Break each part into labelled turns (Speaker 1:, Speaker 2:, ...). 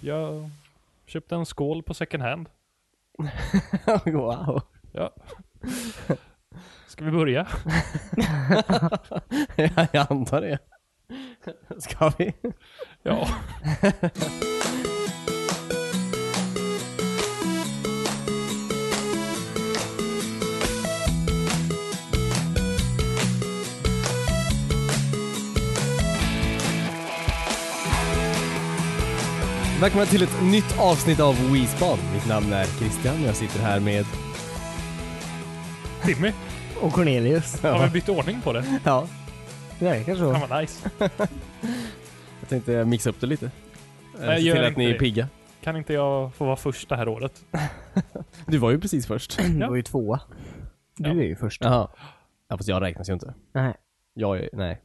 Speaker 1: Jag köpte en skål på second hand.
Speaker 2: wow.
Speaker 1: Ska vi börja?
Speaker 2: Ja, jag antar det. Ska vi?
Speaker 1: Ja.
Speaker 2: Välkomna till ett nytt avsnitt av WeSpan. Mitt namn är Christian och jag sitter här med...
Speaker 1: Timmy,
Speaker 3: Och Cornelius.
Speaker 1: har vi bytt ordning på det?
Speaker 2: Ja.
Speaker 3: Det verkar så.
Speaker 1: Fan vad nice.
Speaker 2: Jag tänkte mixa upp det lite.
Speaker 1: Nej,
Speaker 2: Nej, Se
Speaker 1: gör
Speaker 2: till att
Speaker 1: inte
Speaker 2: ni är
Speaker 1: det.
Speaker 2: pigga.
Speaker 1: Kan inte jag få vara först det här året?
Speaker 2: Du var ju precis först.
Speaker 3: Du
Speaker 1: Ja.
Speaker 3: var ju tvåa. Du
Speaker 1: Ja.
Speaker 3: är ju först.
Speaker 2: Jaha. Ja, fast jag räknas ju inte.
Speaker 3: Nej.
Speaker 2: Jag är... Nej.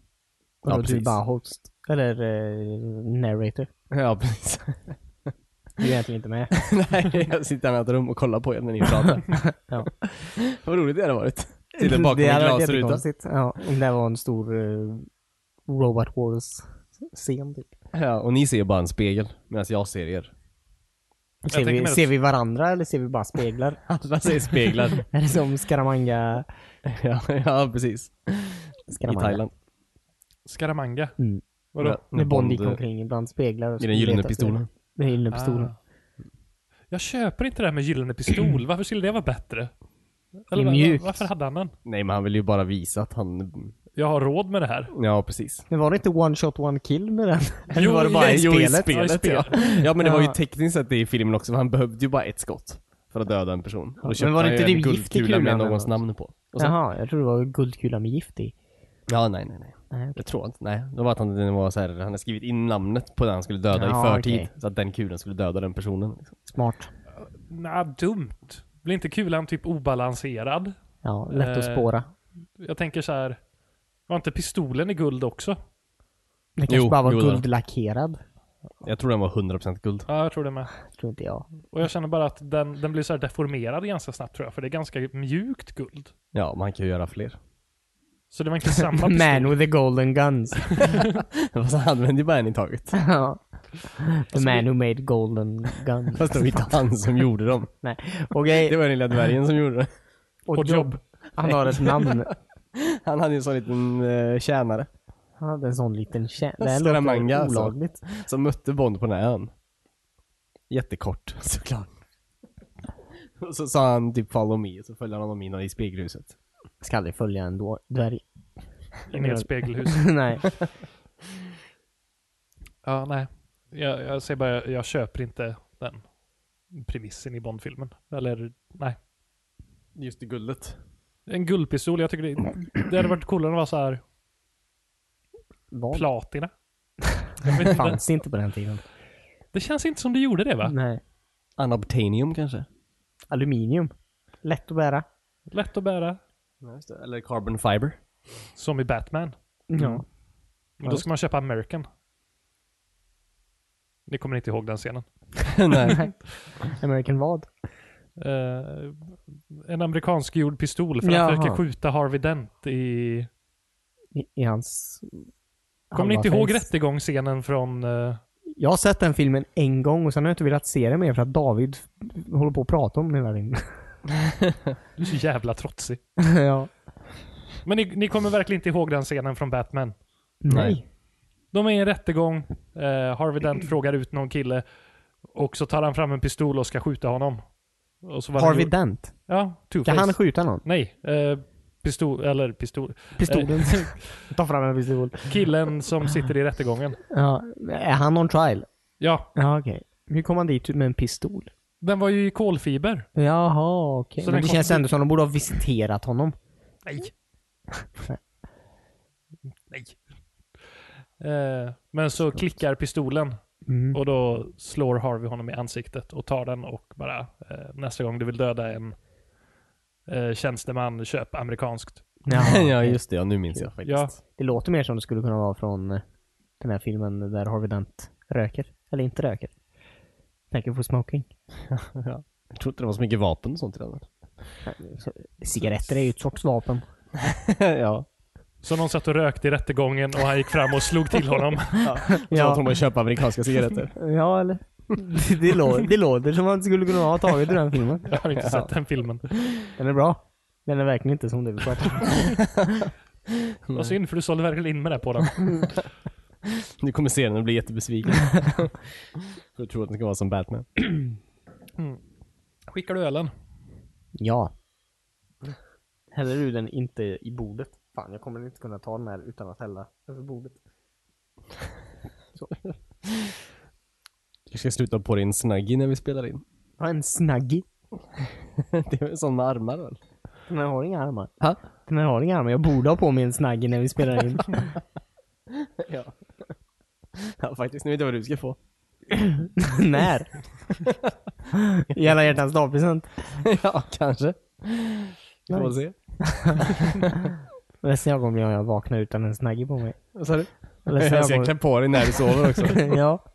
Speaker 3: Och
Speaker 2: Ja,
Speaker 3: du är
Speaker 2: precis.
Speaker 3: bara host. Eller eh, narrator.
Speaker 2: Ja, precis.
Speaker 3: Du är egentligen inte med.
Speaker 2: Nej, jag sitter i ett annat rum och kollar på er när ni pratar.
Speaker 3: Ja.
Speaker 2: Vad roligt det hade varit. Sitter bakom
Speaker 3: det
Speaker 2: en
Speaker 3: hade varit
Speaker 2: glasruta.
Speaker 3: jättekonstigt. Ja, om det var en stor eh, Robot Wars-scen typ.
Speaker 2: Ja, och ni ser bara en spegel medan jag ser er.
Speaker 3: Ser
Speaker 1: tänker
Speaker 3: vi,
Speaker 1: mer att-
Speaker 3: ser vi varandra eller ser vi bara speglar?
Speaker 2: Alla ser speglar.
Speaker 3: är det som Scaramanga?
Speaker 2: ja, ja, precis. I
Speaker 3: Scaramanga.
Speaker 2: Thailand.
Speaker 1: Scaramanga.
Speaker 3: Mm.
Speaker 1: Vadå?
Speaker 2: Ja,
Speaker 3: När Bond gick
Speaker 2: eh,
Speaker 3: omkring bland speglar. och
Speaker 2: I
Speaker 3: skulle
Speaker 2: den gyllene
Speaker 3: leta efter-
Speaker 2: pistolen.
Speaker 3: Den gyllene pistolen.
Speaker 1: Ah. Jag köper inte det här med gyllene pistol. Varför skulle det vara bättre? Eller
Speaker 3: Det är
Speaker 1: va-
Speaker 3: mjukt.
Speaker 1: varför hade han den?
Speaker 2: Nej, men han vill ju bara visa att han...
Speaker 1: Jag har råd med det här.
Speaker 2: Ja, precis.
Speaker 3: Men var det inte one shot one kill med den? Eller
Speaker 1: Jo,
Speaker 3: var det bara
Speaker 1: i-
Speaker 3: i
Speaker 1: jo, i
Speaker 3: spelet?
Speaker 1: spelet.
Speaker 2: ja. ja, men det var ju
Speaker 3: Ja.
Speaker 2: tekniskt sett det i filmen också. för Han behövde ju bara ett skott för att döda en person. Och då
Speaker 3: men
Speaker 2: köpte
Speaker 3: var det
Speaker 2: han
Speaker 3: inte
Speaker 2: ju en
Speaker 3: det gift i
Speaker 2: guldkula
Speaker 3: kulan
Speaker 2: med
Speaker 3: eller
Speaker 2: någons
Speaker 3: något?
Speaker 2: namn på. Och sen,
Speaker 3: Jaha, jag tror det var guldkula med gift i.
Speaker 2: ja, nej, nej, nej.
Speaker 3: Nej, okej.
Speaker 2: Jag tror inte, nej. Det var att han, det var så här, han hade skrivit in namnet på den han skulle döda
Speaker 3: Ja,
Speaker 2: i förtid.
Speaker 3: okej.
Speaker 2: Så att den kulan skulle döda den personen. Liksom.
Speaker 3: Smart.
Speaker 1: Nej, dumt. Blir inte kulan typ obalanserad?
Speaker 3: Ja, lätt att
Speaker 1: Eh,
Speaker 3: spåra.
Speaker 1: Jag tänker så här. Var inte pistolen i guld också?
Speaker 3: Det kanske
Speaker 2: jo,
Speaker 3: bara var
Speaker 2: jo då.
Speaker 3: guldlackerad.
Speaker 2: Jag tror den var 100% guld.
Speaker 1: Ja, jag tror det med.
Speaker 3: Tror inte jag.
Speaker 1: Och jag känner bara att den, den blir så här deformerad ganska snabbt tror jag, för det är ganska mjukt guld.
Speaker 2: Ja, man kan ju göra fler.
Speaker 1: Så det var inte samma
Speaker 3: The
Speaker 1: pistol.
Speaker 3: man with the golden guns.
Speaker 2: Fast han använde ju bara en i taget.
Speaker 3: Ja. the man who made golden guns.
Speaker 2: Fast det var inte han som gjorde dem.
Speaker 3: Nej. Okej.
Speaker 2: Det var den lilla dvärgen som gjorde det.
Speaker 1: Och jobb.
Speaker 3: Han har ett namn.
Speaker 2: Han hade ju en sån liten eh, tjänare.
Speaker 3: Han hade en sån liten tjänst. Det här
Speaker 2: Scaramanga,
Speaker 3: låter
Speaker 2: alltså.
Speaker 3: olagligt.
Speaker 2: Som mötte Bond på den här ön. Jättekort såklart. Och så sa han typ 'follow me' och så följde han honom in i spegelhuset.
Speaker 3: Ska aldrig följa en dvär- dvärg.
Speaker 1: In i ett spegelhus.
Speaker 3: Nej.
Speaker 1: Ja, nej. Jag, jag säger bara, jag, jag köper inte den premissen i Bondfilmen. Eller, nej.
Speaker 2: Just det guldet.
Speaker 1: En guldpistol, jag tycker det, det hade varit coolare att vara så här
Speaker 3: Vad?
Speaker 1: platina. Jag vet inte.
Speaker 3: Fanns inte på den tiden.
Speaker 1: Det känns inte som du gjorde det va?
Speaker 3: Nej.
Speaker 2: Unobtainium kanske?
Speaker 3: Aluminium. Lätt att bära.
Speaker 1: Lätt att bära.
Speaker 2: Ja, just det. Eller carbon fiber.
Speaker 1: Som i Batman.
Speaker 3: Ja.
Speaker 1: Men då ska man köpa American. Ni kommer inte ihåg den scenen.
Speaker 2: Nej.
Speaker 3: American vad?
Speaker 1: Eh, en amerikansk gjord pistol för att
Speaker 3: Jaha.
Speaker 1: försöka skjuta Harvey Dent i
Speaker 3: I, i hans...
Speaker 1: Kommer ni inte
Speaker 3: halva
Speaker 1: ihåg
Speaker 3: face.
Speaker 1: rättegångsscenen från... eh,
Speaker 3: Jag har sett den filmen en gång och sen har jag inte velat se den mer för att David f- håller på att prata om den hela tiden.
Speaker 1: du är så jävla trotsig.
Speaker 3: ja.
Speaker 1: Men ni, ni kommer verkligen inte ihåg den scenen från Batman.
Speaker 3: Nej.
Speaker 1: De är i en rättegång. Eh, Harvey Dent frågar ut någon kille. Och så tar han fram en pistol och ska skjuta honom. Och så var
Speaker 3: Harvey
Speaker 1: han,
Speaker 3: Dent.
Speaker 1: Ja,
Speaker 3: Ska
Speaker 1: Two-Face.
Speaker 3: han skjuta någon?
Speaker 1: Nej. Eh, pistol... Eller pistol...
Speaker 3: Pistolen. Ta fram en pistol.
Speaker 1: Killen som sitter i rättegången.
Speaker 3: Ja. Är han on trial?
Speaker 1: Ja.
Speaker 3: Ja, okej. Hur kom han dit med en pistol?
Speaker 1: Den var ju i kolfiber.
Speaker 3: Jaha, okej.
Speaker 1: Så
Speaker 3: Men
Speaker 1: den
Speaker 3: det
Speaker 1: kom-
Speaker 3: känns ändå som de borde ha visiterat honom.
Speaker 1: Nej.
Speaker 2: Mm.
Speaker 1: Nej. Eh, men så klickar pistolen.
Speaker 3: Mm.
Speaker 1: Och då slår Harvey honom i ansiktet och tar den och bara eh, nästa gång du vill döda en eh, tjänsteman, köp amerikanskt.
Speaker 3: Jaha,
Speaker 2: ja,
Speaker 3: okej.
Speaker 2: just det. Ja, nu minns jag faktiskt.
Speaker 1: Ja.
Speaker 3: Det låter mer som det skulle kunna vara från eh, den här filmen där Harvey Dent röker. Eller inte röker. Tänker på smoking.
Speaker 2: Jag tror inte det var så mycket vapen och sånt i den.
Speaker 3: Cigaretter är ju ett sorts vapen.
Speaker 2: ja.
Speaker 1: Så någon satt och rökte i rättegången och han gick fram och slog till honom.
Speaker 2: Så att hon bara köpa amerikanska cigaretter.
Speaker 3: Ja, eller? det, låter, det låter som att man skulle kunna ha tagit ur den filmen.
Speaker 1: Jag har inte
Speaker 2: Ja.
Speaker 1: sett den filmen.
Speaker 3: Den är bra. Den är verkligen inte som det vi pratar om.
Speaker 1: Vad synd, för du sålde verkligen in med det på den.
Speaker 2: Du kommer se den och bli jättebesviken. för du tror att den ska vara som Batman.
Speaker 1: Skickar du ölen?
Speaker 3: Ja. Häller du den inte i bordet? Fan, jag kommer inte kunna ta den här utan att hälla över bordet.
Speaker 2: Du ska sluta på din snaggy när vi spelar in.
Speaker 3: Jag har en snaggy.
Speaker 2: det är väl sån med armar väl?
Speaker 3: Den här har inga armar. Den här har inga armar. Jag borde ha på mig en snaggy när vi spelar in.
Speaker 2: Ja. ja, faktiskt. Nu vet jag vad du ska få.
Speaker 3: när? I alla hjärtans dagpresent.
Speaker 2: ja, kanske. Vi får
Speaker 3: Nice.
Speaker 2: se.
Speaker 3: Nästa gång jag jag vaknar utan en snaggy på mig.
Speaker 2: Vad sa du?
Speaker 3: Ledsen
Speaker 2: Jag ska
Speaker 3: jag
Speaker 2: klä på dig när du sover också.
Speaker 3: kommer- ja.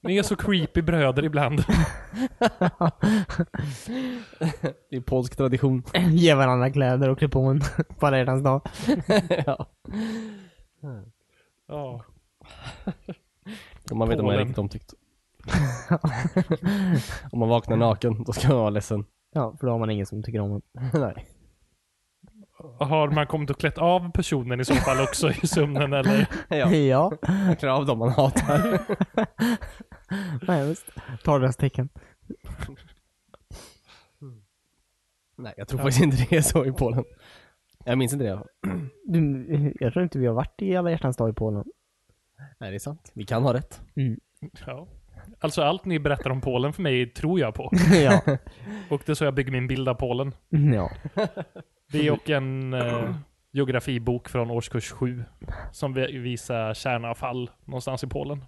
Speaker 1: Ni är så creepy bröder ibland.
Speaker 2: Det är polsk tradition.
Speaker 3: Ge varandra kläder och klä på en på alla hjärtans dag.
Speaker 2: ja.
Speaker 1: Ja.
Speaker 2: Om man vet om man
Speaker 1: Polen.
Speaker 2: är riktigt omtyckt. om man vaknar naken, då ska man vara ledsen.
Speaker 3: Ja, för då har man ingen som tycker om en.
Speaker 2: Nej.
Speaker 1: Har man kommit och klätt av personen i så fall också i sömnen eller?
Speaker 2: Ja.
Speaker 3: ja.
Speaker 2: Krav de man hatar.
Speaker 3: Nej, visst. Tar deras tecken.
Speaker 2: Nej, jag tror faktiskt inte det är så i Polen. Jag minns inte det.
Speaker 3: Du, jag tror inte vi har varit i alla hjärtans dag i Polen.
Speaker 2: Nej, det är sant. Vi kan ha rätt.
Speaker 1: Ja. Alltså allt ni berättar om Polen för mig tror jag på.
Speaker 3: ja.
Speaker 1: Och det är så jag bygger min bild av Polen.
Speaker 3: ja.
Speaker 1: Vi och en eh, geografibok från årskurs 7 som vi- visar kärnavfall någonstans i Polen.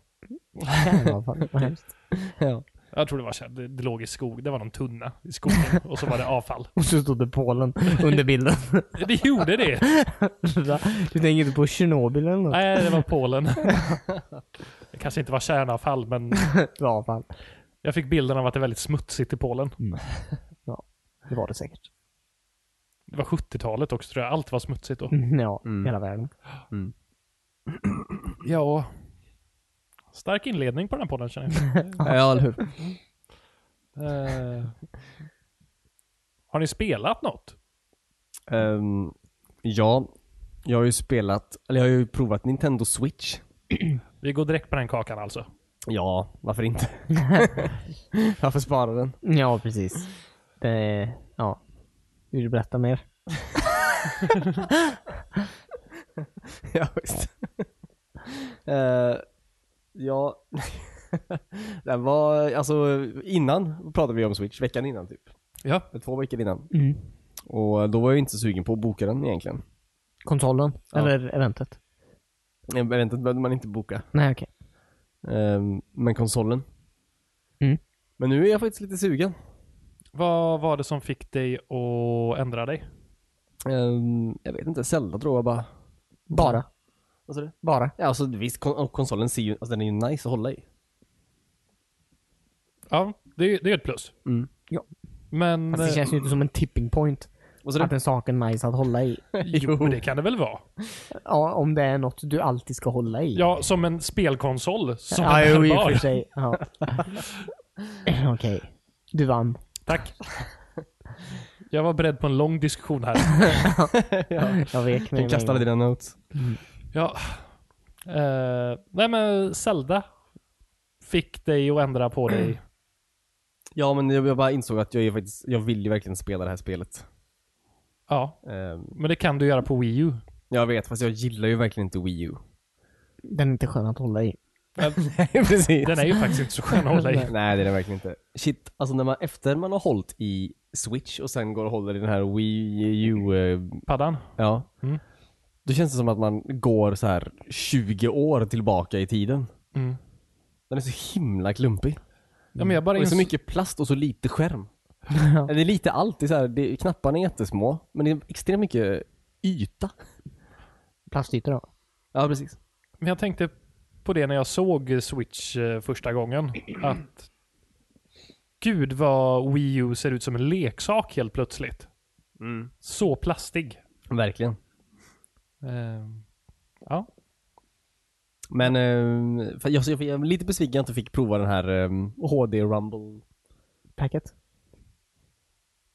Speaker 3: Fan, vad fan, vad hemskt.
Speaker 2: Ja.
Speaker 1: Jag tror det var kärn, det, det låg i skog. Det var någon tunna i skogen och så var det avfall.
Speaker 3: Och så stod det Polen under bilden.
Speaker 1: Det gjorde det!
Speaker 3: du tänker inte på Tjernobyl eller något?
Speaker 1: Nej, det var Polen. Det kanske inte var kärnavfall, men
Speaker 3: Ja, fan.
Speaker 1: jag fick bilden av att det är väldigt smutsigt i Polen.
Speaker 3: Det var det säkert.
Speaker 1: Det var 70-talet också tror jag. Allt var smutsigt då.
Speaker 3: Ja,
Speaker 2: Mm.
Speaker 3: hela världen.
Speaker 1: Ja. Stark inledning på den här podden känner jag.
Speaker 2: Ja, eller hur?
Speaker 1: Eh, har ni spelat något?
Speaker 2: Ehm, ja, jag har ju spelat, eller jag har ju provat Nintendo Switch.
Speaker 1: Vi går direkt på den kakan alltså.
Speaker 2: Ja, varför inte? varför spara den?
Speaker 3: Ja, precis. Det, ja. Vill du berätta mer?
Speaker 2: ja, visst. Eh, ja, den var, alltså innan pratade vi om Switch, veckan innan typ.
Speaker 1: Ja.
Speaker 2: Två veckor innan.
Speaker 3: Mm.
Speaker 2: Och då var jag inte sugen på att boka den egentligen.
Speaker 3: Konsolen?
Speaker 2: Ja.
Speaker 3: Eller eventet?
Speaker 2: Eventet behövde man inte boka.
Speaker 3: Nej, okej.
Speaker 2: Ehm, men konsolen.
Speaker 3: Mm.
Speaker 2: Men nu är jag faktiskt lite sugen.
Speaker 1: Vad var det som fick dig att ändra dig?
Speaker 2: Ehm, jag vet inte, Zelda tror jag bara.
Speaker 3: Bara?
Speaker 2: Vad sa du?
Speaker 3: Bara?
Speaker 2: Ja, alltså visst, kon- och konsolen ser ju, alltså den är ju nice att hålla i.
Speaker 1: Ja, det, är- det är ett plus.
Speaker 2: Mm.
Speaker 1: Men... eh,
Speaker 3: Fast det känns ju inte som en tipping point.
Speaker 2: Vad sa du?
Speaker 3: Att en sak är nice att hålla i.
Speaker 1: Jo, men det kan det väl vara?
Speaker 3: Ja, om det är något du alltid ska hålla i.
Speaker 1: Ja, som en spelkonsol. Som
Speaker 3: ja
Speaker 1: en
Speaker 3: jo, i och
Speaker 1: bärbar.
Speaker 3: för sig. Ja. Okej. Du vann.
Speaker 1: Tack. Jag var beredd på en lång diskussion här.
Speaker 3: Jag vek mig.
Speaker 2: Du kastade
Speaker 3: med en
Speaker 2: dina notes.
Speaker 1: Ja. Eh, nej men Zelda fick dig att ändra på
Speaker 3: Mm.
Speaker 1: dig.
Speaker 2: Ja, men jag jag bara insåg att jag, är faktiskt, jag vill ju verkligen spela det här spelet.
Speaker 1: Ja,
Speaker 2: Ehm,
Speaker 1: men det kan du göra på Wii U.
Speaker 2: jag vet, fast jag gillar ju verkligen inte Wii U.
Speaker 3: gång. Den är inte skön att hålla i.
Speaker 2: Nej, precis.
Speaker 1: Den är ju faktiskt inte så skön att hålla i.
Speaker 2: Nej, det är det verkligen inte. Shit, alltså när man, efter man har hållit i Switch och sen går och håller i den här Wii U, eh,
Speaker 1: Paddan.
Speaker 2: ja.
Speaker 1: Mm.
Speaker 2: Då känns det som att man går så här 20 år tillbaka i tiden.
Speaker 1: Mm.
Speaker 2: Den är så himla klumpig.
Speaker 1: Ja, men jag bara
Speaker 2: Och det är så
Speaker 1: ins-
Speaker 2: mycket plast och så lite skärm. Det är lite allt. Det är så här, det, knapparna är jättesmå, men det är extremt mycket yta.
Speaker 3: Plastytor då?
Speaker 2: Ja, precis.
Speaker 1: Men jag tänkte på det när jag såg Switch eh, första gången.
Speaker 2: Mm.
Speaker 1: Att gud vad Wii U ser ut som en leksak helt plötsligt.
Speaker 2: Mm.
Speaker 1: Så plastig. Ehm,
Speaker 2: Verkligen.
Speaker 1: Eh, ja.
Speaker 2: Men eh, för jag, jag, jag är lite besviken att jag inte fick prova den här eh, HD Rumble.
Speaker 3: Packet?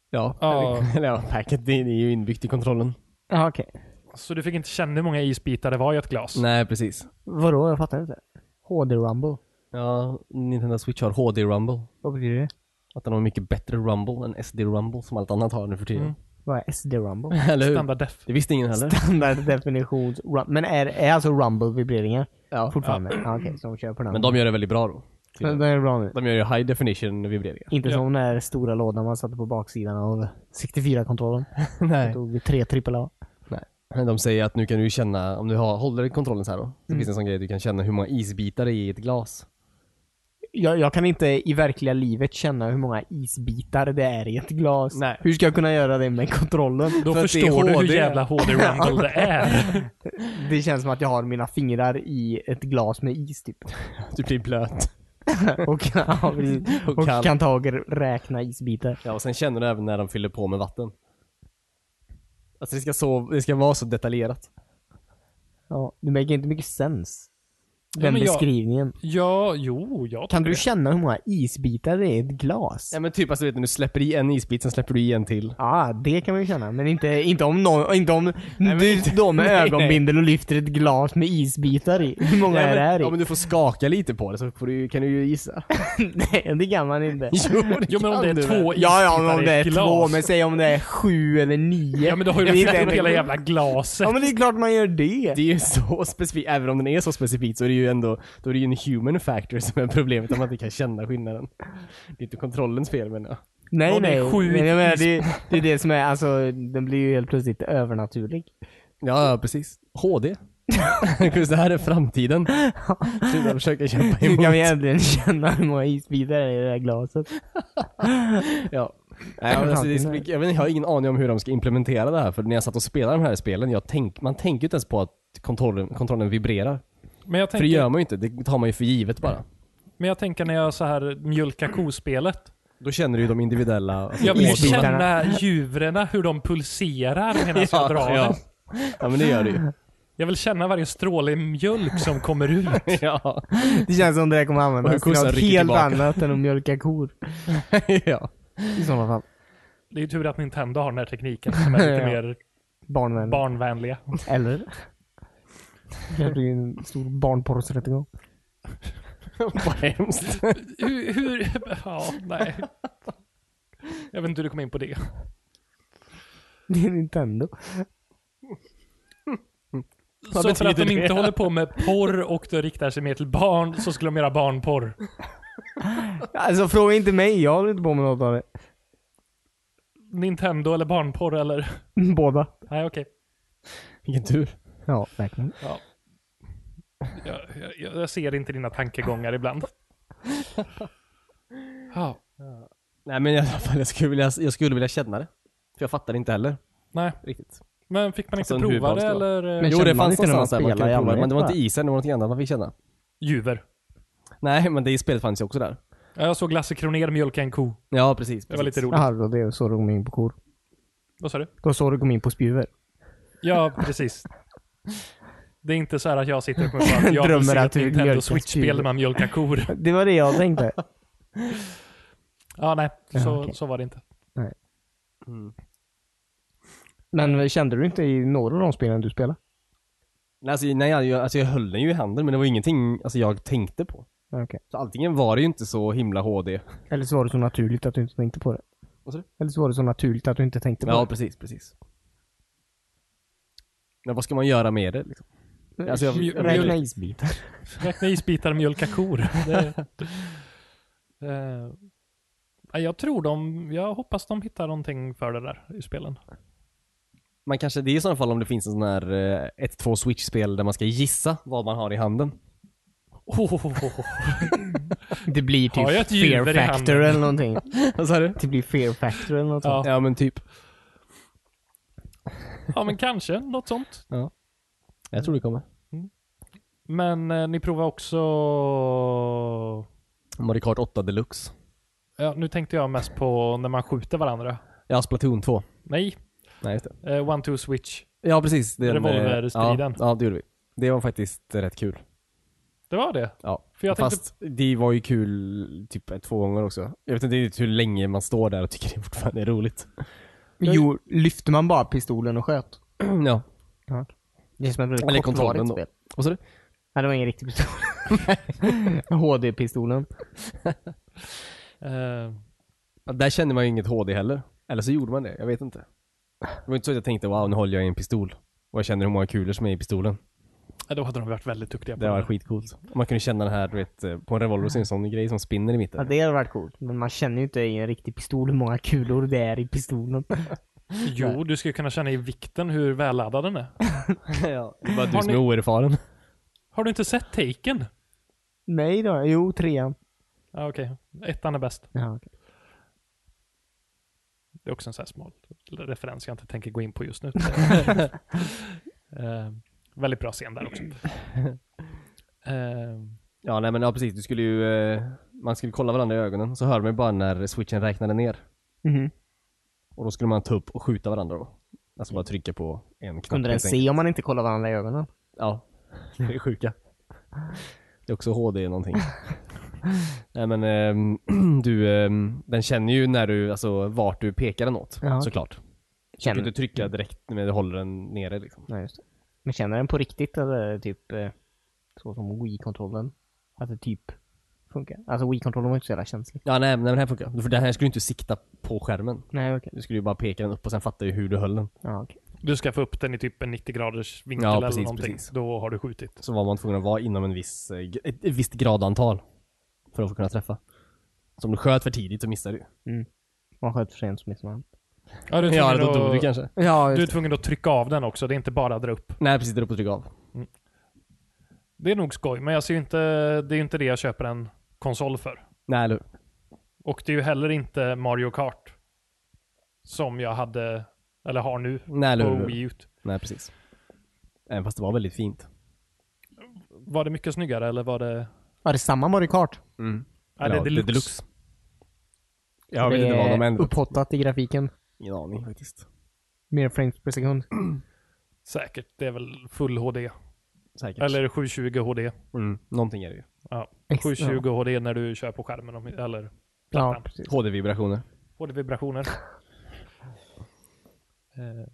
Speaker 2: Ja,
Speaker 1: Ja.
Speaker 2: eller- eller ja, packet. Det är ju inbyggt i kontrollen.
Speaker 3: Ja, okej.
Speaker 1: Så du fick inte känna hur många isbitar det var i ett glas?
Speaker 2: Nej, precis.
Speaker 3: Vadå? Jag fattar inte. HD Rumble?
Speaker 2: Ja, Nintendo Switch har HD Rumble.
Speaker 3: Vad betyder det?
Speaker 2: Att den har mycket bättre Rumble än SD Rumble som allt annat har nu för tiden.
Speaker 1: Mm.
Speaker 3: Vad är SD Rumble?
Speaker 2: Eller hur?
Speaker 1: Standard def.
Speaker 2: Det visste ingen heller.
Speaker 3: Standarddefinition. rum- Men är, är alltså Rumble vibreringar?
Speaker 2: Ja.
Speaker 3: Fortfarande? Ja. okej, så de kör på den.
Speaker 2: Men de gör det väldigt bra då.
Speaker 3: Men de är bra nu.
Speaker 2: De gör ju high definition vibreringar.
Speaker 3: Inte
Speaker 1: Ja.
Speaker 3: som den där stora lådan man satte på baksidan av 64-kontrollen. Det
Speaker 2: Nej.
Speaker 3: tog tre trippel A.
Speaker 2: Men De säger att nu kan du ju känna, om du har, håller kontrollen så här då, så
Speaker 1: Mm.
Speaker 2: finns det en sån grej att du kan känna hur många isbitar det är i ett glas.
Speaker 3: Jag, jag kan inte i verkliga livet känna hur många isbitar det är i ett glas.
Speaker 2: Nej.
Speaker 3: Hur ska jag kunna göra det med kontrollen?
Speaker 1: Då
Speaker 2: För att det är
Speaker 1: förstår du hur
Speaker 2: HD.
Speaker 1: jävla HD Rumble det är.
Speaker 3: Det känns som att jag har mina fingrar i ett glas med is typ.
Speaker 2: Du blir blöt.
Speaker 3: Och, ja, precis.
Speaker 2: Och
Speaker 3: och
Speaker 2: kall.
Speaker 3: kan ta och räkna isbitar.
Speaker 2: Ja, och sen känner du även när de fyller på med vatten. Alltså det ska, så, det ska vara så detaljerat.
Speaker 3: Ja, det märker inte mycket sens.
Speaker 1: Ja,
Speaker 3: Den
Speaker 1: men jag-
Speaker 3: beskrivningen.
Speaker 1: Ja, jo, jag
Speaker 3: Kan
Speaker 1: tycker
Speaker 3: du känna hur många isbitar det är i ett glas?
Speaker 2: Ja men typ alltså du vet när du släpper i en isbit, sen släpper du i en till.
Speaker 3: Ja, det kan man ju känna. Men inte, inte om någon, inte om du står med
Speaker 2: nej,
Speaker 3: ögonbindel och lyfter ett glas med isbitar i. Hur många
Speaker 2: ja,
Speaker 3: är det här
Speaker 2: men,
Speaker 3: i?
Speaker 2: ja, men du får skaka lite på det så får du, kan du ju gissa.
Speaker 3: Nej, det kan man inte.
Speaker 2: jo, det
Speaker 1: Jo men om
Speaker 2: kan
Speaker 1: det
Speaker 2: du
Speaker 1: är
Speaker 2: väl.
Speaker 1: två isbitar
Speaker 3: Ja, ja, men om det
Speaker 1: i
Speaker 3: är
Speaker 1: ett glas.
Speaker 3: två, men säg om det är sju eller nio.
Speaker 1: Ja men då har ju
Speaker 3: Det är
Speaker 1: redan
Speaker 3: inte-
Speaker 1: hela jävla glaset.
Speaker 3: Ja, men det är klart man gör det.
Speaker 2: Det är ju så specifikt, även om den är så specifik så är det ju ändå, då är det ju en human factor som är problemet om man inte kan känna skillnaden. Det är inte kontrollens fel menar jag.
Speaker 3: Nej,
Speaker 1: Ja, det är
Speaker 3: nej.
Speaker 1: sju
Speaker 3: men jag menar, det, det är det som är, alltså, den blir ju helt plötsligt övernaturlig.
Speaker 2: Ja, ja, precis. HD. Chris, det här är framtiden. Sluta försöka kämpa
Speaker 3: Hur
Speaker 2: emot.
Speaker 3: kan vi äntligen känna hur många isbitar det är i det här glaset?
Speaker 2: Ja. Nej, men alltså, det ska bli, jag, vet, inte, jag har ingen aning om hur de ska implementera det här, för när jag satt och spelade de här spelen, jag tänk, man tänker ju inte ens på att kontrollen, kontrollen vibrerar.
Speaker 1: Men jag
Speaker 2: För det
Speaker 1: tänker,
Speaker 2: gör man ju inte, det tar man ju för givet bara.
Speaker 1: men jag tänker när jag så här mjölkar kospelet.
Speaker 2: Då känner du ju de individuella... Alltså,
Speaker 1: Jag vill ju
Speaker 2: ådrorna.
Speaker 1: känna djuren, hur de pulserar medan jag drar den.
Speaker 2: ja. ja, men det gör du ju.
Speaker 1: Jag vill känna varje stråle mjölk som kommer ut.
Speaker 2: ja.
Speaker 3: Det känns som det här kommer användas till
Speaker 2: kossan
Speaker 3: något
Speaker 2: rycker
Speaker 3: helt
Speaker 2: tillbaka.
Speaker 3: annat än att mjölka kor.
Speaker 2: ja.
Speaker 3: I sådana fall.
Speaker 1: Det är ju tur att Nintendo har den här tekniken som är lite
Speaker 3: Ja.
Speaker 1: mer
Speaker 3: Barnvänligt.
Speaker 1: barnvänliga.
Speaker 3: Eller? Det blir en stor barnporrsrättegång.
Speaker 2: Vad hemskt.
Speaker 1: Hur, hur, ja, nej. Jag vet inte hur du kom in på det.
Speaker 3: Det är Nintendo.
Speaker 2: Vad
Speaker 1: så för att de
Speaker 2: betyder
Speaker 1: inte
Speaker 2: det?
Speaker 1: håller på med porr och det riktar sig mer till barn så skulle de göra barnporr.
Speaker 3: Alltså fråga inte mig, jag håller inte på med något av det.
Speaker 1: Nintendo eller barnporr eller?
Speaker 3: Båda.
Speaker 1: Nej okej.
Speaker 2: Vilken tur.
Speaker 3: Ja, verkligen.
Speaker 1: Ja. Jag, jag, jag ser inte dina tankegångar ibland. Ja,
Speaker 2: Nej men i alla fall, jag skulle vilja, jag skulle vilja känna det. För jag fattar inte heller
Speaker 1: nej.
Speaker 2: riktigt.
Speaker 1: Men fick man inte
Speaker 2: Alltså, en
Speaker 1: prova det
Speaker 2: huvudvals då.
Speaker 1: eller? eh,
Speaker 3: Men
Speaker 1: Men...
Speaker 2: jo
Speaker 3: känner
Speaker 2: det
Speaker 3: man
Speaker 2: fanns
Speaker 3: inte när man
Speaker 2: någonstans där man
Speaker 3: spelar i
Speaker 2: kunde prova,
Speaker 3: allmänhet,
Speaker 2: men det var inte
Speaker 3: va?
Speaker 2: isen, det var något annat man fick känna.
Speaker 1: Djuver.
Speaker 2: Nej men det i spelet fanns ju också där.
Speaker 1: Ja, Jag såg Lasse Kronér mjölka en ko.
Speaker 2: Ja precis.
Speaker 1: Det var lite
Speaker 2: precis.
Speaker 1: roligt.
Speaker 3: Jaha, då det är så du kom in på kor.
Speaker 1: Vad sa du?
Speaker 3: Det var så du kom in på spjuver.
Speaker 1: Ja, precis. Det är inte så här att jag sitter på en plan. Jag
Speaker 3: Drömmer
Speaker 1: vill se
Speaker 3: att
Speaker 1: ett
Speaker 3: du
Speaker 1: Nintendo
Speaker 3: mjölkar
Speaker 1: Switch-spel
Speaker 3: spjut.
Speaker 1: där man mjölkar kor.
Speaker 3: Det var det jag tänkte.
Speaker 1: Ja, nej. Så,
Speaker 3: Ja, okej.
Speaker 1: så var det inte.
Speaker 2: Mm.
Speaker 3: Men kände du inte i några av de spelen du spelade?
Speaker 2: Nej, alltså, nej jag, alltså jag höll den ju i handen men det var ingenting alltså, jag tänkte på.
Speaker 3: Ja, Okej.
Speaker 2: Så antingen var det ju inte så himla HD.
Speaker 3: Eller så var det så naturligt att du inte tänkte på det.
Speaker 2: Vad sa du?
Speaker 3: Eller så var det så naturligt att du inte tänkte på
Speaker 2: Ja
Speaker 3: det.
Speaker 2: precis, precis. Men vad ska man göra med det liksom? alltså, jag- jag-
Speaker 3: Räkna isbitar.
Speaker 1: Räkna isbitar och mjölka kor. Det, Eh, nej, jag tror de, jag hoppas de hittar någonting för det där i spelen.
Speaker 2: Man kanske, det är i sådana fall om det finns en sån här eh, 1-2 switch-spel där man ska gissa vad man har i handen.
Speaker 1: Oh, oh, oh, oh.
Speaker 3: Det blir
Speaker 1: Har jag
Speaker 3: typ
Speaker 1: ett djur i
Speaker 3: Fear
Speaker 1: handen?
Speaker 3: Factor eller någonting.
Speaker 2: Vad sa du?
Speaker 3: Det blir Fear Factor eller något
Speaker 1: Ja.
Speaker 3: sånt.
Speaker 2: Ja men typ.
Speaker 1: Ja, men kanske något sånt.
Speaker 2: Jag tror det kommer.
Speaker 1: Men eh, ni provar också...
Speaker 2: Mario Kart 8 Deluxe.
Speaker 1: Ja, nu tänkte jag mest på när man skjuter varandra.
Speaker 2: Ja, Splatoon 2.
Speaker 1: Nej,
Speaker 2: Nej, just det.
Speaker 1: eh, one two switch.
Speaker 2: Ja, precis. Den, eh,
Speaker 1: Revolverstriden.
Speaker 2: Ja, ja, det gjorde vi. Det var faktiskt rätt kul.
Speaker 1: Det var det?
Speaker 2: Ja.
Speaker 1: För jag tänkte-
Speaker 2: Fast det var ju kul typ två gånger också. Jag vet inte riktigt hur länge man står där och tycker det fortfarande är roligt.
Speaker 3: Jo, lyfte man bara pistolen och sköt?
Speaker 2: ja.
Speaker 3: Ja. Det är som ett väldigt
Speaker 2: Eller kontrollen
Speaker 3: kortvarigt
Speaker 2: då.
Speaker 3: spel.
Speaker 2: Vad sa du?
Speaker 3: Nej, det var ingen riktig pistol. HD-pistolen.
Speaker 1: Eh,
Speaker 2: Ja, Där kände man ju inget HD heller. Eller så gjorde man det, jag vet inte. Det var inte så att jag tänkte wow, nu håller jag i en pistol. Och jag känner hur många kulor som är i pistolen.
Speaker 1: ja, då hade de varit väldigt duktiga på
Speaker 2: Det var skitcoolt. Man kunde känna den här, du vet, eh, på en revolver så är det en sån grej som spinner i mitten.
Speaker 3: Ja, det hade varit coolt. Men man känner ju inte i en riktig pistol hur många kulor det är i pistolen.
Speaker 1: Jo, du ska ju kunna känna i vikten hur välladdad den är.
Speaker 3: ja.
Speaker 2: Det var du
Speaker 1: Har
Speaker 2: som
Speaker 1: ni-
Speaker 2: är oerfaren.
Speaker 1: Har du inte sett Taken?
Speaker 3: Nej då. Jo, trean.
Speaker 1: Ja, okej. Ettan är bäst.
Speaker 3: Ja, okej.
Speaker 1: Det är också en sån här smal referens jag inte tänker gå in på just nu. Eh, väldigt bra scen där också. Eh,
Speaker 2: Ja, nej men ja, precis. Du skulle ju... eh, Man skulle kolla varandra i ögonen. Så hörde man ju bara när switchen räknade ner.
Speaker 3: Mhm.
Speaker 2: Och då skulle man ta upp och skjuta varandra då. Alltså bara trycka på en knapp.
Speaker 3: Kunde den
Speaker 2: helt enkelt.
Speaker 3: se om man inte kollade varandra i ögonen?
Speaker 2: Ja, det är det sjuka. Det är också HD någonting. Nej men ehm, du, ehm, den känner ju när du, alltså vart du pekar den åt
Speaker 3: Ja.
Speaker 2: såklart. Du kan
Speaker 3: Känner.
Speaker 2: inte trycka direkt när du håller den nere liksom.
Speaker 3: Nej, just det. Men känner den på riktigt eller är det typ eh, så som Wii-kontrollen? Att det typ funkar? Alltså Wii-kontrollen var inte så jävla känslig.
Speaker 2: Ja nej, nej men den här funkar. För den här skulle du inte sikta på skärmen.
Speaker 3: Nej, okej.
Speaker 2: Du skulle ju bara peka den upp och sen fattar du hur du höll den.
Speaker 3: Ja, okej.
Speaker 1: du ska få upp den i typ en 90 graders vinkel
Speaker 2: Ja,
Speaker 1: eller
Speaker 2: precis,
Speaker 1: någonting.
Speaker 2: precis.
Speaker 1: Då har du skjutit.
Speaker 2: Så var man tvungen att vara inom en viss, eh, gr- ett, ett visst gradantal. För att få kunna träffa. Så om du sköt för tidigt så missade du.
Speaker 3: Man sköt för sent så missar man.
Speaker 1: Ja, du är
Speaker 2: Ja,
Speaker 1: tvungen
Speaker 2: då dog
Speaker 1: att-
Speaker 2: du kanske.
Speaker 3: Ja,
Speaker 1: Du är tvungen att trycka av den också. Det är inte bara att dra upp.
Speaker 2: Nej precis, där uppe och trycka av.
Speaker 1: Det är nog skoj, men jag ser ju inte, det är ju inte det jag köper en konsol för.
Speaker 2: Nej eller hur?
Speaker 1: Och det är ju heller inte Mario Kart. Som jag hade, eller har nu,
Speaker 2: Nej eller
Speaker 1: på
Speaker 2: hur?
Speaker 1: Wii Ut.
Speaker 2: Nej, precis. Även fast det var väldigt fint.
Speaker 1: Var det mycket snyggare eller var det...
Speaker 3: Var det samma Mario Kart?
Speaker 2: Mm.
Speaker 1: Nej, det är deluxe.
Speaker 2: Jag vet inte vad de ändrat.
Speaker 3: Upphottat i grafiken.
Speaker 2: Ingen aning faktiskt.
Speaker 3: Mer frames per sekund.
Speaker 1: Säkert, det är väl full HD.
Speaker 2: Säkert.
Speaker 1: Eller 720 HD.
Speaker 2: Mm. Någonting är det ju.
Speaker 1: Ja.
Speaker 3: Ex-
Speaker 1: 720 HD när du kör på skärmen om- eller
Speaker 3: Ja,
Speaker 1: plattan.
Speaker 3: precis.
Speaker 2: HD-vibrationer.
Speaker 1: HD-vibrationer. Eh,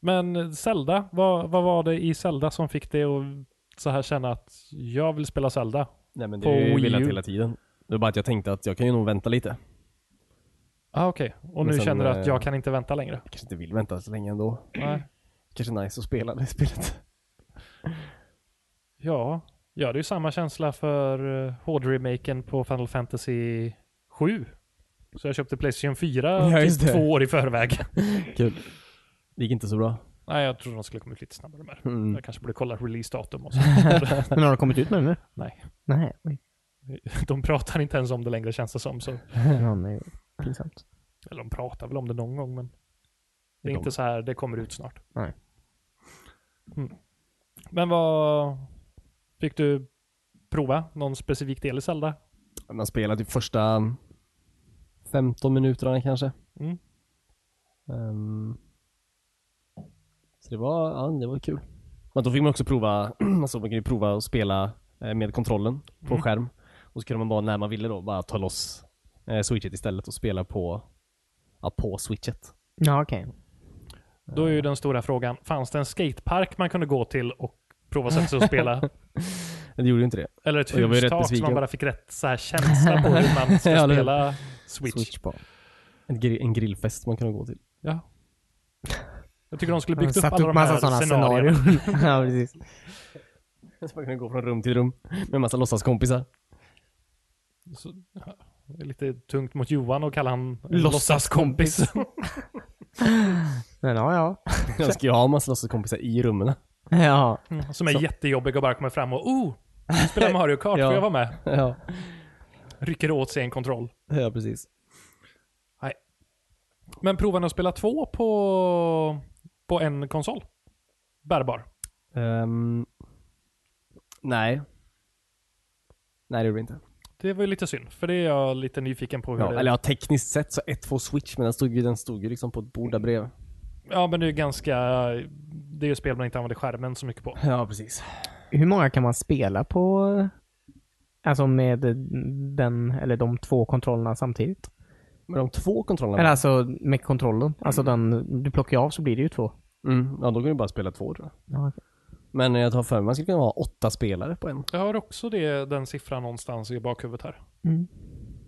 Speaker 1: Men Zelda, vad, vad var det i Zelda som fick dig att så här känna att jag vill spela Zelda?
Speaker 2: Nej men
Speaker 1: På
Speaker 2: det är
Speaker 1: Wii
Speaker 2: ju velat
Speaker 1: U.
Speaker 2: hela tiden. Det var bara att jag tänkte att jag kan ju nog vänta lite.
Speaker 1: Ah, Okej, och
Speaker 2: Men
Speaker 1: nu
Speaker 2: sen,
Speaker 1: känner du att
Speaker 2: eh,
Speaker 1: jag kan inte vänta längre?
Speaker 2: Jag kanske inte vill vänta så länge ändå.
Speaker 1: Nej.
Speaker 2: Kanske är nice att spela det spelet.
Speaker 1: Ja, ja det är ju samma känsla för uh, HD-remaken på Final Fantasy 7. Så jag köpte Playstation 4
Speaker 2: Ja, just
Speaker 1: typ
Speaker 2: det.
Speaker 1: två år i förväg.
Speaker 2: Kul. Det gick inte så bra.
Speaker 1: Nej, jag trodde de skulle komma ut lite snabbare med.
Speaker 2: Mm.
Speaker 1: Jag kanske borde kolla releasedatum och så.
Speaker 3: Men har de kommit ut med den nu?
Speaker 1: Nej,
Speaker 3: Nej. Oj.
Speaker 1: de pratar inte ens om det längre känns det som. Så.
Speaker 3: Ja, nej. Pinsamt.
Speaker 1: Eller de pratar väl om det någon gång, men det är
Speaker 2: De-
Speaker 1: inte så här, det kommer ut snart.
Speaker 3: Nej.
Speaker 1: Mm. Men vad fick du prova? Någon specifik del i Zelda?
Speaker 2: Man spelar typ första 15 minuterna kanske.
Speaker 1: Mm.
Speaker 2: Ehm, så det var, ja, det var kul. Men då fick man också prova, alltså man kunde ju prova att spela eh, med kontrollen på
Speaker 1: Mm.
Speaker 2: skärm. Och så kunde man bara när man ville då bara ta loss eh, switchet istället och spela på, ja, på switchet.
Speaker 3: Ja, okej.
Speaker 1: Då
Speaker 2: Eh.
Speaker 1: är ju den stora frågan, fanns det en skatepark man kunde gå till och prova sätta sig och spela?
Speaker 2: Men det gjorde ju inte det.
Speaker 1: Eller ett
Speaker 2: Och jag var ju rätt
Speaker 1: hustak så man
Speaker 2: besviken.
Speaker 1: bara fick rätt så här känsla på hur man ska
Speaker 2: Ja, eller hur?
Speaker 1: spela Switch.
Speaker 3: på.
Speaker 2: En, gri- en grillfest man kunde gå till.
Speaker 1: Ja. Jag tycker de skulle byggt upp
Speaker 3: Satt
Speaker 1: alla
Speaker 3: upp
Speaker 1: de här
Speaker 3: massa sådana scenarion.
Speaker 1: scenarierna.
Speaker 3: ja, precis.
Speaker 2: Så man kunde gå från rum till rum med en massa låtsaskompisar.
Speaker 1: Så, ja, det är lite tungt mot Johan och kalla han en
Speaker 3: Låtsaskompis.
Speaker 1: låtsaskompis.
Speaker 3: Men ja, ja.
Speaker 2: Jag ska ju ha en massa låtsaskompisar i rummen.
Speaker 3: Ja.
Speaker 2: Mm.
Speaker 1: som är jättejobbig och bara kommer fram och oh, du spelar Mario Kart,
Speaker 2: Ja.
Speaker 1: får jag vara med?
Speaker 2: Ja,
Speaker 1: Rycker åt sig en kontroll.
Speaker 2: ja precis.
Speaker 1: Men provar ni att spela två på, på en konsol? Bärbar.
Speaker 2: Ehm, nej. Nej, det gjorde vi inte.
Speaker 1: Det var ju lite synd, för det är jag lite nyfiken på hur
Speaker 2: Ja,
Speaker 1: det...
Speaker 2: eller ja, tekniskt sett så 1-2 switch, men den stod ju, den stod ju liksom på ett bord där bredvid.
Speaker 1: Ja, men det är ju ganska... Det är ju spel man inte använder skärmen så mycket på.
Speaker 2: Ja, precis.
Speaker 3: Hur många kan man spela på? Alltså med den, eller de två kontrollerna samtidigt?
Speaker 2: Med de två kontrollerna?
Speaker 3: Eller alltså med kontrollen. Alltså den du plockar av så blir det ju två.
Speaker 2: Mm, ja, då går det bara att spela två tror jag.
Speaker 3: Ja, okej.
Speaker 2: Men jag tar för mig man skulle kunna ha åtta spelare på en.
Speaker 1: Jag har också det, den siffran någonstans i bakhuvudet här.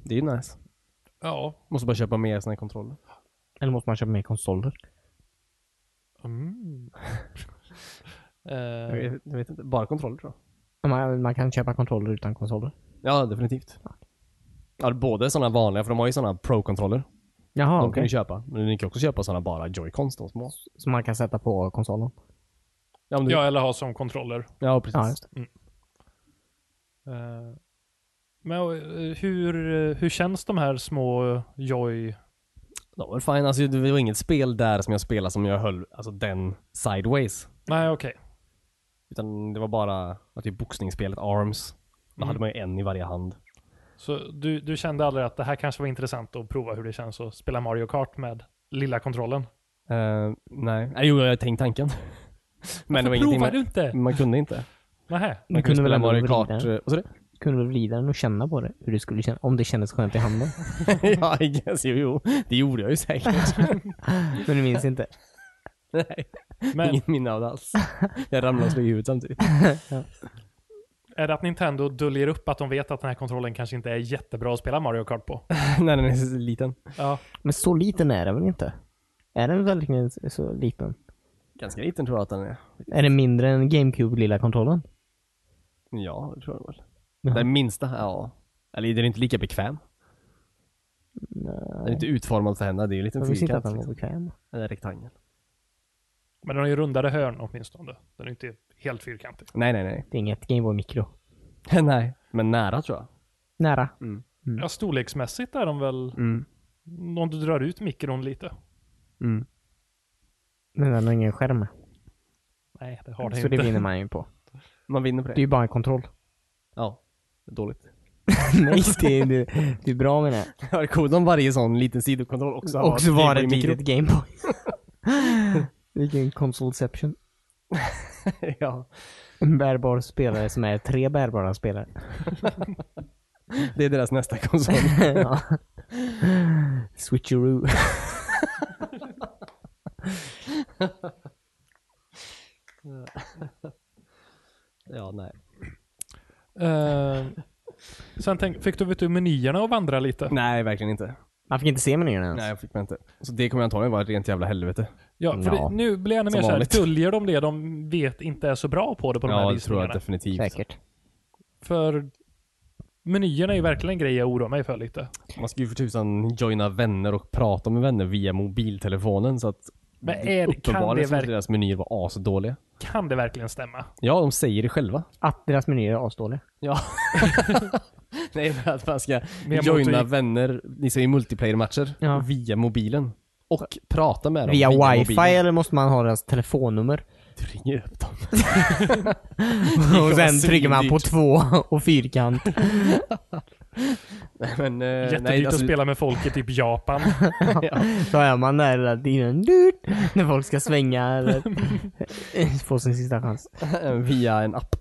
Speaker 2: Det är ju nice.
Speaker 1: Ja.
Speaker 2: Måste bara köpa mer såna här kontroller.
Speaker 3: Eller måste man köpa mer konsoler?
Speaker 1: Mm.
Speaker 2: Jag,
Speaker 1: eh,
Speaker 2: vet, jag vet inte. Bara kontroller tror jag.
Speaker 3: Man, man kan köpa kontroller utan konsoler.
Speaker 2: Ja, definitivt. Ja, både sådana vanliga, för de har ju sådana pro-kontroller.
Speaker 3: Jaha,
Speaker 2: de
Speaker 3: okej.
Speaker 2: kan ju köpa. Men ni kan också köpa sådana bara joy-cons, de små.
Speaker 3: Som man kan sätta på konsolen.
Speaker 2: Ja, men du,
Speaker 1: ja, eller ha som kontroller.
Speaker 2: ja precis.
Speaker 3: Ja, just
Speaker 1: Eh, men eh, hur, hur känns de här små joy...
Speaker 2: De var fine. Alltså, det var inget spel där som jag spelade som jag höll alltså, den sideways.
Speaker 1: Nej, okej.
Speaker 2: Utan det var bara att typ boxningsspelet Arms. Då
Speaker 1: Mm.
Speaker 2: hade man ju en i varje hand.
Speaker 1: Så du, du kände aldrig att det här kanske var intressant att prova hur det känns att spela Mario Kart med lilla kontrollen?
Speaker 2: Eh, nej. nej, jo jag har tänkt tanken. Men det
Speaker 1: Varför
Speaker 2: var ingenting
Speaker 1: provar du
Speaker 2: man,
Speaker 1: inte?
Speaker 2: man kunde inte.
Speaker 1: Nähä.
Speaker 2: Man kunde spela
Speaker 3: ändå
Speaker 2: Mario
Speaker 3: vrida
Speaker 2: Kart.
Speaker 3: den.
Speaker 2: eh, Vad sa du?
Speaker 3: Du kunde väl vrida den och känna på det? Hur det skulle känna, om det kändes skönt i handen.
Speaker 2: ja, I guess, jo, jo. Det gjorde jag ju säkert.
Speaker 3: Men du minns inte?
Speaker 2: nej,
Speaker 1: Men
Speaker 2: inget minne av det alls. Jag ramlade och slog i huvudet samtidigt.
Speaker 1: är det att Nintendo döljer upp att de vet att den här kontrollen kanske inte är jättebra att spela Mario Kart på?
Speaker 2: nej, den är så liten.
Speaker 1: Ja.
Speaker 3: Men så liten är den väl inte? Är den verkligen så liten?
Speaker 2: Ganska liten tror jag att den är.
Speaker 3: Är den mindre än GameCube-lilla kontrollen?
Speaker 2: Ja, det tror jag väl.
Speaker 3: Jaha.
Speaker 2: Den minsta, ja. Eller den är inte lika bekväm. Den är inte utformad för henne. Det är ju en liten
Speaker 3: Jag visste inte att
Speaker 2: fyrkant.
Speaker 3: den var
Speaker 2: Liksom.
Speaker 3: bekväm.
Speaker 2: En rektangel.
Speaker 1: Men den har ju rundade hörn åtminstone. Den är ju inte helt fyrkantig.
Speaker 2: Nej, nej, nej.
Speaker 3: Det är inget Gameboy Micro.
Speaker 2: nej. Men nära tror jag.
Speaker 3: Nära.
Speaker 1: Ja, storleksmässigt är de väl,
Speaker 2: Mm.
Speaker 1: om du drar ut mikron lite.
Speaker 2: Mm.
Speaker 3: Men den har ingen skärm.
Speaker 1: Nej, det har den
Speaker 3: Så
Speaker 1: inte.
Speaker 3: det vinner man ju på.
Speaker 2: Man vinner på
Speaker 3: Det är
Speaker 2: det.
Speaker 3: ju bara en kontroll.
Speaker 2: Ja. Dåligt.
Speaker 3: Nej, det är, det, det är bra med det.
Speaker 2: Det var coolt om varje sån liten sidokontroll också har
Speaker 3: Och så var det
Speaker 2: Gameboy
Speaker 3: ett
Speaker 2: Micro.
Speaker 3: litet Gameboy. Vilken konsolception.
Speaker 2: ja.
Speaker 3: En bärbar spelare som är tre bärbara spelare.
Speaker 2: Det är deras nästa konsol.
Speaker 3: ja. Switcheroo.
Speaker 2: ja, nej.
Speaker 1: Eh, sen tänk, fick du ut ur menyerna och vandra lite?
Speaker 2: Nej, verkligen inte.
Speaker 3: Man fick inte se menyn ens.
Speaker 2: Nej, jag fick mig inte. Så det kommer antagligen vara ett rent jävla helvete.
Speaker 1: Ja, för
Speaker 3: Ja.
Speaker 1: Det, nu blir jag ännu
Speaker 2: Som
Speaker 1: mer såhär,
Speaker 2: vanligt.
Speaker 1: döljer de det de vet inte är så bra på det på de
Speaker 2: ja,
Speaker 1: här
Speaker 2: det tror
Speaker 1: visningarna?
Speaker 2: jag definitivt.
Speaker 3: Säkert.
Speaker 1: För menyerna är ju verkligen en grej jag oroar mig för lite.
Speaker 2: Man ska ju för tusan joina vänner och prata med vänner via mobiltelefonen så att
Speaker 1: Men är, det- kan,
Speaker 2: uppenbarligen
Speaker 1: det
Speaker 2: så måste
Speaker 1: verk,
Speaker 2: deras menyer var asdåliga.
Speaker 1: kan det verkligen stämma?
Speaker 2: Ja, de säger det själva.
Speaker 3: Att deras menyer är asdåliga.
Speaker 2: Ja. Nej, för att man ska
Speaker 1: Via
Speaker 2: joina
Speaker 1: mobil-
Speaker 2: vänner, ni säger multiplayer-matcher,
Speaker 3: Ja.
Speaker 2: via mobilen. Och prata med dem
Speaker 3: Via wifi
Speaker 2: mobilen.
Speaker 3: eller måste man ha deras telefonnummer?
Speaker 2: Du ringer upp dem.
Speaker 3: Och sen trycker man på två och fyrkant.
Speaker 2: Men, eh,
Speaker 1: Jättedyrt
Speaker 2: nej, alltså,
Speaker 1: att spela med folk i typ Japan.
Speaker 3: Så är man där hela tiden. Dut, När folk ska svänga eller få sin sista chans.
Speaker 2: via en app.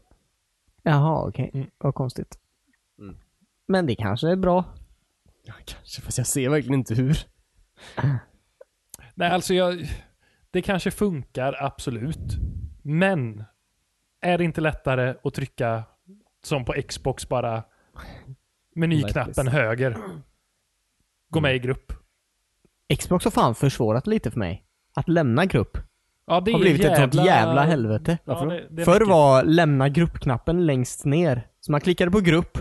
Speaker 3: Jaha, okej.
Speaker 1: Mm.
Speaker 3: Vad konstigt.
Speaker 2: Mm.
Speaker 3: Men det kanske är bra.
Speaker 2: Ja, kanske, fast jag ser verkligen inte hur.
Speaker 1: Nej, alltså jag... Det kanske funkar, absolut. Men är det inte lättare att trycka som på Xbox bara menyknappen
Speaker 2: Nej,
Speaker 1: höger? Gå med i grupp.
Speaker 3: Xbox har fan försvårat lite för mig. Att lämna grupp
Speaker 1: Ja, det
Speaker 3: har
Speaker 1: är
Speaker 3: blivit ett sånt jävla helvete.
Speaker 1: Ja, det, det är
Speaker 3: Förr
Speaker 1: mycket.
Speaker 3: var lämna gruppknappen längst ner. Så man klickade på grupp,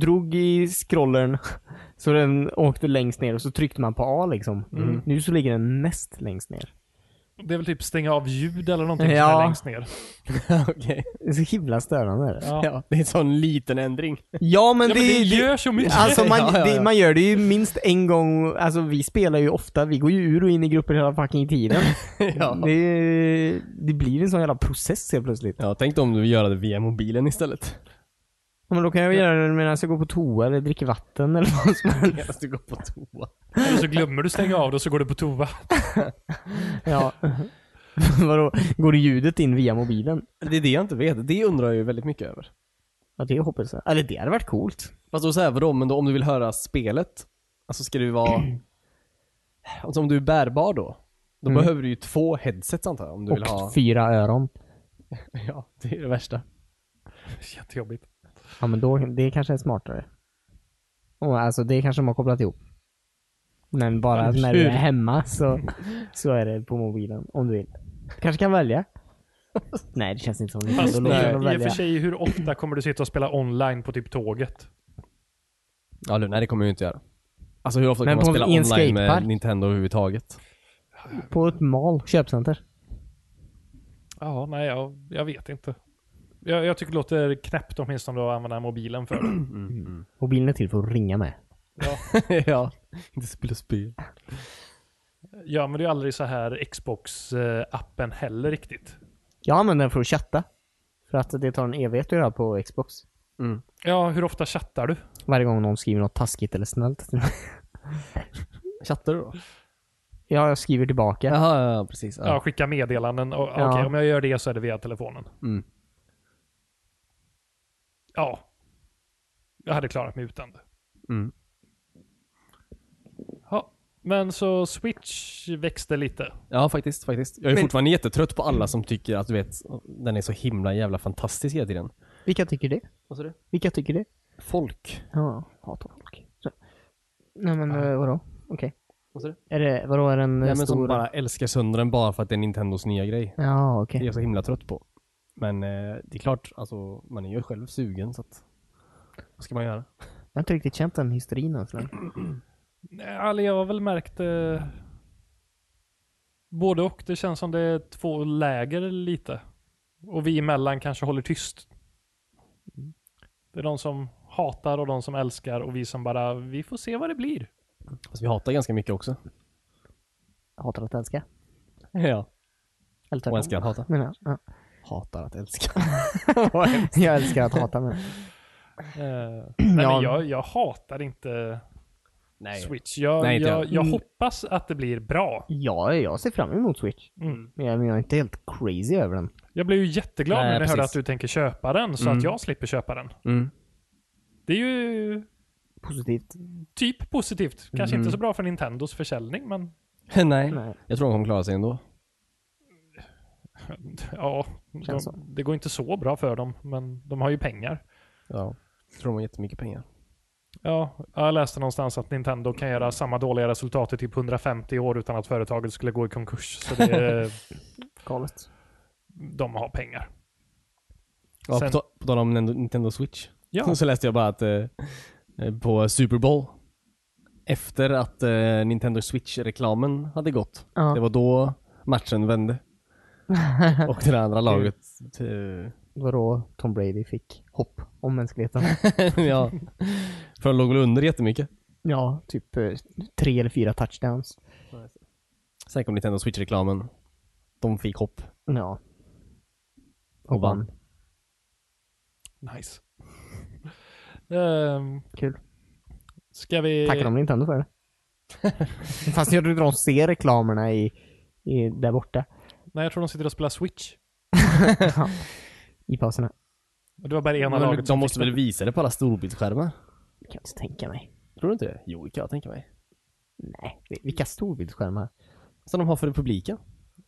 Speaker 3: drog i scrollern, så den åkte längst ner och så tryckte man på A liksom.
Speaker 1: Mm.
Speaker 3: Nu så ligger den näst längst ner.
Speaker 1: det är väl typ stänga av ljud eller någonting som
Speaker 3: Ja.
Speaker 1: är längst ner.
Speaker 2: Okej.
Speaker 3: Det är så himla störande. är det.
Speaker 1: Ja.
Speaker 2: Ja, det är en sån liten ändring.
Speaker 3: Ja men,
Speaker 1: Ja, men det gör så mycket.
Speaker 3: Alltså man,
Speaker 2: Ja, ja, ja.
Speaker 3: Det, man gör det ju minst en gång, alltså vi spelar ju ofta, vi går ju ur och in i grupper hela fucking tiden.
Speaker 2: ja.
Speaker 3: det, det blir en sån jävla process helt plötsligt.
Speaker 2: ja, tänk om du vill göra det via mobilen istället.
Speaker 3: Ja, men då kan jag göra det medan jag går på toa eller dricker vatten eller vad som helst.
Speaker 2: Medan du går på toa.
Speaker 1: Eller så glömmer du stänga av det och så går du på toa.
Speaker 3: Ja. Vadå? Går ljudet in via mobilen?
Speaker 2: Det är det jag inte vet. Det undrar jag ju väldigt mycket över.
Speaker 3: Ja, det hoppas jag. Eller det hade varit coolt.
Speaker 2: Fast då så här, vadå, men då om du vill höra spelet, alltså ska du vara... alltså om du är bärbar då, då
Speaker 3: Mm.
Speaker 2: behöver du ju två headsets antar jag om du vill
Speaker 3: Och
Speaker 2: ha...
Speaker 3: fyra öron.
Speaker 2: Ja, det är det värsta.
Speaker 1: Jättejobbigt.
Speaker 3: Ja, men då, det kanske är smartare. Och alltså, det kanske de har kopplat ihop. Men bara
Speaker 2: Eller
Speaker 3: när du
Speaker 2: hur?
Speaker 3: är hemma så, så är det på mobilen, om du vill. Du kanske kan välja? Nej, det känns inte som det.
Speaker 1: Fast
Speaker 3: Då
Speaker 1: i,
Speaker 3: låter jag dem
Speaker 1: i och för
Speaker 3: välja.
Speaker 1: sig, hur ofta kommer du sitta och spela online på typ tåget?
Speaker 2: Ja, nej det kommer jag ju inte göra. Alltså hur ofta
Speaker 3: Men
Speaker 2: kan man
Speaker 3: på
Speaker 2: spela
Speaker 3: en
Speaker 2: online
Speaker 3: skatepark?
Speaker 2: med Nintendo överhuvudtaget?
Speaker 3: På ett mall, köpcenter.
Speaker 1: Ja, nej, jag, jag vet inte. Jag, jag tycker det låter knäppt åtminstone att använda mobilen för det.
Speaker 3: Mobilen är till för att ringa med.
Speaker 1: Ja.
Speaker 2: ja, inte spela spel.
Speaker 1: Ja, men det är ju aldrig så här Xbox-appen heller riktigt.
Speaker 3: Jag använder den för att chatta. För att det tar en evighet att göra på Xbox.
Speaker 1: Ja, hur ofta chattar du?
Speaker 3: Varje gång någon skriver något taskigt eller snällt.
Speaker 2: Chattar du då?
Speaker 3: ja, jag skriver tillbaka.
Speaker 2: Jaha, ja, ja, precis. Ja.
Speaker 1: Ja, skicka meddelanden. Och,
Speaker 3: Ja.
Speaker 1: Okej, om jag gör det så är det via telefonen.
Speaker 2: Mm.
Speaker 1: Ja. Jag hade klarat mig utan det.
Speaker 2: Mm.
Speaker 1: Ja, men så Switch växte lite.
Speaker 2: ja, faktiskt, faktiskt. Jag är
Speaker 3: Men-
Speaker 2: fortfarande jättetrött på alla som tycker att du vet, den är så himla jävla fantastisk hela tiden.
Speaker 3: Vilka tycker det?
Speaker 2: Vad sa du?
Speaker 3: Vilka tycker det?
Speaker 2: Folk.
Speaker 3: Ja, hatar folk. Så. Nej men eh, vadå? Okej.
Speaker 2: Vad sa du?
Speaker 3: Är det, vadå är den eh,
Speaker 2: Nej, men som
Speaker 3: stora?
Speaker 2: bara älskar sönder den bara för att det är Nintendos nya grej.
Speaker 3: Ja,
Speaker 2: Det är
Speaker 3: okej.
Speaker 2: jag så himla trött på. Men eh, det är klart, alltså, man är ju själv sugen så att... Vad ska man göra?
Speaker 3: Jag har inte riktigt känt den hysterin än så länge.
Speaker 1: Nej, alltså jag har väl märkt eh, både och. Det känns som det är två läger lite. Och vi emellan kanske håller tyst. Det är de som hatar och de som älskar och vi som bara, vi får se vad det blir.
Speaker 2: Fast vi hatar ganska mycket också.
Speaker 3: Jag hatar att älska.
Speaker 2: Ja.
Speaker 3: Eller tvärtom.
Speaker 2: Och älskar att hata.
Speaker 3: Men, ja, ja.
Speaker 2: Hatar att älska.
Speaker 3: jag älskar att hata men.
Speaker 1: Eh, nej,
Speaker 3: Ja.
Speaker 1: men jag, jag hatar inte
Speaker 2: Nej.
Speaker 1: Switch. Jag,
Speaker 2: Nej, inte
Speaker 1: jag,
Speaker 2: jag.
Speaker 1: jag
Speaker 3: Mm.
Speaker 1: hoppas att det blir bra.
Speaker 3: Ja, jag ser fram emot Switch.
Speaker 1: Mm.
Speaker 3: Men jag men jag är inte helt crazy över den.
Speaker 1: Jag blev ju jätteglad
Speaker 2: Nej,
Speaker 1: när jag hörde
Speaker 2: precis.
Speaker 1: att du tänker köpa den så
Speaker 2: Mm.
Speaker 1: att jag slipper köpa den.
Speaker 2: Mm.
Speaker 1: Det är ju
Speaker 3: Positivt.
Speaker 1: typ positivt. Kanske
Speaker 2: Mm.
Speaker 1: inte så bra för Nintendos försäljning, men
Speaker 2: Nej.
Speaker 3: Nej.
Speaker 2: Jag tror de kommer klara sig ändå.
Speaker 1: Ja, de,
Speaker 3: Känns så.
Speaker 1: det går inte så bra för dem, men de har ju pengar.
Speaker 2: Ja. Jag tror de har jättemycket pengar.
Speaker 1: Ja, jag läste någonstans att Nintendo kan göra samma dåliga resultat i typ 150 år utan att företaget skulle gå i konkurs. Så det är,
Speaker 3: Galet.
Speaker 1: de har pengar.
Speaker 2: Ja,
Speaker 1: Sen-
Speaker 2: på, ta- på tal om Nintendo- Nintendo Switch.
Speaker 1: Ja,
Speaker 2: Så läste jag bara att eh, eh, på Super Bowl, efter att eh, Nintendo Switch-reklamen hade gått,
Speaker 3: Ja.
Speaker 2: det var då matchen vände. Och det andra laget, eh,
Speaker 3: Vadå Tom Brady fick hopp om mänskligheten?
Speaker 2: ja, för de låg väl under jättemycket.
Speaker 3: ja, typ eh, tre eller fyra touchdowns.
Speaker 2: Sen kom Nintendo Switch-reklamen. De fick hopp.
Speaker 3: Ja.
Speaker 2: Och vann.
Speaker 1: nice. Ehm,
Speaker 3: Kul.
Speaker 1: Ska vi...
Speaker 3: Tackar de Nintendo för det? Fast jag tror inte de ser reklamerna i, i där borta.
Speaker 1: Nej, jag tror de sitter och spelar Switch.
Speaker 3: Ja. I pauserna.
Speaker 1: Och det var bara ena
Speaker 2: Men
Speaker 1: laget
Speaker 2: de
Speaker 1: som
Speaker 2: måste
Speaker 1: fick
Speaker 2: väl
Speaker 1: den.
Speaker 2: visa det på alla storbildsskärmar?
Speaker 3: Det kan jag inte tänka mig.
Speaker 2: Tror du inte det? Jo, det kan jag tänka mig.
Speaker 3: Nej, vi- vilka storbildsskärmar.
Speaker 2: Som de har för publiken.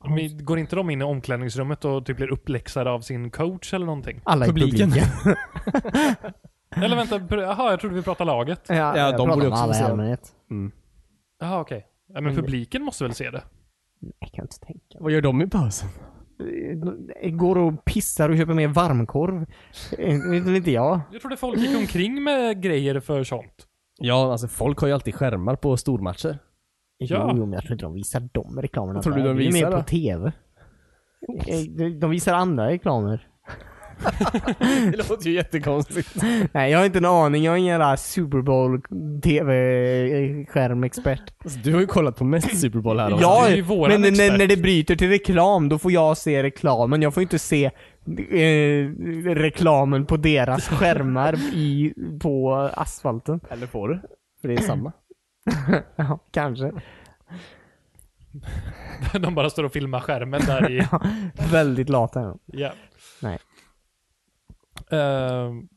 Speaker 1: Men Går inte de in i omklädningsrummet och typ blir uppläxade av sin coach eller någonting?
Speaker 3: Alla i publiken.
Speaker 2: Publiken.
Speaker 1: Eller vänta, pr- jaha, jag trodde vi pratade laget.
Speaker 3: ja,
Speaker 2: de borde också få
Speaker 3: alla
Speaker 2: se
Speaker 3: i
Speaker 2: det.
Speaker 3: allmänhet.
Speaker 1: Jaha, okej. Mm. Ja, men publiken måste väl se det?
Speaker 3: Jag kan inte tänka
Speaker 2: Vad gör de i pausen?
Speaker 3: mig. Går och pissar och köper mer varmkorv. Eh, Det vet inte jag.
Speaker 1: Jag trodde folk gick omkring med grejer för sånt.
Speaker 2: Ja, alltså folk har ju alltid skärmar på stormatcher.
Speaker 1: Ja.
Speaker 3: Jo, men jag tror inte de visar de reklamerna.
Speaker 2: Vad tror du
Speaker 3: där.
Speaker 2: de
Speaker 3: Det är
Speaker 2: visar
Speaker 3: mer på
Speaker 2: då?
Speaker 3: TV. Eh, de- De visar andra reklamer.
Speaker 2: Det låter ju jättekonstigt.
Speaker 3: Nej, jag har inte en aning. Jag är ingen jävla Super Bowl-TV-skärmexpert.
Speaker 2: Alltså, du har ju kollat på mest Super Bowl här
Speaker 1: Ja.
Speaker 2: också.
Speaker 1: du är ju våran
Speaker 3: men när,
Speaker 1: expert.
Speaker 3: när det bryter till reklam, då får jag se reklamen. Jag får inte se eh, reklamen på deras skärmar i, på asfalten.
Speaker 2: Eller får du? För det är samma.
Speaker 3: ja, kanske.
Speaker 1: De bara står och filmar skärmen där i...
Speaker 3: Väldigt lata är de.
Speaker 1: Ja.
Speaker 3: Nej.
Speaker 1: Ehm,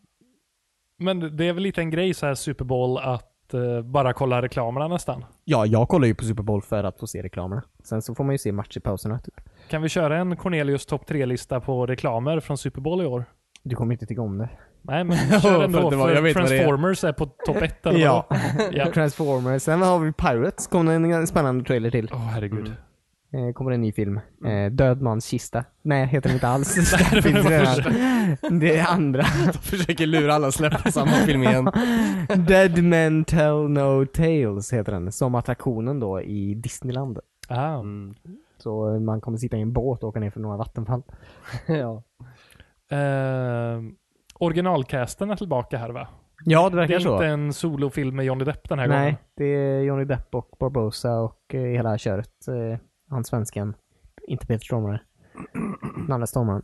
Speaker 1: men det är väl lite en grej så här Super Bowl att eh, bara kolla reklamerna nästan.
Speaker 3: Ja, jag kollar ju på Super Bowl för att få se reklamerna. Sen så får man ju se match i pauserna. Typ.
Speaker 1: Kan vi köra en Cornelius topp 3-lista på reklamer från Super Bowl i år?
Speaker 3: Du kommer inte tycka om det.
Speaker 1: Nej, men vi kör
Speaker 2: För
Speaker 1: ändå.
Speaker 2: att det var- jag
Speaker 1: för
Speaker 2: vet vad det är.
Speaker 1: Transformers är på topp 1 eller
Speaker 3: Ja.
Speaker 1: vadå? ja.
Speaker 3: Transformers. Sen har vi Pirates. Kom det en spännande trailer till.
Speaker 1: Åh herregud.
Speaker 3: Eh, kommer en ny film. Eh, Död mans kista. Nej, heter den inte alls. det, finns redan. det är andra.
Speaker 2: Försöker lura alla att släppa samma film igen.
Speaker 3: Dead Men Tell No Tales heter den. Som attraktionen då i Disneyland.
Speaker 1: Ah.
Speaker 3: Så man kommer sitta i en båt och åka ner för några vattenfall.
Speaker 2: ja.
Speaker 1: Ehm, Ah. originalcasten är tillbaka här va?
Speaker 3: Ja, det
Speaker 1: Det
Speaker 3: verkar
Speaker 1: är inte en solofilm med Johnny Depp den här gången.
Speaker 3: Nej, det är Johnny Depp och Barbosa och eh, hela köret. Eh, han svensken. Inte Peter Stormare. Den andra stormaren.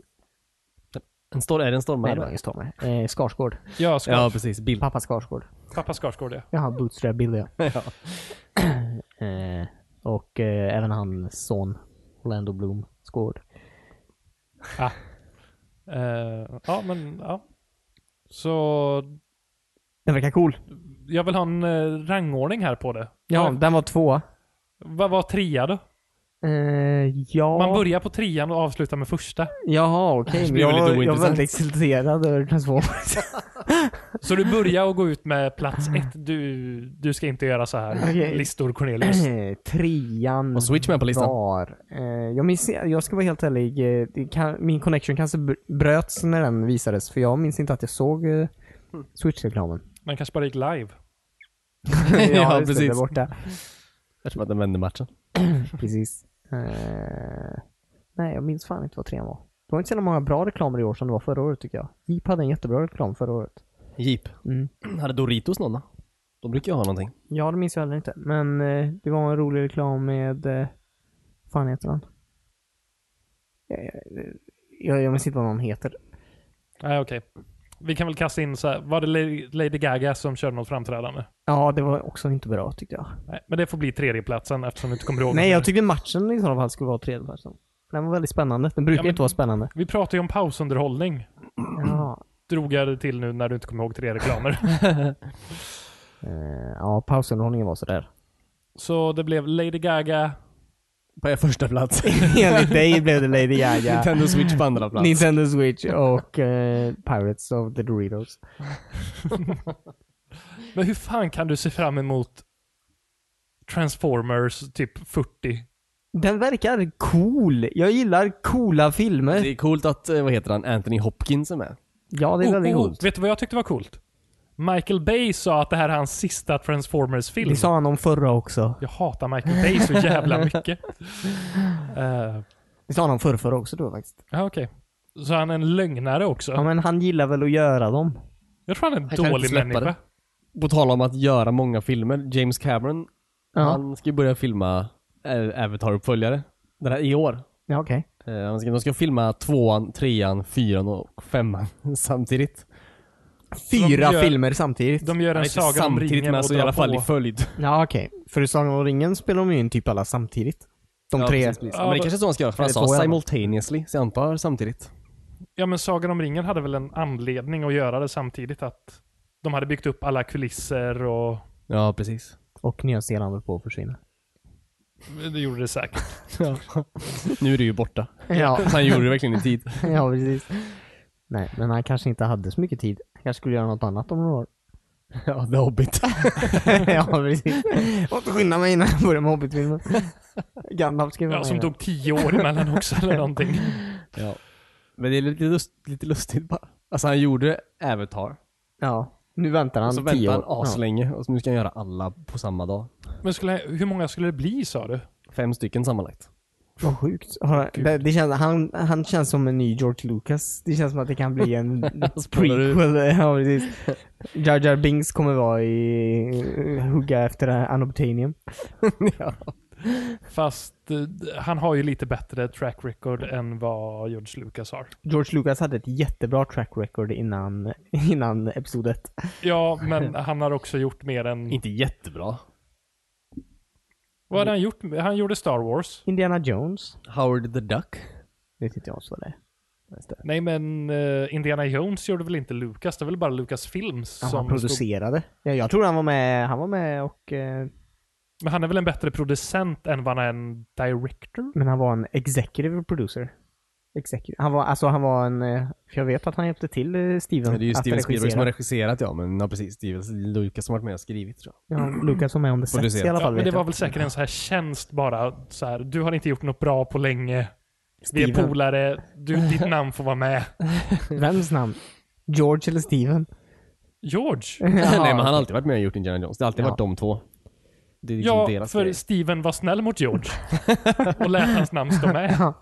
Speaker 2: En stor, är det en stormare?
Speaker 3: Nej, det var ingen stormare. Eh, Skarsgård.
Speaker 1: Ja, Skars,
Speaker 2: ja, precis. Bild.
Speaker 3: Pappa Skarsgård.
Speaker 1: pappa Skarsgård ja.
Speaker 3: Jaha, Bootstrap Bill ja.
Speaker 2: Ja.
Speaker 3: Eh, och eh, även hans son. Orlando Bloom. Skård.
Speaker 1: Ehm, Ah. ja, men ja. Så
Speaker 3: Den verkar cool.
Speaker 1: jag vill ha en eh, rangordning här på det.
Speaker 3: Ja, den var tvåa.
Speaker 1: Vad var trea då?
Speaker 3: Eh, ja.
Speaker 1: Man börjar på trean och avslutar med första.
Speaker 3: Jaha, okej.
Speaker 2: Det
Speaker 3: men
Speaker 2: blir väl lite
Speaker 3: Jag, jag var
Speaker 2: ointressant.
Speaker 3: väldigt exalterad över Transformers.
Speaker 1: Så du börjar och går ut med plats ett. Du, du ska inte göra så här
Speaker 3: Okej.
Speaker 1: listor Cornelius.
Speaker 3: Eh, Trean
Speaker 2: Och Switch med på listan.
Speaker 3: var... Eh, jag, minns, jag ska vara helt ärlig, eh, det kan, min connection kanske br- bröts när den visades för jag minns inte att jag såg eh,
Speaker 2: Mm.
Speaker 3: Switch-reklamen.
Speaker 1: Den kanske bara gick live.
Speaker 3: ja,
Speaker 2: Ja,
Speaker 3: just det,
Speaker 2: precis.
Speaker 3: Där borta.
Speaker 2: Eftersom att den vände matchen.
Speaker 3: precis. Eh, nej, jag minns fan inte vad trean var. Det var inte så många bra reklamer i år som det var förra året tycker jag. Jeep hade en jättebra reklam förra året.
Speaker 2: Jeep.
Speaker 3: Mm.
Speaker 2: Hade Doritos någon då? De brukar ju ha någonting.
Speaker 3: Ja, det minns jag heller inte. Men eh, det var en rolig reklam med... Eh, fan heter han? Jag, jag, jag, jag minns inte vad någon heter.
Speaker 1: Nej, okej. Vi kan väl kasta in så här. Var det La- Lady Gaga som körde något framträdande?
Speaker 3: Ja, det var också inte bra tyckte jag.
Speaker 1: Nej, men det får bli tredjeplatsen eftersom du inte kommer ihåg.
Speaker 3: Nej, jag tyckte matchen i sådana fall skulle vara tredje platsen. Den var väldigt spännande. Den brukar
Speaker 1: Ja, men-
Speaker 3: inte vara spännande.
Speaker 1: Vi pratar ju om pausunderhållning.
Speaker 3: Ja,
Speaker 1: Drog jag det till nu när du inte kommer ihåg tre reklamer.
Speaker 3: eh, ja pausunderhållningen var sådär.
Speaker 1: så det blev Lady Gaga.
Speaker 2: På er första plats.
Speaker 3: Enligt dig blev det Lady Gaga,
Speaker 2: Nintendo Switch på andra plats.
Speaker 3: Nintendo Switch och eh, Pirates of the Doritos.
Speaker 1: Men hur fan kan du se fram emot Transformers typ 40?
Speaker 3: Den verkar cool. Jag gillar coola
Speaker 2: Det
Speaker 3: filmer.
Speaker 2: är coolt att, eh, vad heter han, Anthony Hopkins är med.
Speaker 3: Ja, det är
Speaker 1: Oh,
Speaker 3: väldigt
Speaker 1: oh,
Speaker 3: coolt.
Speaker 1: Vet du vad jag tyckte var coolt? Michael Bay sa att det här är hans sista Transformers-film.
Speaker 3: Det sa han om förra också.
Speaker 1: Jag hatar Michael Bay så jävla mycket. Eh,
Speaker 3: Det sa han om förra, förra också då faktiskt.
Speaker 1: Ja, okej. Så han är en lögnare också?
Speaker 3: Ja, men han gillar väl att göra dem.
Speaker 1: Jag tror han är en
Speaker 2: kan inte
Speaker 1: dålig
Speaker 2: släppa
Speaker 1: människa.
Speaker 2: det. På tal om att göra många filmer, James Cameron,
Speaker 3: Ja,
Speaker 2: han ska ju börja filma eh, Avatar-uppföljare. Den här, I år.
Speaker 3: ja okej.
Speaker 2: Eh, han ska, de ska filma tvåan, trean, fyran och femman samtidigt.
Speaker 3: Fyra
Speaker 1: De gör-
Speaker 3: filmer samtidigt.
Speaker 1: De gör en
Speaker 2: Inte
Speaker 1: saga om
Speaker 2: samtidigt
Speaker 1: ringen
Speaker 2: men
Speaker 1: och
Speaker 2: alltså i
Speaker 1: drar
Speaker 2: alla fall
Speaker 1: på.
Speaker 2: i följd.
Speaker 3: Ja, okej. För i Sagan om ringen spelar de ju in typ alla samtidigt. De
Speaker 2: ja,
Speaker 3: tre.
Speaker 2: Precis, precis. Ja,
Speaker 1: Ja,
Speaker 2: men det kanske är så han ska göra, för han
Speaker 3: Eller två i
Speaker 2: sa
Speaker 3: alla fall.
Speaker 2: simultaneously, så jag antar samtidigt.
Speaker 1: Ja, men Sagan om ringen hade väl en anledning att göra det samtidigt att de hade byggt upp alla kulisser och
Speaker 2: Ja, precis.
Speaker 3: Och Nya Zeeland höll på att försvinna.
Speaker 1: det gjorde det säkert.
Speaker 2: nu är det ju borta.
Speaker 3: Ja,
Speaker 2: Så han gjorde det verkligen i tid.
Speaker 3: ja precis. Nej, men han kanske inte hade så mycket tid. Han kanske skulle göra något annat om några år.
Speaker 2: ja, The Hobbit.
Speaker 3: ja, precis. Jag måste skynda mig innan jag börjar med Hobbit-filmen. Gandalf ska ju vara
Speaker 1: Ja,
Speaker 3: med
Speaker 1: som
Speaker 3: där.
Speaker 1: tog tio år emellan också eller någonting.
Speaker 2: ja. Men det är lite, lust, lite lustigt bara. Alltså han gjorde Avatar,
Speaker 3: Ja. Nu väntar han
Speaker 2: och så
Speaker 3: tio
Speaker 2: väntade han
Speaker 3: år. Ja.
Speaker 2: aslänge och så nu ska han göra alla på samma dag.
Speaker 1: Men skulle, hur många skulle det bli sa du?
Speaker 2: Fem stycken sammanlagt.
Speaker 3: Vad sjukt. Har- Det, det känns, han, han känns som en ny George Lucas. Det känns som att det kan bli en
Speaker 2: Spolar du?
Speaker 3: prequel. Ja, precis. Jar Jar Binks kommer vara i... Hugga efter Anobtanium.
Speaker 2: ja.
Speaker 1: Fast eh, han har ju lite bättre track record än vad George Lucas har.
Speaker 3: George Lucas hade ett jättebra track record innan, innan episod 1.
Speaker 1: Ja, men han har också gjort mer än...
Speaker 2: Inte jättebra.
Speaker 1: Vad hade han gjort? med- Han gjorde Star Wars.
Speaker 3: Indiana Jones.
Speaker 2: Howard the Duck?
Speaker 3: Vet inte jag så det är.
Speaker 1: Nej men eh, Indiana Jones gjorde väl inte Lucas? Det var väl bara Lucas Films
Speaker 3: Ja,
Speaker 1: som
Speaker 3: han
Speaker 1: stod...
Speaker 3: producerade. Ja, jag tror han var med, han var med och... Eh,
Speaker 1: Men han är väl en bättre producent än vad han är en director?
Speaker 3: men han var en executive producer. Executive. Han var, alltså han var en... eh, För jag vet att han hjälpte till eh, Steven
Speaker 2: Nej, det är ju
Speaker 3: att
Speaker 2: Steven Spielberg som har
Speaker 3: regissera.
Speaker 2: regisserat ja, men ja, precis. Steven Lucas som har varit med och skrivit tror jag.
Speaker 3: Ja, Lucas var med om det sets
Speaker 2: Producerat.
Speaker 3: i alla
Speaker 1: Mm. Ja,
Speaker 3: fall.
Speaker 1: men
Speaker 3: vet
Speaker 1: det var
Speaker 3: jag.
Speaker 1: väl säkert en så här tjänst bara. Så här, du har inte gjort något bra på länge. Vi är
Speaker 3: Steven.
Speaker 1: polare. Du, ditt namn får vara med.
Speaker 3: Vems namn? George eller Steven?
Speaker 1: George?
Speaker 2: Nej men han har alltid varit med och gjort Indiana Jones. Det har alltid
Speaker 3: Ja.
Speaker 2: varit de två. Det är liksom
Speaker 1: Ja,
Speaker 2: deras
Speaker 1: för
Speaker 2: grej.
Speaker 1: Steven var snäll mot George. Och lät hans namn stå med.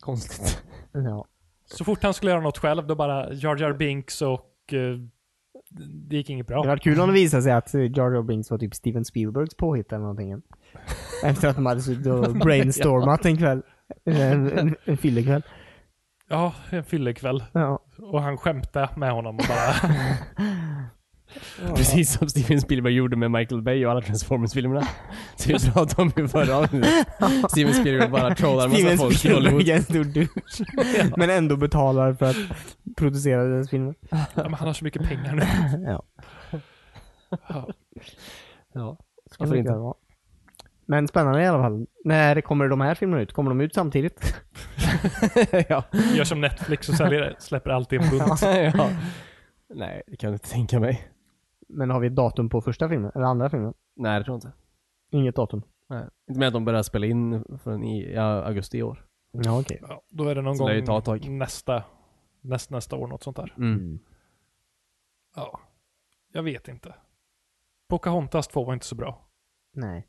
Speaker 2: Konstigt.
Speaker 3: Ja.
Speaker 1: Så fort han skulle göra något själv, då bara Jar Jar Binks och... eh, det gick inget
Speaker 3: Det
Speaker 1: bra.
Speaker 3: var kul om det visade sig att eh, Jar Jar Binks var typ Steven Spielbergs påhitt eller någonting. Efter att de hade suttit och brainstormat en kväll. En, en, en fyllekväll.
Speaker 1: Ja, en fyllekväll.
Speaker 3: Ja.
Speaker 1: Och han skämtade med honom och bara...
Speaker 2: Precis som Steven Spielberg gjorde med Michael Bay och alla Transformers-filmerna. Som vi pratade om i förra avsnittet. Steven Spielberg bara trollar massa
Speaker 3: Steven
Speaker 2: folk i Hollywood.
Speaker 3: Spielberg är en stor douche. Men ändå betalar för att producera deras filmer.
Speaker 1: ja, men han har så mycket pengar nu.
Speaker 3: Ja.
Speaker 1: Ja.
Speaker 2: Ja.
Speaker 3: Jag vet vad det var. Men spännande i alla fall. När kommer de här filmerna ut? Kommer de ut samtidigt?
Speaker 2: ja.
Speaker 1: Gör som Netflix och säljer det. Släpper allt i en bunt.
Speaker 2: ja. Nej, det kan jag inte tänka mig.
Speaker 3: Men har vi ett datum på första filmen? Eller andra filmen?
Speaker 2: Nej, det tror jag inte.
Speaker 3: Inget datum.
Speaker 2: Nej. Inte med att de börjar spela in förrän i ja, augusti i år.
Speaker 3: Ja, okej.
Speaker 1: Ja, då är det någon
Speaker 2: Så lär ju ta ett tag.
Speaker 1: gång nästa, näst, nästa år, något sånt där.
Speaker 2: Mm.
Speaker 1: Ja. Jag vet inte. Pocahontas 2 var inte så bra.
Speaker 3: Nej.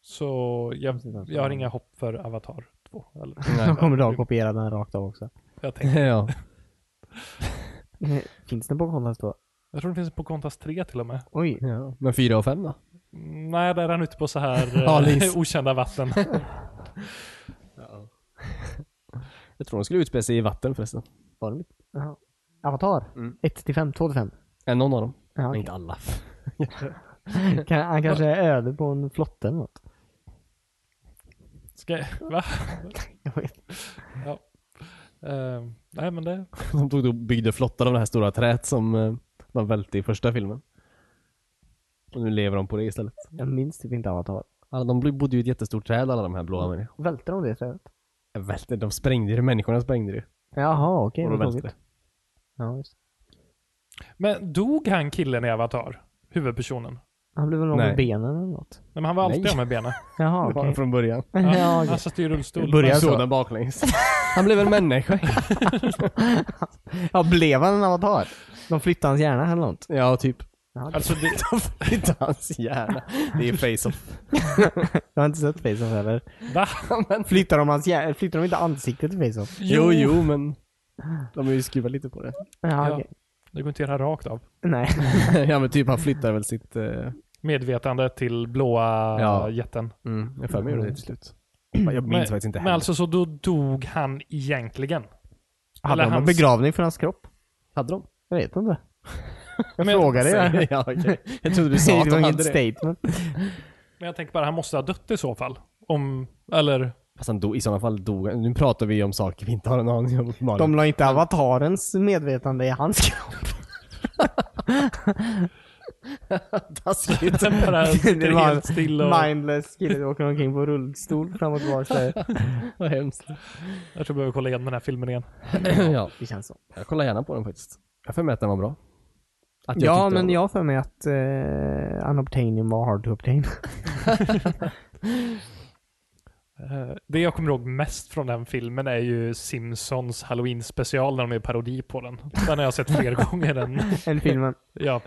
Speaker 1: Så jag,
Speaker 3: inte ens
Speaker 1: jag har
Speaker 3: vad-
Speaker 1: inga hopp för Avatar 2. Eller,
Speaker 2: Nej.
Speaker 3: De kommer då kopiera den rakt av också.
Speaker 1: jag, tänker,
Speaker 2: ja.
Speaker 3: Finns den på Contas då?
Speaker 1: jag tror det finns en Pocahontas 3 till och med.
Speaker 3: Oj.
Speaker 2: ja. Men fyra och fem då?
Speaker 1: Mm, Nej, där är han ute på så här
Speaker 2: Halis.
Speaker 1: eh, okända vatten.
Speaker 2: Jag tror de skulle utspela sig i vatten förresten.
Speaker 3: Var den Jaha. Avatar?
Speaker 2: Mm.
Speaker 3: 1 till 5? 2 till 5?
Speaker 2: Är någon av dem?
Speaker 3: Ja,
Speaker 2: Men
Speaker 3: okej.
Speaker 2: inte alla.
Speaker 3: kan, han kanske är öde på en flotte eller något.
Speaker 1: Ska, va?
Speaker 3: Jag vet.
Speaker 1: Eh, nej, men det...
Speaker 2: De tog då byggde flottar av det här stora träet som eh, de välte i första filmen. Och nu lever de på det istället.
Speaker 3: Jag minns typ inte Avatar.
Speaker 2: Alla, de bodde ju i ett jättestort träd alla de här blåa människorna.
Speaker 3: Välte de det trädet?
Speaker 2: Jag välte, de sprängde ju det, människorna sprängde det.
Speaker 3: Jaha, okej.
Speaker 2: Och de
Speaker 3: vad
Speaker 2: välte
Speaker 3: tråkigt.
Speaker 2: det.
Speaker 3: Ja, just.
Speaker 1: Men dog han killen i Avatar? Huvudpersonen? Nej,
Speaker 3: Han blev väl av med
Speaker 2: Nej.
Speaker 3: benen eller något?
Speaker 1: men han var alltid
Speaker 2: Nej.
Speaker 1: av med benen.
Speaker 3: Jaha,
Speaker 2: Bara
Speaker 3: okej.
Speaker 2: Från början.
Speaker 3: ja,
Speaker 1: Han
Speaker 3: okej.
Speaker 1: satt i rullstol.
Speaker 3: Börja-
Speaker 2: Jag
Speaker 3: Jag
Speaker 2: såg
Speaker 3: sa-
Speaker 2: den baklänges. Han blev en människa.
Speaker 3: ja, blev han en avatar? De flyttade hans hjärna eller något?
Speaker 2: Ja, typ.
Speaker 3: Ja,
Speaker 1: Alltså det,
Speaker 2: Inte hans hjärna. Det är face-off.
Speaker 3: Jag har inte sett Face-Off heller.
Speaker 1: va?
Speaker 3: Flyttar de, hans hjärna, flyttar de inte ansiktet till Face-Off?
Speaker 2: Jo, jo, men de har ju skruvat lite på det.
Speaker 3: Ja,
Speaker 1: Ja.
Speaker 3: okej.
Speaker 1: Det går inte att göra rakt av.
Speaker 3: Nej.
Speaker 2: ja, men typ han flyttar väl sitt... Eh,
Speaker 1: Medvetande till blåa
Speaker 2: Ja.
Speaker 1: jätten.
Speaker 2: mm, jag för mig gjorde det till slut. Jag minns faktiskt inte
Speaker 1: Men alltså så då dog han egentligen?
Speaker 3: Hade de en
Speaker 1: hans-
Speaker 3: begravning för hans kropp?
Speaker 2: Hade de?
Speaker 3: Jag vet inte. Jag
Speaker 1: Men-
Speaker 3: frågade ju.
Speaker 2: ja, okej. Jag trodde du sa
Speaker 3: Nej,
Speaker 2: att
Speaker 3: det var
Speaker 2: de
Speaker 3: inget
Speaker 2: hade det.
Speaker 3: statement.
Speaker 1: Men jag tänker bara, han måste ha dött i så fall. Om, eller?
Speaker 2: Fast han dog, i sådana fall dog han. Nu pratar vi om saker vi inte har en aning om uppenbarligen.
Speaker 3: De la inte avatarens medvetande i hans kropp.
Speaker 2: taskigt.
Speaker 1: Sen bara
Speaker 3: Det
Speaker 1: sitter
Speaker 3: var
Speaker 1: helt still och...
Speaker 3: Mindless kille åker omkring på rullstol fram och tillbaka. där.
Speaker 2: Vad hemskt.
Speaker 1: Jag tror jag behöver kolla igenom den här filmen igen.
Speaker 2: ja,
Speaker 3: Det känns så.
Speaker 2: jag kollar gärna på den faktiskt. Jag har för mig att den var bra. Att jag
Speaker 3: Ja,
Speaker 2: tyckte den
Speaker 3: men
Speaker 2: var
Speaker 3: jag har för mig att uh, unobtainium var hard to obtain.
Speaker 1: Eh, Det jag kommer ihåg mest från den filmen är ju Simpsons halloween special när de är parodi på den. Den har jag sett fler gånger än...
Speaker 3: Än filmen.
Speaker 1: Ja.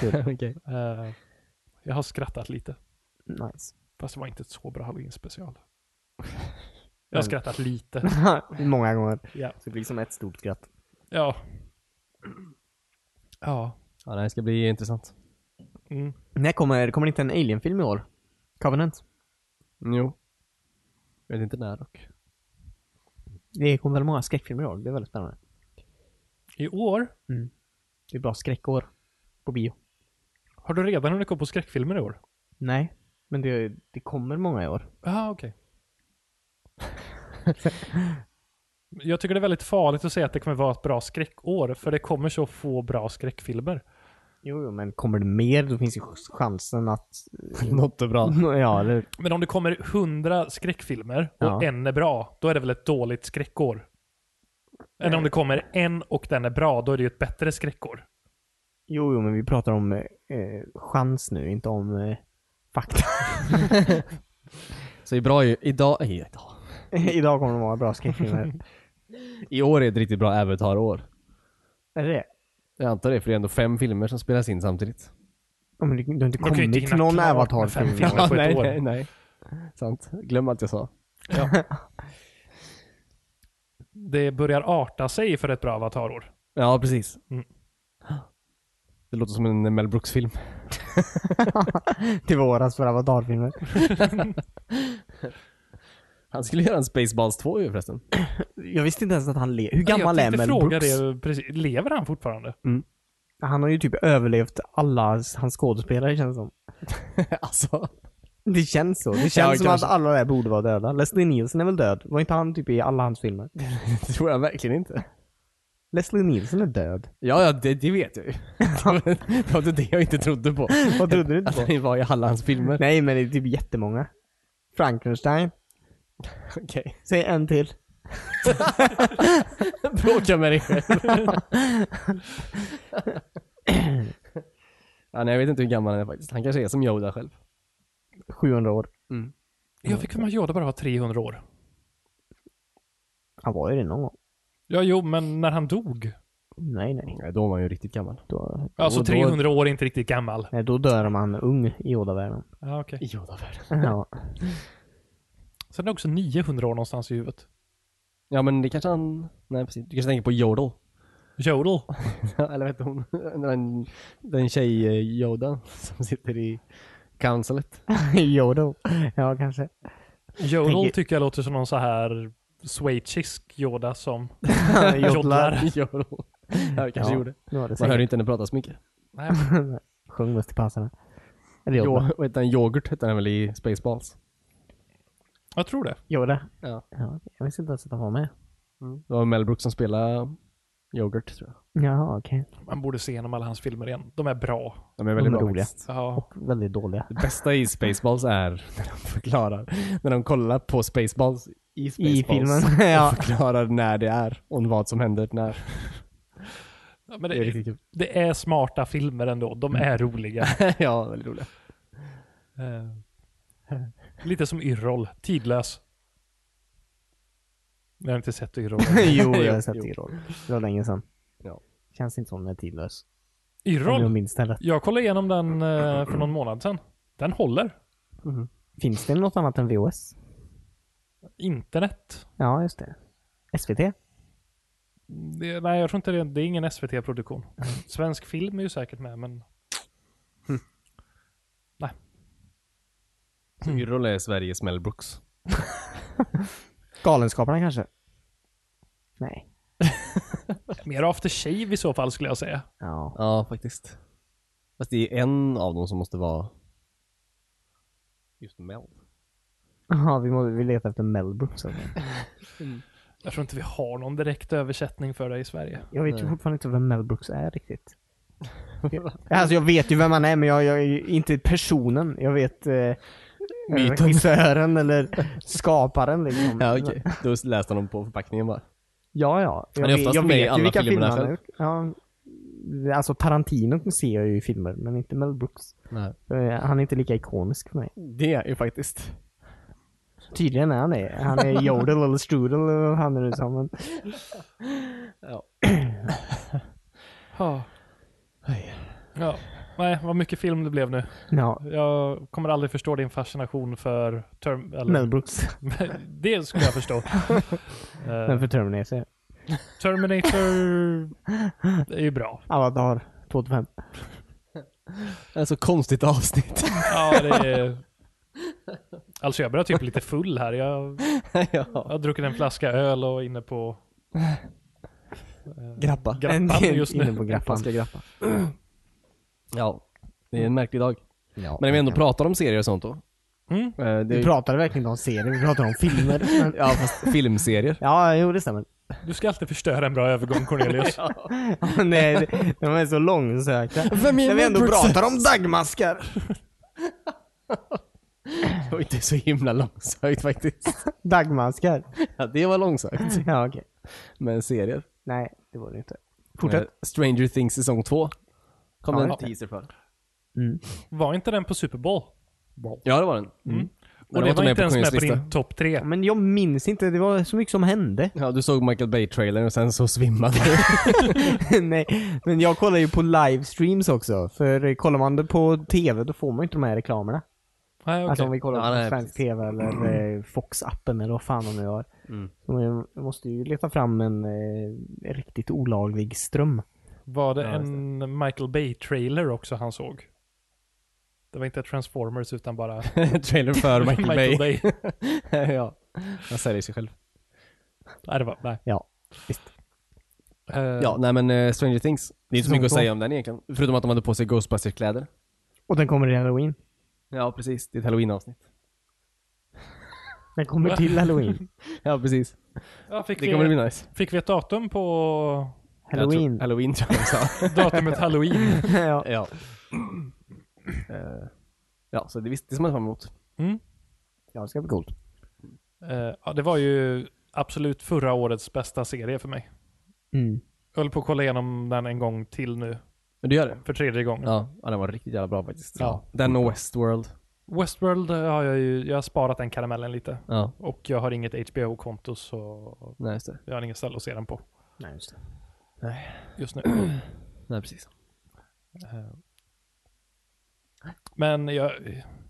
Speaker 2: bra. Okej.
Speaker 1: eh, Jag har skrattat lite.
Speaker 3: Nice.
Speaker 1: Fast det var inte ett så bra halloween special. Jag har skrattat lite.
Speaker 3: Många gånger.
Speaker 1: Ja.
Speaker 3: Så det blir som ett stort skratt.
Speaker 1: Ja. Ja.
Speaker 2: Ja, nej, det ska bli intressant.
Speaker 1: Mm.
Speaker 3: När kommer, kommer det inte en Alien-film i år? Covenant?
Speaker 2: Jo. Jag vet inte när dock.
Speaker 3: Det kommer väl många skräckfilmer i år? Det är väldigt spännande.
Speaker 1: I år?
Speaker 3: Det är bra skräckår. På bio.
Speaker 1: Har du redan hunnit gå på skräckfilmer i år?
Speaker 3: Nej. Men det, det kommer många i år.
Speaker 1: Ja, okej. Jag tycker det är väldigt farligt att säga att det kommer vara ett bra skräckår, för det kommer så få bra skräckfilmer.
Speaker 3: Jo, jo, men kommer det mer då finns ju chansen att...
Speaker 2: Något är bra.
Speaker 3: Ja, eller...
Speaker 1: Men om det kommer hundra skräckfilmer och
Speaker 3: Ja.
Speaker 1: en är bra, då är det väl ett dåligt skräckår? Än om det kommer en och den är bra, då är det ju ett bättre skräckår.
Speaker 3: Jo, jo, men vi pratar om eh, chans nu, inte om eh, fakta.
Speaker 2: Så i bra ju, idag, nej, idag.
Speaker 3: Idag kommer det vara bra skräckfilmer.
Speaker 2: I år är ett riktigt bra Avatar-år.
Speaker 3: är det det?
Speaker 2: Jag antar det, för det är ändå fem filmer som spelas in samtidigt.
Speaker 3: Ja, men du, du har inte
Speaker 1: Man kan ju inte
Speaker 3: kommit
Speaker 1: hinna
Speaker 3: till någon
Speaker 1: klart med
Speaker 3: Avatar-film.
Speaker 1: fem filmer. Ja, på ett
Speaker 2: nej,
Speaker 1: år.
Speaker 2: nej, nej. Sant. Glöm allt jag sa.
Speaker 1: Det börjar arta sig för ett bra avatarår.
Speaker 2: Ja, precis.
Speaker 1: Mm.
Speaker 2: Det låter som en Mel Brooks-film.
Speaker 3: till våras för Avatar-filmer.
Speaker 2: Han skulle göra en Spaceballs 2 ju förresten.
Speaker 3: Jag visste inte ens att han lever. Hur gammal
Speaker 1: Jag
Speaker 3: är
Speaker 1: tänkte
Speaker 3: Mel
Speaker 1: fråga
Speaker 3: Brooks?
Speaker 1: det precis. Lever han fortfarande?
Speaker 3: Han har ju typ överlevt alla s- hans skådespelare känns det som.
Speaker 2: alltså.
Speaker 3: Det känns så. Det känns som
Speaker 2: kanske.
Speaker 3: att alla där borde vara döda. Leslie Nielsen är väl död? Var inte han typ i alla hans filmer?
Speaker 2: Det tror jag verkligen inte.
Speaker 3: Leslie Nielsen är död.
Speaker 2: Ja, ja det, det vet jag ju. det var inte det jag inte trodde på.
Speaker 3: Vad trodde du inte
Speaker 2: Att
Speaker 3: på?
Speaker 2: han var i alla hans filmer.
Speaker 3: Nej, men det är typ jättemånga. Frankenstein.
Speaker 2: Okej.
Speaker 3: Säg en till.
Speaker 2: Bråka med dig själv. ja, nej, jag vet inte hur gammal han är faktiskt. Han kanske är som Yoda själv.
Speaker 3: 700 år. Mm.
Speaker 1: Jag fick för mig att Yoda bara var 300 år.
Speaker 3: Han var ju det någon gång.
Speaker 1: Ja, jo, men när han dog.
Speaker 3: Nej, nej.
Speaker 2: Nej, då var han ju riktigt gammal.
Speaker 3: Då,
Speaker 1: Alltså
Speaker 3: då-
Speaker 1: 300 år är inte riktigt gammal.
Speaker 3: Nej, då dör man ung i Yoda-världen.
Speaker 1: Ja, okej.
Speaker 2: I Yoda-världen.
Speaker 3: Ja.
Speaker 1: Sen är det också 900 år någonstans i huvudet.
Speaker 2: Ja, men det kanske han... Nej, precis. Du kanske tänker på Yodel.
Speaker 1: Jodel.
Speaker 2: Eller vet du hon? Den, den tjej eh, Yoda som sitter i councilet.
Speaker 3: Yoda. Ja, kanske.
Speaker 1: Jodel
Speaker 3: Tänker-
Speaker 1: tycker jag låter som någon så här schweizisk Yoda som...
Speaker 3: Jodlar.
Speaker 2: Yodel. Ja, det kanske
Speaker 3: Ja.
Speaker 2: gjorde.
Speaker 3: Nu var det
Speaker 2: Man hör
Speaker 3: säkert.
Speaker 2: ju inte henne prata så mycket.
Speaker 1: Nej,
Speaker 3: Sjung mest till passarna. Eller
Speaker 2: Jo,
Speaker 3: Yoda.
Speaker 2: vad heter den? Yoghurt hette den väl i Spaceballs?
Speaker 1: jag tror det.
Speaker 3: Yoda.
Speaker 2: Ja. Mm.
Speaker 3: Ja, okej. jag visste inte ens att han var med.
Speaker 2: Det var Mel Brooks som spelade Yoghurt tror jag.
Speaker 3: Jaha, okej.
Speaker 1: Man borde se igenom alla hans filmer igen. De är bra.
Speaker 2: De är
Speaker 3: De
Speaker 2: väldigt
Speaker 3: är
Speaker 2: bra
Speaker 3: roliga.
Speaker 2: faktiskt.
Speaker 1: Ja.
Speaker 3: Väldigt dåliga.
Speaker 2: Det bästa i Spaceballs är när de förklarar, när de kollar på Spaceballs i Spaceballs.
Speaker 3: I filmen. ja.
Speaker 2: Och förklarar när det är och vad som händer när.
Speaker 1: Ja, Men
Speaker 2: Det är
Speaker 1: det,
Speaker 2: riktigt kul.
Speaker 1: det är smarta filmer ändå. De
Speaker 3: Mm.
Speaker 1: är roliga.
Speaker 2: ja, väldigt roliga.
Speaker 1: Eh, Lite som Yrrol. Tidlös. Jag har inte sett Yrrol.
Speaker 3: jo, jag har
Speaker 2: Jo,
Speaker 3: sett
Speaker 2: jo.
Speaker 3: i roll. Det var länge sedan.
Speaker 2: Ja.
Speaker 3: Känns inte som den är tidlös. Om jag
Speaker 1: Yrrol?
Speaker 3: minns stället.
Speaker 1: Jag kollade igenom den eh, för någon månad sedan. Den håller.
Speaker 3: Finns det något annat än VOS?
Speaker 1: Internet.
Speaker 3: Ja, just det. SVT?
Speaker 1: Det, nej, jag tror inte det. Det är ingen SVT-produktion. Svensk film är ju säkert med, men...
Speaker 2: Yrrol är Sveriges Mel Brooks.
Speaker 3: Galenskaparna kanske? Nej.
Speaker 1: Mer After Shave i så fall skulle jag säga.
Speaker 3: Ja.
Speaker 2: Ja, faktiskt. Fast det är en av dem som måste vara just Mel.
Speaker 3: Ja, vi, må, vi letar efter Mel Brooks. alltså.
Speaker 1: Jag tror inte vi har någon direkt översättning för det i Sverige.
Speaker 3: Jag vet ju
Speaker 2: Nej.
Speaker 3: fortfarande inte vem Mel Brooks är riktigt. Alltså jag vet ju vem han är, men jag, jag är ju inte personen. Jag vet eh, regissören eller skaparen liksom.
Speaker 2: Ja, okej. Då läste de på förpackningen bara.
Speaker 3: Ja, ja. Jag,
Speaker 2: Han är
Speaker 3: vet-
Speaker 2: oftast
Speaker 3: jag
Speaker 2: med i
Speaker 3: vet ju
Speaker 2: alla
Speaker 3: vilka
Speaker 2: filmerna
Speaker 3: filmer han har
Speaker 2: själv.
Speaker 3: gjort. Ja, alltså Tarantino ser jag ju i filmer, men inte Mel Brooks.
Speaker 2: Nej.
Speaker 3: Eh, Han är inte lika ikonisk för mig.
Speaker 2: Det är ju faktiskt.
Speaker 3: Tydligen är han det. Han är Jodel eller Strudel eller vad han är nu som. Men
Speaker 2: Ja.
Speaker 1: Ja.
Speaker 2: Oj.
Speaker 1: ja. Nej, vad mycket film det blev nu.
Speaker 3: Ja,
Speaker 1: Jag kommer aldrig förstå din fascination för... Term, eller,
Speaker 3: Mel
Speaker 2: Eh.
Speaker 3: Brooks.
Speaker 1: det skulle jag förstå. Eh,
Speaker 3: Den för Terminator.
Speaker 1: Terminator är ju bra.
Speaker 3: Avatar 2005.
Speaker 2: Alltså konstigt avsnitt.
Speaker 1: Ja, det är... Alltså jag börjar typ lite full här. Jag, jag
Speaker 2: ja.
Speaker 1: har druckit en flaska öl och är inne på
Speaker 2: Grappa.
Speaker 1: grappan just
Speaker 3: Inne
Speaker 1: nu.
Speaker 3: på grappan.
Speaker 2: Grappan ska grappa. ja. Det är en märklig dag.
Speaker 3: Ja,
Speaker 2: Men när Mm. vi ändå pratar om serier och sånt då.
Speaker 1: Mm.
Speaker 2: Eh,
Speaker 3: Vi
Speaker 2: det,
Speaker 3: pratade verkligen inte om serier, vi pratade om filmer. Men...
Speaker 2: ja, fast filmserier.
Speaker 3: Ja, jo det stämmer.
Speaker 1: Du ska alltid förstöra en bra övergång Cornelius.
Speaker 3: Nej, det- de är så långsökta.
Speaker 2: Vem är
Speaker 3: När vi ändå
Speaker 2: Robertson?
Speaker 3: pratar om dagmaskar.
Speaker 2: Det var inte så himla långsökt faktiskt.
Speaker 3: Dagmaskar?
Speaker 2: Ja, det var långsökt.
Speaker 3: Ja, okej.
Speaker 2: Men serier.
Speaker 3: Nej, det var det inte.
Speaker 2: Eh, Stranger Things säsong 2. Kom
Speaker 3: Ja,
Speaker 2: det en
Speaker 3: just det.
Speaker 2: teaser för.
Speaker 1: Var inte den på Super Bowl? Och
Speaker 2: Ja, det var den. Mm.
Speaker 1: det
Speaker 2: den
Speaker 1: var,
Speaker 2: med
Speaker 1: inte
Speaker 2: på
Speaker 1: ens med
Speaker 2: kungens
Speaker 1: på
Speaker 2: lista. Mm.
Speaker 1: din topp tre.
Speaker 3: Ja, Eh, Men jag minns inte, det var så mycket som hände.
Speaker 2: Ja, du såg Michael Bay-trailern och sen så svimmade du.
Speaker 3: Nej, men jag kollar ju på livestreams också. För eh, kollar man det på TV då får man ju inte de här reklamerna.
Speaker 1: Nej, okej.
Speaker 3: Alltså om vi kollar
Speaker 2: Ja,
Speaker 3: på
Speaker 2: nej,
Speaker 3: svensk TV eller eh, Fox-appen eller vad fan de nu har.
Speaker 2: Mm.
Speaker 3: Så jag- jag måste ju leta fram en eh, riktigt olaglig ström.
Speaker 1: Var det
Speaker 2: Ja, just
Speaker 1: en Michael Bay-trailer också han såg? Det var inte Transformers utan bara
Speaker 2: trailer för Michael,
Speaker 1: Michael
Speaker 2: Bay.
Speaker 1: Bay.
Speaker 2: ja. Han säljer sig själv.
Speaker 1: nej, det var, nej.
Speaker 3: Ja, visst.
Speaker 1: Eh,
Speaker 2: Ja, nej men eh, Stranger Things. Det är inte så
Speaker 3: Säsong
Speaker 2: mycket att
Speaker 3: två.
Speaker 2: säga om den egentligen. Förutom att de hade på sig Ghostbusters-kläder.
Speaker 3: Och den kommer i halloween.
Speaker 2: Ja, precis. Det är ett halloween-avsnitt.
Speaker 3: Den kommer till halloween.
Speaker 2: Ja, precis.
Speaker 1: ja, fick,
Speaker 2: Det kommer
Speaker 1: vi,
Speaker 2: bli nice.
Speaker 1: fick vi ett datum på
Speaker 2: Jag tror,
Speaker 3: Halloween.
Speaker 2: halloween tror jag de sa.
Speaker 1: datumet halloween?
Speaker 3: ja.
Speaker 2: ja. Eh, ja, så det, visst, det ser man fram emot.
Speaker 1: Mm.
Speaker 3: ja, det ska bli coolt.
Speaker 1: Eh, ja, det var ju absolut förra årets bästa serie för mig.
Speaker 3: Mm.
Speaker 1: Jag höll på att kolla igenom den en gång till nu,
Speaker 2: Men du gör det?
Speaker 1: för tredje gången.
Speaker 2: Ja, ja den var riktigt jävla bra faktiskt.
Speaker 1: Ja.
Speaker 2: Den och Westworld.
Speaker 1: Westworld eh, har jag ju, jag har sparat den karamellen lite.
Speaker 2: Ja,
Speaker 1: Och jag har inget HBO-konto så
Speaker 2: nej just det.
Speaker 1: jag har inget ställe att se den på
Speaker 3: Nej, just det.
Speaker 1: just nu.
Speaker 2: Nej, precis.
Speaker 1: Eh, Men jag,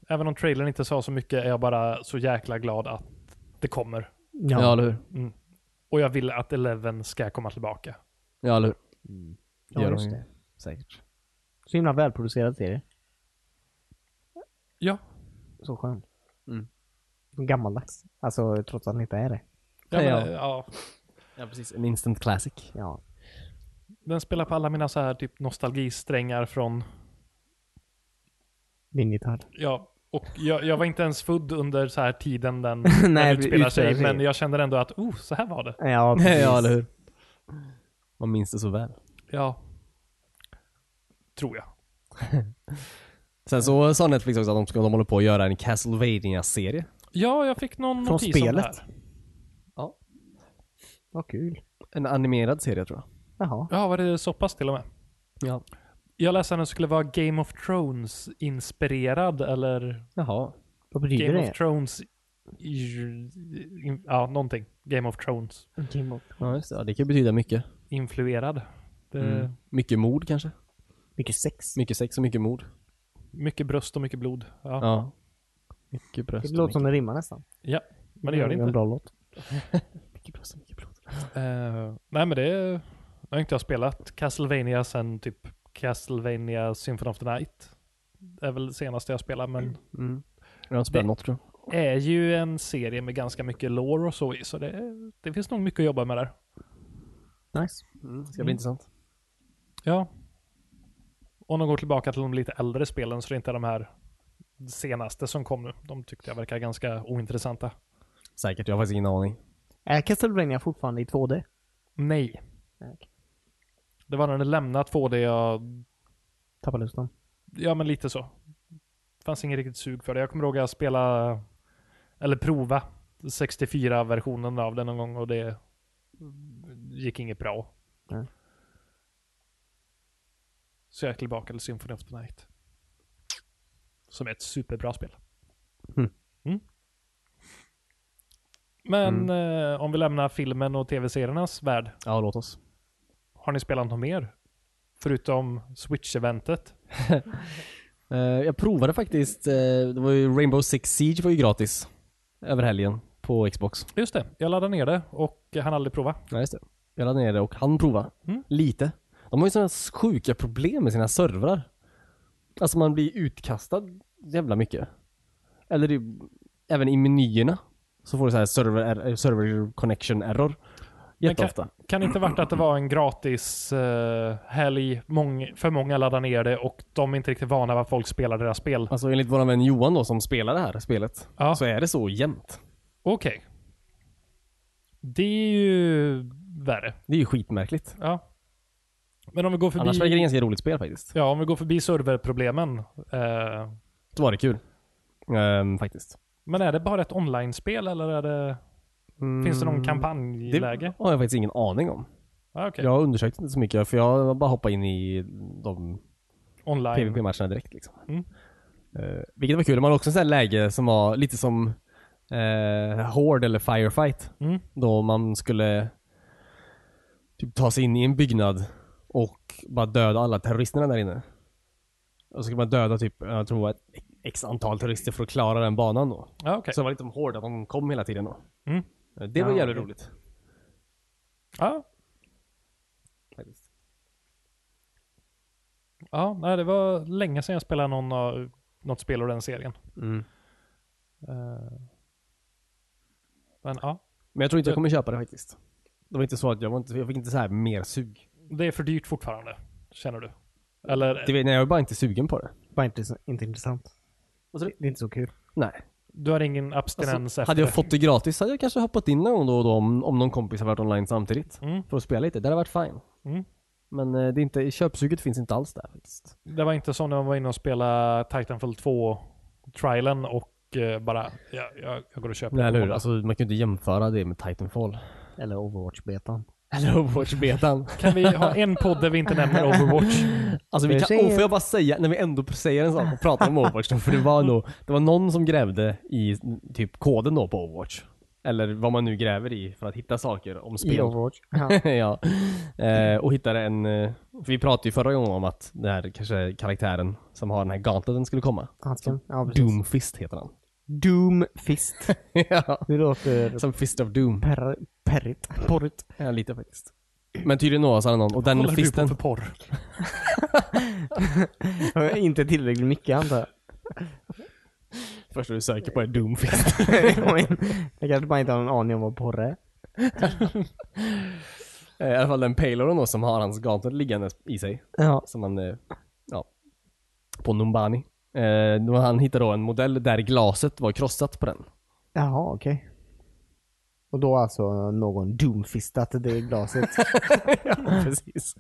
Speaker 1: även om trailern inte sa så mycket är jag bara så jäkla glad att det kommer.
Speaker 2: Ja,
Speaker 3: Ja.
Speaker 2: eller hur?
Speaker 1: Och jag vill att Eleven ska komma tillbaka.
Speaker 2: Ja, eller hur?
Speaker 3: Mm.
Speaker 2: Gör
Speaker 3: ja
Speaker 2: de
Speaker 3: just
Speaker 2: ju.
Speaker 3: det.
Speaker 2: Säkert.
Speaker 3: Så himla välproducerad serie.
Speaker 1: Ja.
Speaker 3: Så skön.
Speaker 2: Mm.
Speaker 3: Gammaldags. Alltså trots att den inte är det.
Speaker 1: Ja, men,
Speaker 2: Ja.
Speaker 1: eh, ja.
Speaker 2: Ja, precis. En instant classic.
Speaker 3: Ja.
Speaker 1: Den spelar på alla mina så här typ nostalgisträngar från,
Speaker 3: Din gitarr.
Speaker 1: ja, och jag, jag var inte ens född under så här tiden den,
Speaker 3: Nej,
Speaker 1: den utspelar
Speaker 3: utspelar
Speaker 1: sig,
Speaker 3: sig.
Speaker 1: men jag kände ändå att, oh, så här var det.
Speaker 3: Ja, precis.
Speaker 2: ja, eller hur? Man minns det så väl.
Speaker 1: Ja. Tror jag.
Speaker 2: Sen så sa Netflix också att de, ska, de håller på att göra en castlevania serie
Speaker 1: Ja, jag fick någon
Speaker 3: Från
Speaker 1: notis om det
Speaker 3: spelet?
Speaker 1: här.
Speaker 3: Vad kul.
Speaker 2: En animerad serie tror jag.
Speaker 3: Jaha.
Speaker 1: Ja, var det så pass till och med?
Speaker 2: Ja.
Speaker 1: Jag läste att den skulle vara Game of Thrones-inspirerad eller
Speaker 2: Jaha.
Speaker 3: Vad betyder
Speaker 1: Game
Speaker 3: det?
Speaker 1: of Thrones... i- Ja, någonting. Game of Thrones-influerad.
Speaker 3: Game of
Speaker 2: Ja, just det. Ja, det kan betyda mycket.
Speaker 1: Det är
Speaker 2: Mm. Mycket mord kanske?
Speaker 3: Mycket sex.
Speaker 2: Mycket sex och mycket mord.
Speaker 1: Mycket bröst och mycket blod. Ja,
Speaker 2: Ja. Mycket bröst.
Speaker 3: Det
Speaker 2: och
Speaker 3: låter
Speaker 2: mycket-
Speaker 3: som det rimmar nästan.
Speaker 1: men det gör det
Speaker 3: En
Speaker 1: inte.
Speaker 3: bra låt.
Speaker 2: Mycket bröst och mycket blod.
Speaker 1: Eh, nej, men det... är- Jag har inte jag spelat Castlevania sen typ Castlevania Symphony of the Night. Det är väl det senaste jag spelar, men
Speaker 2: Mm. Jag har inte spelat
Speaker 1: Det-
Speaker 2: något tror jag.
Speaker 1: är ju en serie med ganska mycket lore och så i, så det, det finns nog mycket att jobba med där.
Speaker 3: Nice.
Speaker 2: Det ska bli intressant.
Speaker 1: Ja. Om de går tillbaka till de lite äldre spelen så det är inte de här senaste som kom nu. De tyckte jag verkar ganska ointressanta.
Speaker 2: Säkert. Jag har faktiskt ingen aning.
Speaker 3: Är Äh, Castlevania fortfarande i Äh, 2D?
Speaker 1: Nej.
Speaker 3: Okej.
Speaker 1: Det var när de lämnat 2D jag...
Speaker 3: Tappar lusten.
Speaker 1: Ja, men lite så. Fanns ingen riktigt sug för det. Jag kommer ihåg att jag spela eller prova 64-versionen av den någon gång och det gick inget bra.
Speaker 3: Nej.
Speaker 1: Så jag är tillbaka till Symphony of the Night. Som är ett superbra spel.
Speaker 2: Mm.
Speaker 1: Mm. Men eh, om vi lämnar filmen och tv-seriernas värld.
Speaker 2: Ja, låt oss.
Speaker 1: Har ni spelat något mer? Förutom Switch-eventet?
Speaker 2: Eh, jag provade faktiskt. eh, det var ju Rainbow Six Siege var ju gratis. Över helgen. På Xbox.
Speaker 1: Just det, jag laddade ner det och jag hann aldrig prova.
Speaker 2: Ja, just det. Jag laddade ner det och han prova.
Speaker 1: Mm.
Speaker 2: Lite. De har ju sådana sjuka problem med sina servrar. Alltså man blir utkastad jävla mycket. Eller det, även i menyerna så får du så här server, er- server eh, connection error. Jätteofta.
Speaker 1: Kan det inte varit att det var en gratis eh, helg, mång, för många laddade ner det och de är inte riktigt vana vid att folk spelar deras spel.
Speaker 2: Alltså enligt vår vän Johan då som spelar det här spelet,
Speaker 1: Ja.
Speaker 2: så är det så jämnt.
Speaker 1: Okej. Det är ju värre.
Speaker 2: Det är ju skitmärkligt.
Speaker 1: Ja. Men om vi går
Speaker 2: Annars verkar det
Speaker 1: förbi,
Speaker 2: ganska roligt spel faktiskt.
Speaker 1: ja, om vi går förbi serverproblemen. Eh,
Speaker 2: Då var det kul. Ehm, faktiskt.
Speaker 1: men är det bara ett online-spel eller är det,
Speaker 2: Mm,
Speaker 1: finns det någon
Speaker 2: Det
Speaker 1: kampanjläge?
Speaker 2: har jag faktiskt ingen aning om.
Speaker 1: Ah, okej.
Speaker 2: Jag har undersökt inte så mycket för jag bara hoppade in i de
Speaker 1: Online.
Speaker 2: PVP-matcherna direkt. Liksom.
Speaker 1: Mm.
Speaker 2: Eh, vilket var kul. De hade också en sån här läge som var lite som eh, Horde eller Firefight.
Speaker 1: Mm.
Speaker 2: Då man skulle typ ta sig in i en byggnad och bara döda alla terroristerna där inne. Och så skulle man döda typ, jag tror det var ett x antal terrorister för att klara den banan då.
Speaker 1: Ja, okej.
Speaker 2: Så det var lite som Horde, att de kom hela tiden då.
Speaker 1: Mm.
Speaker 2: Eh, Det var
Speaker 3: Ja,
Speaker 2: jävligt
Speaker 3: okej.
Speaker 2: roligt.
Speaker 1: Ja,
Speaker 2: Faktiskt.
Speaker 1: ja nej, det var länge sedan jag spelade någon, av- något spel ur den serien.
Speaker 2: Mm.
Speaker 1: Eh, Men ja,
Speaker 2: Men jag tror inte jag kommer köpa det faktiskt. Det var inte så att jag, var inte, jag fick inte så här mer sug.
Speaker 1: det är för dyrt fortfarande, känner du? Eller?
Speaker 2: Det, vet- nej, jag var bara inte sugen på det.
Speaker 3: Bara inte, så- inte intressant.
Speaker 2: Vad sa du?
Speaker 3: Det är inte så kul.
Speaker 2: Nej.
Speaker 1: Du har ingen abstinens
Speaker 2: Alltså,
Speaker 1: efter
Speaker 2: hade jag fått det gratis hade jag kanske hoppat in någon gång då och då om, om någon kompis hade varit online samtidigt.
Speaker 1: Mm.
Speaker 2: För att spela lite. Det hade varit fine.
Speaker 1: Mm.
Speaker 2: Men eh, det är inte, köpsuget finns inte alls där faktiskt.
Speaker 1: Det var inte som när man var inne och spelade Titanfall 2-trialen och eh, bara, jag, jag, jag går och köper
Speaker 2: Nej,
Speaker 1: det.
Speaker 2: eller hur? Alltså, man kan ju inte jämföra det med Titanfall.
Speaker 3: Eller Overwatch-betan.
Speaker 2: Eller Overwatch-betan.
Speaker 1: Kan vi ha en podd där vi inte nämner Overwatch?
Speaker 2: alltså, vi
Speaker 3: Men
Speaker 2: kan,
Speaker 3: säg-
Speaker 2: oh, får jag bara säga, när vi ändå säger en sak och pratar om Overwatch då, för det var, nog, det var någon som grävde i typ koden då på Overwatch. Eller vad man nu gräver i för att hitta saker om spel.
Speaker 3: I Overwatch. Ja.
Speaker 2: ja. Eh, och hittade en, eh, för vi pratade ju förra gången om att den här kanske karaktären som har den här gauntleten skulle komma.
Speaker 3: Handsken. Ja, precis.
Speaker 2: Doomfist heter han.
Speaker 3: Doom Fist.
Speaker 2: ja.
Speaker 3: Det låter
Speaker 2: Som Fist of Doom.
Speaker 3: per, perrigt. Porrigt.
Speaker 2: Ja, lite faktiskt. Men tydligen då så hade någon, och den
Speaker 1: Kollar du på
Speaker 2: fisten,
Speaker 1: för porr?
Speaker 3: inte tillräckligt mycket antar jag.
Speaker 2: första du söker på är Doomfist.
Speaker 3: jag kanske bara inte har någon aning om vad porr är.
Speaker 2: Eh, I alla fall den payloaden då som har hans gauntlet liggandes i sig.
Speaker 3: Ja.
Speaker 2: Som han, eh, ja, på Numbani. Eh, då han hittade då en modell där glaset var krossat på den.
Speaker 3: Jaha, okej. Och då har alltså någon doomfistat det glaset.
Speaker 2: ja, precis.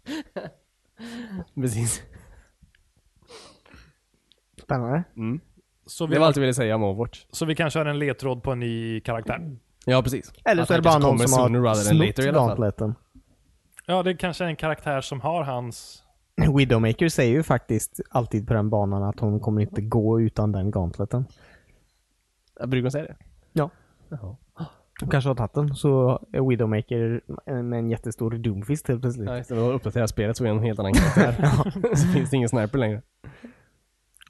Speaker 2: precis.
Speaker 3: Spännande.
Speaker 1: Så
Speaker 2: Mm. Det
Speaker 1: vi,
Speaker 2: var allt jag ville säga om Overwatch.
Speaker 1: så vi kanske har en ledtråd på en ny karaktär.
Speaker 2: Ja, precis.
Speaker 3: Eller
Speaker 2: Att
Speaker 3: så är
Speaker 2: han
Speaker 3: det bara
Speaker 2: kanske
Speaker 3: någon
Speaker 2: kommer
Speaker 3: som
Speaker 2: sooner
Speaker 3: har
Speaker 2: rather than
Speaker 3: snott
Speaker 2: later i alla fall.
Speaker 3: gauntleten.
Speaker 1: Ja, det kanske är en karaktär som har hans...
Speaker 3: Widowmaker säger ju faktiskt alltid på den banan att hon kommer inte gå utan den gauntleten.
Speaker 2: Jag brukar säga det.
Speaker 3: Ja.
Speaker 2: Jaha.
Speaker 3: Hon kanske har tagit den, så är Widowmaker med en jättestor doomfist helt plötsligt.
Speaker 2: Ja, istället för att uppdatera spelet så är jag en helt annan karaktär. så finns det ingen sniper längre.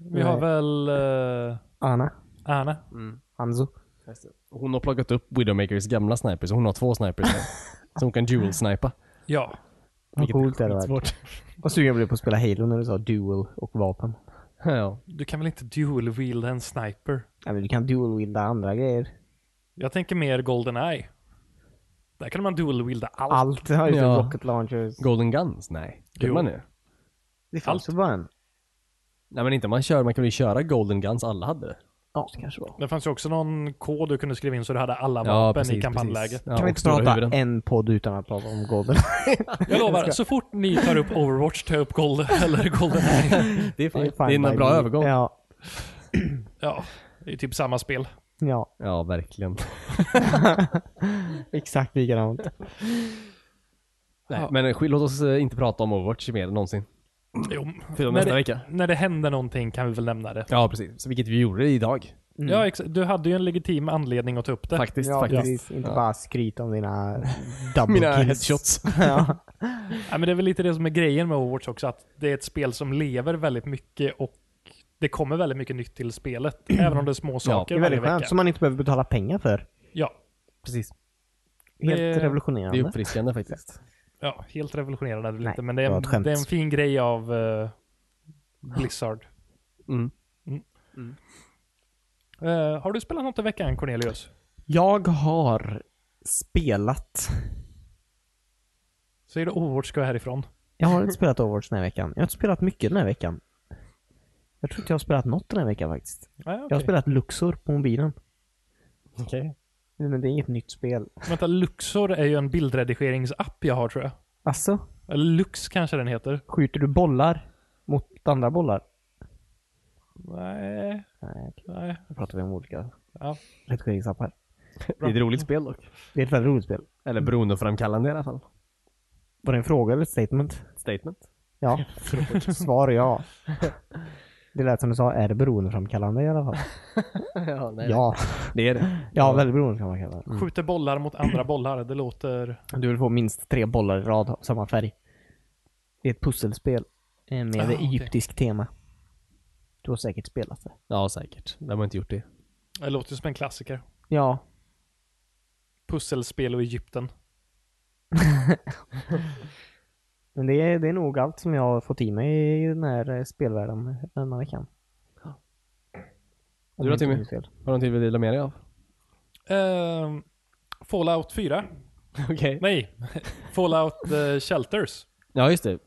Speaker 1: Vi har
Speaker 3: Nej.
Speaker 1: väl eh,
Speaker 3: Anna.
Speaker 1: Anna?
Speaker 3: Hanzo.
Speaker 2: Hon har plockat upp Widowmakers gamla sniper, så hon har två snipers nu. så hon kan dual-snipa.
Speaker 1: Ja.
Speaker 3: Vad coolt det hade varit.
Speaker 2: Svårt.
Speaker 3: Vad sugen jag blev på att spela Halo när du sa dual och vapen.
Speaker 2: ja.
Speaker 1: Du kan väl inte dual-wielda en sniper?
Speaker 3: Nej men du kan dual-wilda andra grejer.
Speaker 1: Jag tänker mer GoldenEye. Där kan man dual-wielda allt.
Speaker 3: Allt har ju
Speaker 2: Ja.
Speaker 3: ja. rocket launchers.
Speaker 2: Golden Guns? Nej.
Speaker 1: Jo.
Speaker 2: Kan man det?
Speaker 3: Det fanns ju bara en.
Speaker 2: Nej men inte man kör, man kunde ju köra Golden Guns, alla hade det.
Speaker 3: Ja, det kanske var.
Speaker 1: Det fanns ju också någon kod du kunde skriva in så du hade alla
Speaker 2: Ja,
Speaker 1: vapen
Speaker 2: precis,
Speaker 1: i kampanjläge.
Speaker 2: precis. Ja,
Speaker 3: kan vi
Speaker 2: och
Speaker 3: inte
Speaker 2: stora
Speaker 3: prata
Speaker 2: huvuden.
Speaker 3: en podd utan att prata om Golden?
Speaker 1: Jag lovar, så fort ni tar upp Overwatch tar jag upp Gold eller GoldenEye.
Speaker 2: Det är,
Speaker 3: Det
Speaker 2: fint. det är
Speaker 3: by
Speaker 2: en bra
Speaker 3: me.
Speaker 2: övergång. Ja,
Speaker 3: Ja.
Speaker 1: Ja, det är typ samma spel.
Speaker 3: Ja,
Speaker 2: verkligen.
Speaker 3: exakt likadant.
Speaker 2: Nej, men eh, sk- låt oss eh, inte prata om Overwatch mer än någonsin.
Speaker 1: Jo,
Speaker 2: Förutom
Speaker 1: när
Speaker 2: nästa
Speaker 1: det,
Speaker 2: vecka.
Speaker 1: när det händer någonting kan vi väl nämna det.
Speaker 2: Ja, precis. Så vilket vi gjorde idag.
Speaker 1: Ja, exa- du hade ju en legitim anledning att ta upp det.
Speaker 2: Faktiskt,
Speaker 3: Ja,
Speaker 2: faktiskt.
Speaker 3: precis. Inte
Speaker 2: Ja.
Speaker 3: bara skryt om dina double
Speaker 2: Mina
Speaker 3: kills.
Speaker 2: headshots.
Speaker 3: ja.
Speaker 1: Ja, men det är väl lite det som är grejen med Overwatch också, att det är ett spel som lever väldigt mycket och det kommer väldigt mycket nytt till spelet, även om det är små
Speaker 3: Det
Speaker 1: saker
Speaker 3: är
Speaker 1: varje
Speaker 3: väldigt
Speaker 1: vecka.
Speaker 3: skönt, som man inte behöver betala pengar för.
Speaker 1: Ja,
Speaker 2: Precis.
Speaker 3: Helt
Speaker 1: Det-
Speaker 2: Det är
Speaker 3: revolutionerande.
Speaker 2: uppfriskande faktiskt.
Speaker 1: ja, helt revolutionerande är det väl
Speaker 3: Nej,
Speaker 1: inte, men det är,
Speaker 3: det var
Speaker 1: en,
Speaker 3: ett skämt.
Speaker 1: det är en fin grej av eh, Blizzard.
Speaker 2: Mm.
Speaker 1: Eh, har du spelat något i veckan, Cornelius?
Speaker 3: Jag har spelat
Speaker 1: Så är det Overwatch ska härifrån.
Speaker 3: Jag har inte spelat Overwatch den här veckan. Jag har inte spelat mycket den här veckan. Jag tror inte jag har spelat något den här veckan faktiskt.
Speaker 1: Nej,
Speaker 3: Jag
Speaker 1: okej.
Speaker 3: har spelat Luxor på mobilen.
Speaker 2: Okej.
Speaker 3: Men det är inget nytt spel.
Speaker 1: Vänta, Luxor är ju en bildredigeringsapp jag har tror jag.
Speaker 3: Alltså,
Speaker 1: Eller Lux kanske den heter.
Speaker 3: skjuter du bollar mot andra bollar?
Speaker 1: Nej,
Speaker 3: Nej, okej.
Speaker 1: nej.
Speaker 3: nu pratar vi om olika
Speaker 1: Ja.
Speaker 3: redigeringsappar.
Speaker 2: Det är ett roligt spel dock.
Speaker 3: Det är ett väldigt roligt spel.
Speaker 2: Eller beroendeframkallande i alla fall.
Speaker 3: Var det en fråga eller ett statement?
Speaker 2: Statement.
Speaker 3: Ja. Svar ja. Det lät som du sa, är det beroendeframkallande i alla fall?
Speaker 2: ja, nej.
Speaker 3: Ja.
Speaker 2: Det är det.
Speaker 3: Ja, väldigt beroendeframkallande.
Speaker 1: Skjuter bollar mot andra bollar. Det låter...
Speaker 3: Du vill få minst tre bollar i rad av samma färg. Det är ett pusselspel eh, med
Speaker 1: Ah, okej.
Speaker 3: egyptisk tema. Du har säkert spelat det.
Speaker 2: Ja, säkert. De har inte gjort det.
Speaker 1: Det låter som en klassiker.
Speaker 3: Ja.
Speaker 1: Pusselspel och Egypten.
Speaker 3: Men det är, det är nog allt som jag har fått i mig i den här eh, spelvärlden den här veckan. Om
Speaker 2: då,
Speaker 3: jag inte
Speaker 2: Timmy?
Speaker 3: minns fel.
Speaker 2: Har du någonting du vill dela med dig av?
Speaker 1: Ehm, Fallout 4.
Speaker 2: Okej.
Speaker 1: Nej, Fallout eh, Shelters.
Speaker 2: Ja, just det.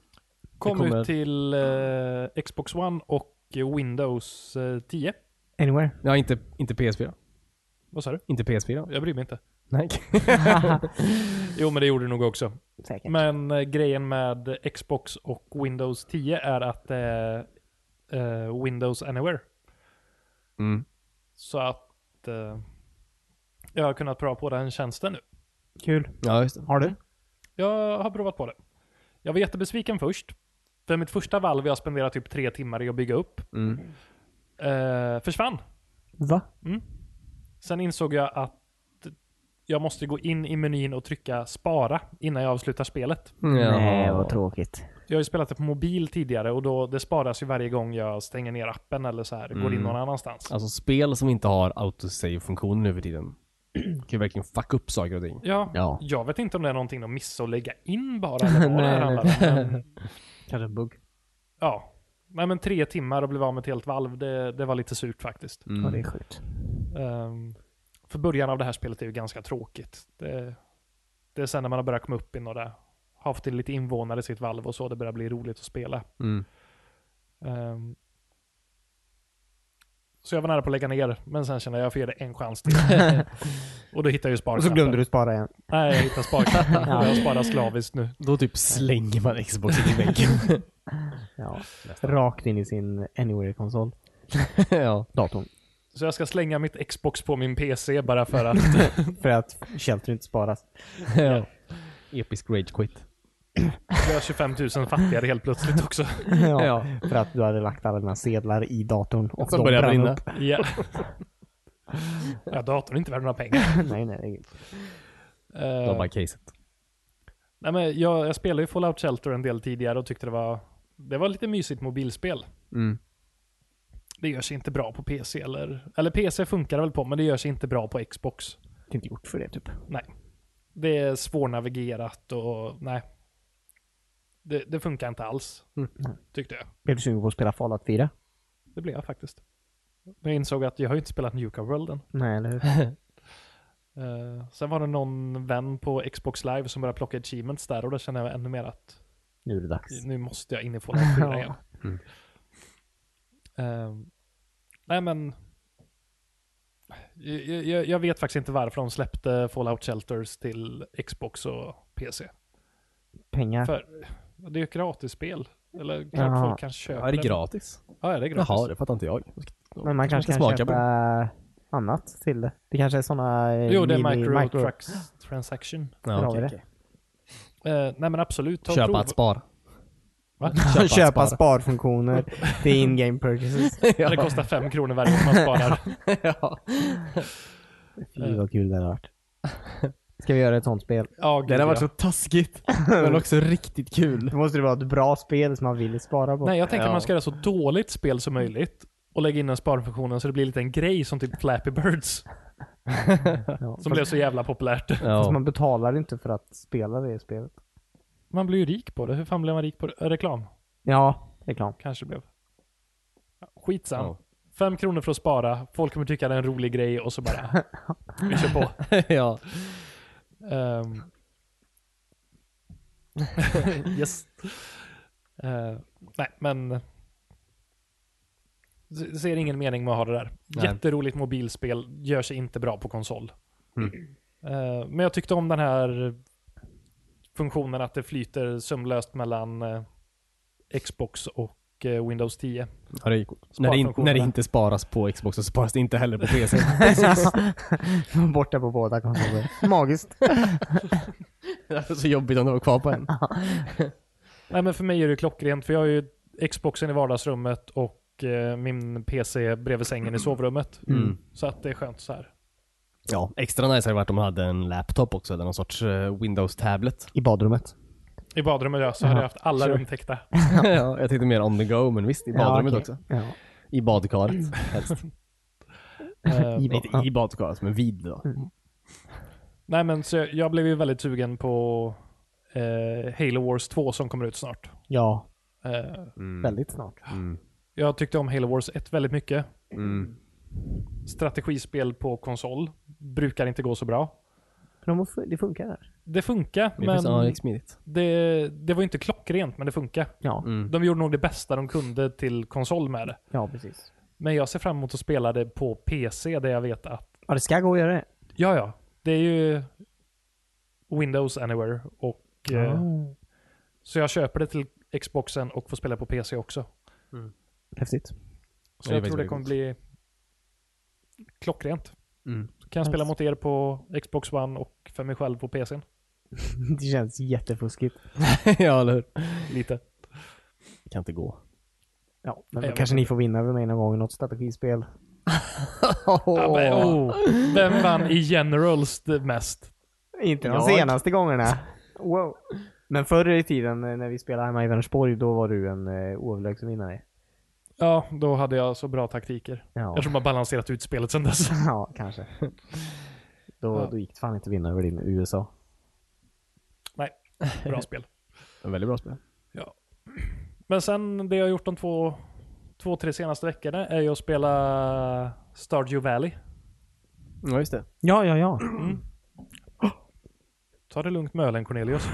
Speaker 1: Kom
Speaker 2: Det kommer-
Speaker 1: ut till eh, Xbox One och Windows eh, 10.
Speaker 3: Anywhere.
Speaker 2: Ja, inte, inte PS4.
Speaker 1: Vad sa du?
Speaker 2: Inte PS4.
Speaker 1: Jag bryr mig inte.
Speaker 2: Nej.
Speaker 1: Jo, men det gjorde det nog också.
Speaker 3: Säkert.
Speaker 1: Men eh, grejen med Xbox och Windows 10 är att det är eh, Windows Anywhere.
Speaker 2: Mm.
Speaker 1: Så att eh, jag har kunnat prova på den tjänsten nu.
Speaker 3: Kul.
Speaker 2: Ja, just det.
Speaker 3: Har du?
Speaker 1: Jag har provat på det. Jag var jättebesviken först. För mitt första valv jag spenderade typ tre timmar i att bygga upp
Speaker 2: Mm.
Speaker 1: eh, försvann.
Speaker 3: Va?
Speaker 1: Sen insåg jag att jag måste gå in i menyn och trycka spara innan jag avslutar spelet.
Speaker 3: Nej, vad tråkigt.
Speaker 1: Jag har ju spelat det på mobil tidigare och då det sparas ju varje gång jag stänger ner appen eller så här, går in någon annanstans.
Speaker 2: Alltså spel som inte har autosave-funktion nu för tiden kan ju verkligen fucka upp saker och ting.
Speaker 1: Ja,
Speaker 3: Ja.
Speaker 1: jag vet inte om det är någonting de missade att lägga in bara. Eller vad det här handlar om. Men,
Speaker 3: Kanske en bugg.
Speaker 1: ja. Nej men tre timmar och blev av med ett helt valv, det, det var lite surt faktiskt.
Speaker 2: Mm,
Speaker 3: Ja, det är sjukt.
Speaker 1: Ehm, för början av det här spelet är ju ganska tråkigt. Det, det är sen när man har börjat komma upp i några, har fått in lite invånare i sitt valv och så, det börjar bli roligt att spela.
Speaker 2: Mm.
Speaker 1: Ehm, så jag var nära på att lägga ner, men sen kände jag att jag får ge det en chans till. och då hittade jag ju
Speaker 3: Och så
Speaker 1: sparknappen.
Speaker 3: glömde du spara igen.
Speaker 1: Nej, jag hittade sparknappen. och jag sparar slaviskt nu.
Speaker 2: Då typ slänger man Xbox i väggen.
Speaker 3: Ja. Rakt in i sin Anywhere-konsol.
Speaker 2: ja.
Speaker 3: Datorn.
Speaker 1: Så jag ska slänga mitt Xbox på min PC bara för att...
Speaker 3: För att Shelter inte sparas.
Speaker 2: ja. Episk rage quit.
Speaker 1: Jag är 25 000 fattigare helt plötsligt också.
Speaker 3: Ja.
Speaker 2: Ja.
Speaker 3: För att du hade lagt alla dina sedlar i datorn. Och
Speaker 2: Som
Speaker 3: de
Speaker 2: börjar
Speaker 3: brann
Speaker 2: brinna.
Speaker 3: upp.
Speaker 1: Ja. ja, datorn är inte värd några pengar.
Speaker 3: nej, nej. det är inget.
Speaker 1: Eh,
Speaker 2: Det var bara caset.
Speaker 1: nej, men jag, jag spelade ju Fallout Shelter en del tidigare och tyckte det var, det var lite mysigt mobilspel.
Speaker 2: Mm.
Speaker 1: Det gör sig inte bra på PC eller... Eller PC funkar det väl på, men det gör sig inte bra på Xbox.
Speaker 3: Det är inte gjort för det typ.
Speaker 1: Det är svårnavigerat och nej. Det, det funkar inte alls,
Speaker 2: Mm.
Speaker 1: tyckte jag.
Speaker 3: Blev du sugen på att spela Fallout 4?
Speaker 1: Det blev jag faktiskt. Men jag insåg att jag har ju inte spelat Nuka World än.
Speaker 3: Nej, eller hur?
Speaker 1: Eh, sen var det någon vän på Xbox Live som började plocka achievements där och då kände jag ännu mer att
Speaker 3: Nu är det dags.
Speaker 1: nu måste jag in i Fallout 4
Speaker 3: Ja.
Speaker 1: igen.
Speaker 2: Mm.
Speaker 1: Ehm, nej men. Jag, jag, jag vet faktiskt inte varför de släppte Fallout Shelters till Xbox och PC.
Speaker 3: Pengar.
Speaker 1: För det är ju ett gratisspel. Eller klart
Speaker 3: Ja.
Speaker 1: folk kan köpa
Speaker 2: Ja, är det gratis?
Speaker 1: Ja, det är gratis.
Speaker 2: Jaha, det fattar inte jag.
Speaker 3: Men man kanske kan
Speaker 2: smaka
Speaker 3: köpa
Speaker 2: på.
Speaker 3: annat till det. Det kanske är sådana eh,
Speaker 1: Jo, det är
Speaker 3: mini-
Speaker 1: micro, Trucks Transaction.
Speaker 2: Ja, okej.
Speaker 3: Bra,
Speaker 2: okej.
Speaker 1: Eh, nej men absolut, ta och
Speaker 2: Köpa
Speaker 1: prova.
Speaker 2: att spara.
Speaker 1: Va?
Speaker 2: Köpa,
Speaker 3: Köpa
Speaker 2: att spara.
Speaker 3: sparfunktioner. Det är in-game purchases.
Speaker 1: Ja, Det kostar fem kronor varje gång man sparar.
Speaker 2: ja.
Speaker 3: Fy vad kul det hade varit. Ska vi göra ett sånt spel?
Speaker 1: Ja, gud,
Speaker 2: Det hade varit
Speaker 1: ja.
Speaker 2: så taskigt, men också riktigt kul.
Speaker 3: Då måste det vara ett bra spel som man vill spara på.
Speaker 1: Nej, jag tänkte
Speaker 2: Ja.
Speaker 1: att man ska göra så dåligt spel som möjligt och lägga in den sparfunktionen så det blir lite en grej som typ Flappy Birds
Speaker 3: ja.
Speaker 1: som blev så jävla populärt.
Speaker 3: Fast
Speaker 2: Ja.
Speaker 3: man betalar inte för att spela det spelet.
Speaker 1: Man blir ju rik på det. Hur fan blev man rik på det? Ö, Reklam
Speaker 3: Ja, reklam.
Speaker 1: kanske blev. Ja, Skitsam.
Speaker 2: Ja.
Speaker 1: Fem kronor för att spara. Folk kommer tycka det är en rolig grej och så bara vi kör på.
Speaker 2: ja.
Speaker 1: Ehm, yes. Eh, nej, men... s- Ser ingen mening med att ha det där.
Speaker 2: Nej.
Speaker 1: Jätteroligt mobilspel, gör sig inte bra på konsol.
Speaker 2: Mm.
Speaker 1: Eh, men jag tyckte om den här funktionen att det flyter sömlöst mellan eh, Xbox och eh, Windows 10.
Speaker 2: Ja, det är coolt. när, det in, när det
Speaker 1: Sparfunktionerna.
Speaker 2: inte sparas på Xbox så sparas det inte heller på PC.
Speaker 3: Borta på båda konsoler. Magiskt.
Speaker 2: det är så jobbigt om det var kvar på en.
Speaker 1: Nej men för mig är det klockrent för jag har ju Xboxen i vardagsrummet och eh, min PC bredvid sängen i sovrummet.
Speaker 2: Mm.
Speaker 1: Så att det är skönt så här.
Speaker 2: Ja, extra nice hade det varit om man hade en laptop också, eller någon sorts eh, Windows-tablet.
Speaker 3: I badrummet.
Speaker 1: I badrummet ja, så hade
Speaker 3: Jaha,
Speaker 1: jag haft alla
Speaker 3: sure.
Speaker 1: rum täckta.
Speaker 2: ja, jag tänkte mer on the go, men visst, i badrummet
Speaker 3: ja,
Speaker 2: också.
Speaker 3: okej. Ja.
Speaker 2: I badkaret helst.
Speaker 1: Eh,
Speaker 3: I bad-
Speaker 2: Inte i badkaret, men vid då.
Speaker 1: nej men så jag, jag blev ju väldigt sugen på eh, Halo Wars 2 som kommer ut snart.
Speaker 3: ja,
Speaker 1: Eh,
Speaker 3: väldigt snart.
Speaker 1: jag tyckte om Halo Wars 1 väldigt mycket.
Speaker 2: Mm.
Speaker 1: Strategispel på konsol brukar inte gå så bra.
Speaker 3: För de, måste- det funkar där.
Speaker 1: Det funkar,
Speaker 2: Men... Ja, det
Speaker 1: men
Speaker 2: gick smidigt. Mm.
Speaker 1: det, det var inte klockrent, men det funkar.
Speaker 3: Ja,
Speaker 1: De gjorde nog det bästa de kunde till konsol med det.
Speaker 3: ja precis.
Speaker 1: Men jag ser fram emot att spela det på PC där jag vet att,
Speaker 3: Ja, det ska gå att göra det.
Speaker 1: ja ja, det är ju Windows Anywhere och eh,
Speaker 3: Ah.
Speaker 1: Så jag köper det till Xboxen och får spela på PC också.
Speaker 3: Häftigt.
Speaker 1: Så
Speaker 2: Det är
Speaker 1: jag
Speaker 2: väldigt
Speaker 1: tror det
Speaker 2: gott.
Speaker 1: kommer bli klockrent.
Speaker 2: Mm.
Speaker 1: Så kan jag spela
Speaker 3: Nice.
Speaker 1: mot er på Xbox One och för mig själv på PCn.
Speaker 3: Det känns jättefuskigt.
Speaker 2: ja, eller hur?
Speaker 1: Lite.
Speaker 2: Det kan inte gå.
Speaker 3: Ja, men
Speaker 1: Jag
Speaker 3: då
Speaker 1: vet
Speaker 3: kanske ni får vinna över mig någon gång i något strategispel.
Speaker 1: Ja, men, oh. Vem vann i generals det mest?
Speaker 3: Inte de
Speaker 2: Jag-
Speaker 3: senaste gångerna. Wow. Men förr i tiden eh, när vi spelade hemma i Vänersborg, då var du en eh, oöverlägsen vinnare.
Speaker 1: Ja, då hade jag så bra taktiker.
Speaker 3: Ja,
Speaker 1: Jag tror man balanserat ut spelet sen dess.
Speaker 3: ja kanske. Då,
Speaker 1: Ja.
Speaker 3: då gick det fan inte att vinna över din USA.
Speaker 1: Nej, bra spel.
Speaker 2: En väldigt bra spel.
Speaker 1: Men sen det jag har gjort de två, två tre senaste veckorna är ju att spela Stardew Valley.
Speaker 2: Ja, just det.
Speaker 3: Ja, ja, ja.
Speaker 1: Ta det lugnt med ölen Cornelius.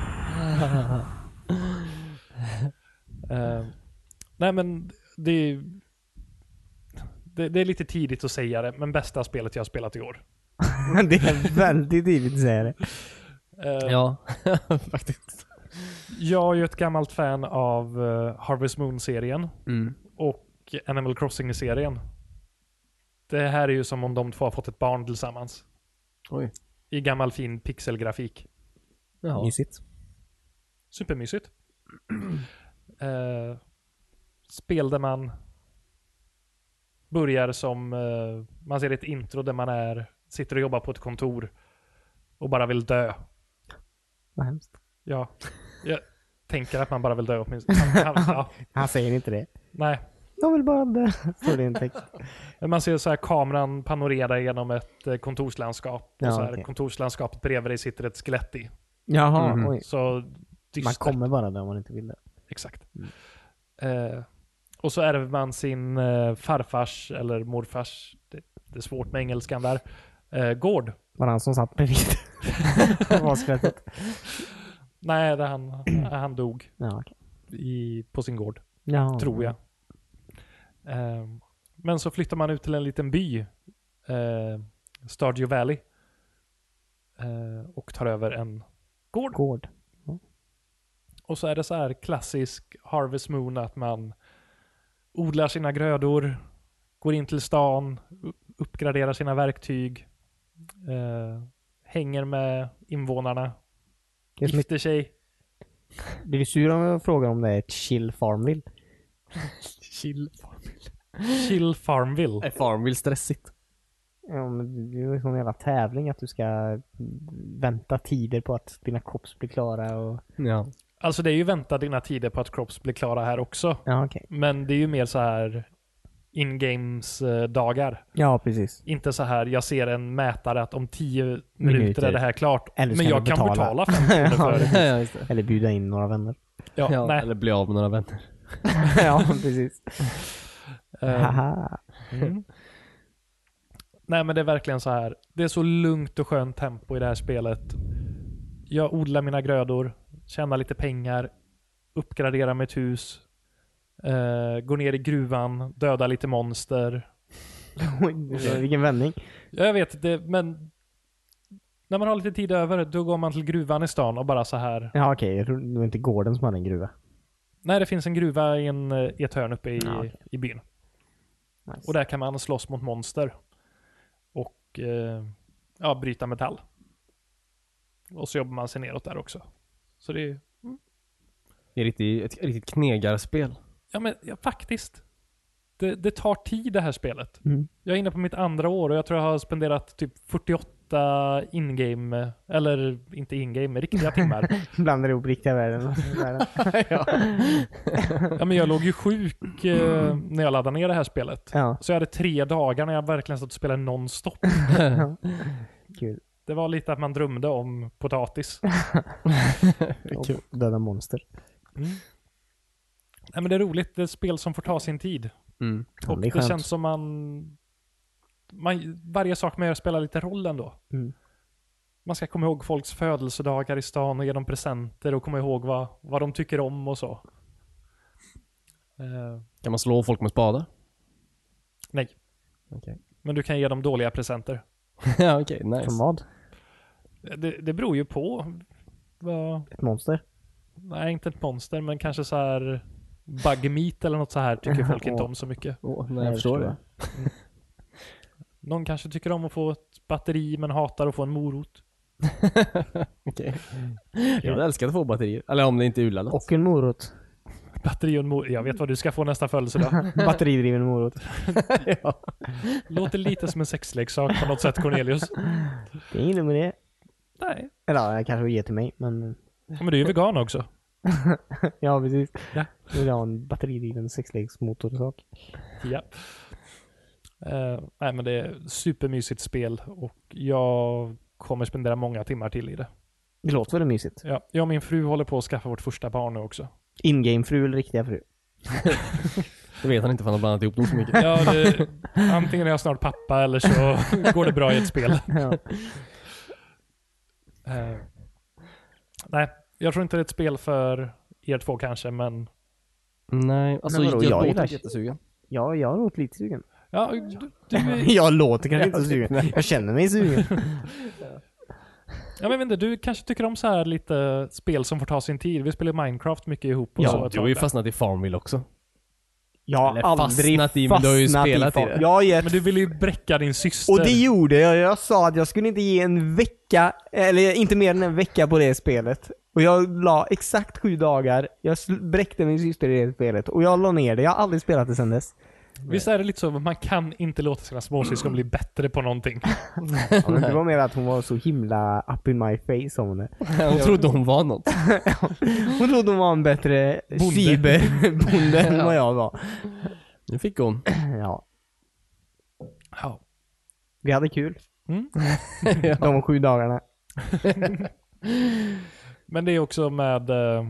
Speaker 1: Eh, nej men det är, det, det är lite tidigt att säga det, men bästa spelet jag har spelat i år.
Speaker 3: det är väldigt tidigt att säga det.
Speaker 1: Eh,
Speaker 2: Ja, faktiskt.
Speaker 1: Jag är ju ett gammalt fan av eh, Harvest Moon-serien och Animal Crossing-serien. Det här är ju som om de två har fått ett barn tillsammans.
Speaker 2: Oj.
Speaker 1: I gammal fin pixelgrafik.
Speaker 2: Jaha.
Speaker 3: Mysigt.
Speaker 1: Supermysigt. Eh, spel där man börjar som, eh, man ser ett intro där man är, sitter och jobbar på ett kontor och bara vill dö.
Speaker 3: Vad hemskt.
Speaker 1: Ja, jag tänker att man bara vill dö åtminstone. Ja, ja,
Speaker 3: Han säger inte det.
Speaker 1: nej.
Speaker 3: Jag vill bara dö. Står det i en text.
Speaker 1: Men Man ser så här kameran panorera genom ett eh, kontorslandskap.
Speaker 3: Ja,
Speaker 1: och så här,
Speaker 3: okej.
Speaker 1: Kontorslandskapet bredvid dig sitter ett skelett i.
Speaker 3: Jaha,
Speaker 2: Mhm.
Speaker 3: oj.
Speaker 1: Så
Speaker 3: Mm-hmm. Man
Speaker 1: dystert.
Speaker 3: kommer bara dö om man inte vill det.
Speaker 1: Exakt. Eh, och så ärver man sin eh, farfars eller morfars, det, det är svårt med engelskan där, eh, gård.
Speaker 3: Var det han som satt bredvid? Vad skrattet?
Speaker 1: Nej, där han, han dog
Speaker 3: Ja, okej.
Speaker 1: i, på sin gård,
Speaker 3: ja.
Speaker 1: tror jag. Eh, men så flyttar man ut till en liten by, eh, Stardew Valley, eh, och tar över en gård.
Speaker 3: Gård.
Speaker 1: Och så är det så här klassisk Harvest Moon att man odlar sina grödor, går in till stan, u- uppgraderar sina verktyg, eh, hänger med invånarna,
Speaker 3: Det är som ett
Speaker 1: gifter sig.
Speaker 3: Blir du sur om jag frågar om det är ett chill farmville?
Speaker 2: Chill Farmville.
Speaker 1: Chill Farmville.
Speaker 2: Är Farmville stressigt?
Speaker 3: Ja, men det är ju en sån jävla tävling att du ska vänta tider på att dina kops blir klara och...
Speaker 2: Ja.
Speaker 1: Alltså det är ju vänta dina tider på att Crops blir klara här också.
Speaker 3: Ja, okej.
Speaker 1: Men det är ju mer så här in-games eh, dagar.
Speaker 3: Ja, precis.
Speaker 1: Inte så här, jag ser en mätare att om tio
Speaker 3: Minuter.
Speaker 1: minuter är det här klart.
Speaker 3: Eller ska
Speaker 1: men jag
Speaker 3: du
Speaker 1: kan betala
Speaker 3: betala.
Speaker 1: 5 kronor för
Speaker 3: Ja,
Speaker 1: det.
Speaker 2: ja, just det.
Speaker 3: Eller bjuda in några vänner.
Speaker 1: Ja,
Speaker 2: Ja,
Speaker 1: nej.
Speaker 2: Eller bli av med några vänner.
Speaker 3: ja, precis.
Speaker 1: Eh,
Speaker 3: Haha. Mm.
Speaker 1: Nej men det är verkligen så här. Det är så lugnt och skönt tempo i det här spelet. Jag odlar mina grödor, tjäna lite pengar, uppgradera mitt hus, eh, gå ner i gruvan, döda lite monster.
Speaker 3: Oj, vilken vändning.
Speaker 1: Jag vet det, men när man har lite tid över, då går man till gruvan i stan och bara så här.
Speaker 3: Ja okej, jag tror det var inte gården som hade en gruva.
Speaker 1: Nej, det finns en gruva i, en, eh, i ett hörn uppe i,
Speaker 3: Ja, okej.
Speaker 1: i byn.
Speaker 3: Nice.
Speaker 1: Och där kan man slåss mot monster. Och eh, ja, bryta metall. Och så jobbar man sig neråt där också. Så det är,
Speaker 2: Det är riktigt, ett riktigt knegarspel.
Speaker 1: ja men ja, faktiskt. Det, det tar tid det här spelet.
Speaker 3: Mm.
Speaker 1: Jag är inne på mitt andra år och jag tror jag har spenderat typ 48 in-game, eller inte in-game, riktiga timmar.
Speaker 3: Blandar ihop riktiga världen och världen.
Speaker 1: Ja, men jag låg ju sjuk eh, när jag laddade ner det här spelet.
Speaker 3: Ja,
Speaker 1: Så jag hade tre dagar när jag verkligen satt och spelade nonstop.
Speaker 3: kul.
Speaker 1: Det var lite att man drömde om potatis.
Speaker 3: Och döda monster. Mm.
Speaker 1: Nej, men det är roligt. Det är ett spel som får ta sin tid.
Speaker 2: Mm.
Speaker 3: Ja,
Speaker 1: Och
Speaker 3: det är
Speaker 1: det,
Speaker 3: skönt.
Speaker 1: känns som man, man... Varje sak man gör spelar lite roll ändå.
Speaker 3: Mm.
Speaker 1: Man ska komma ihåg folks födelsedagar i stan och ge dem presenter och komma ihåg vad, vad de tycker om och så. Eh,
Speaker 2: Kan man slå folk med spadar?
Speaker 1: nej,
Speaker 2: Okej.
Speaker 1: men du kan ge dem dåliga presenter.
Speaker 2: ja, okej. nice.
Speaker 3: Som vad?
Speaker 1: Det, det beror ju på. Vad,
Speaker 3: Ett monster?
Speaker 1: nej, inte ett monster, men kanske så här bug meat eller något så här tycker folk inte om så mycket.
Speaker 2: Åh, nej,
Speaker 3: Nej,
Speaker 2: jag
Speaker 3: jag
Speaker 2: förstår
Speaker 3: förstår.
Speaker 2: det.
Speaker 1: Någon kanske tycker om att få ett batteri men hatar att få en morot.
Speaker 2: Okej. Jag hade älskat att få batterier. Eller om det inte är urladdat.
Speaker 3: Och en morot.
Speaker 1: Batteri och en morot. Jag vet vad du ska få nästa födelsedag.
Speaker 3: Batteridriven morot.
Speaker 2: ja.
Speaker 1: Låter lite som en sexleksak på något sätt Cornelius.
Speaker 3: Det är inget dumt med det.
Speaker 1: Nej.
Speaker 3: Eller ja, jag kanske vill ge till mig, men
Speaker 1: Men du är ju vegan också.
Speaker 3: ja precis.
Speaker 1: Ja.
Speaker 3: Jag vill ha en batteridriven sexleksmotorsak.
Speaker 1: Ja. Eh, nej men det är ett supermysigt spel och jag kommer spendera många timmar till i det.
Speaker 3: Det låter väldigt mysigt.
Speaker 1: Ja, jag och min fru håller på att skaffa vårt första barn nu också.
Speaker 3: In-game-fru eller riktiga fru?
Speaker 2: Det vet han inte för han har blandat ihop dem så mycket.
Speaker 1: Ja, det, antingen är jag snart pappa eller så går det bra i ett spel.
Speaker 3: Ja.
Speaker 1: Eh, nej, jag tror inte det är ett spel för er två kanske, men
Speaker 2: Nej, alltså
Speaker 3: vadå, jag
Speaker 2: jag
Speaker 3: gillar-
Speaker 2: låter jättesugen.
Speaker 3: ja, jag låter lite sugen.
Speaker 1: ja, du, du är,
Speaker 3: Jag låter kanske inte så sugen. Jag känner mig sugen.
Speaker 1: ja, men jag vet inte, du kanske tycker om så här lite spel som får ta sin tid. Vi spelar Minecraft mycket ihop och så.
Speaker 2: Ja,
Speaker 1: ett
Speaker 2: du har ju
Speaker 1: tag.
Speaker 2: fastnat i Farmville också.
Speaker 3: Jag har
Speaker 2: Eller
Speaker 3: aldrig
Speaker 2: fastnat i, men du har ju spelat i
Speaker 3: far-
Speaker 2: det.
Speaker 3: Jag har gett
Speaker 1: Men du ville ju bräcka din syster.
Speaker 3: Och det gjorde jag. Jag sa att jag skulle inte ge en vecka, eller inte mer än en vecka på det spelet. Och jag la exakt sju dagar. Jag sl- bräckte min syster i det spelet. Och jag la ner det. Jag har aldrig spelat det sedan dess.
Speaker 1: Visst är det lite så, men man kan inte låta sina småsyskon bli bättre på någonting.
Speaker 3: Ja, men det var mer att hon var så himla up in my face sa hon det.
Speaker 2: Hon trodde hon var något.
Speaker 3: Hon trodde hon var en bättre cyberbonde än vad jag var.
Speaker 2: Nu fick hon.
Speaker 3: Ja.
Speaker 1: Ja.
Speaker 3: Vi hade kul.
Speaker 1: Mm.
Speaker 3: De sju dagarna.
Speaker 1: Men det är också med eh,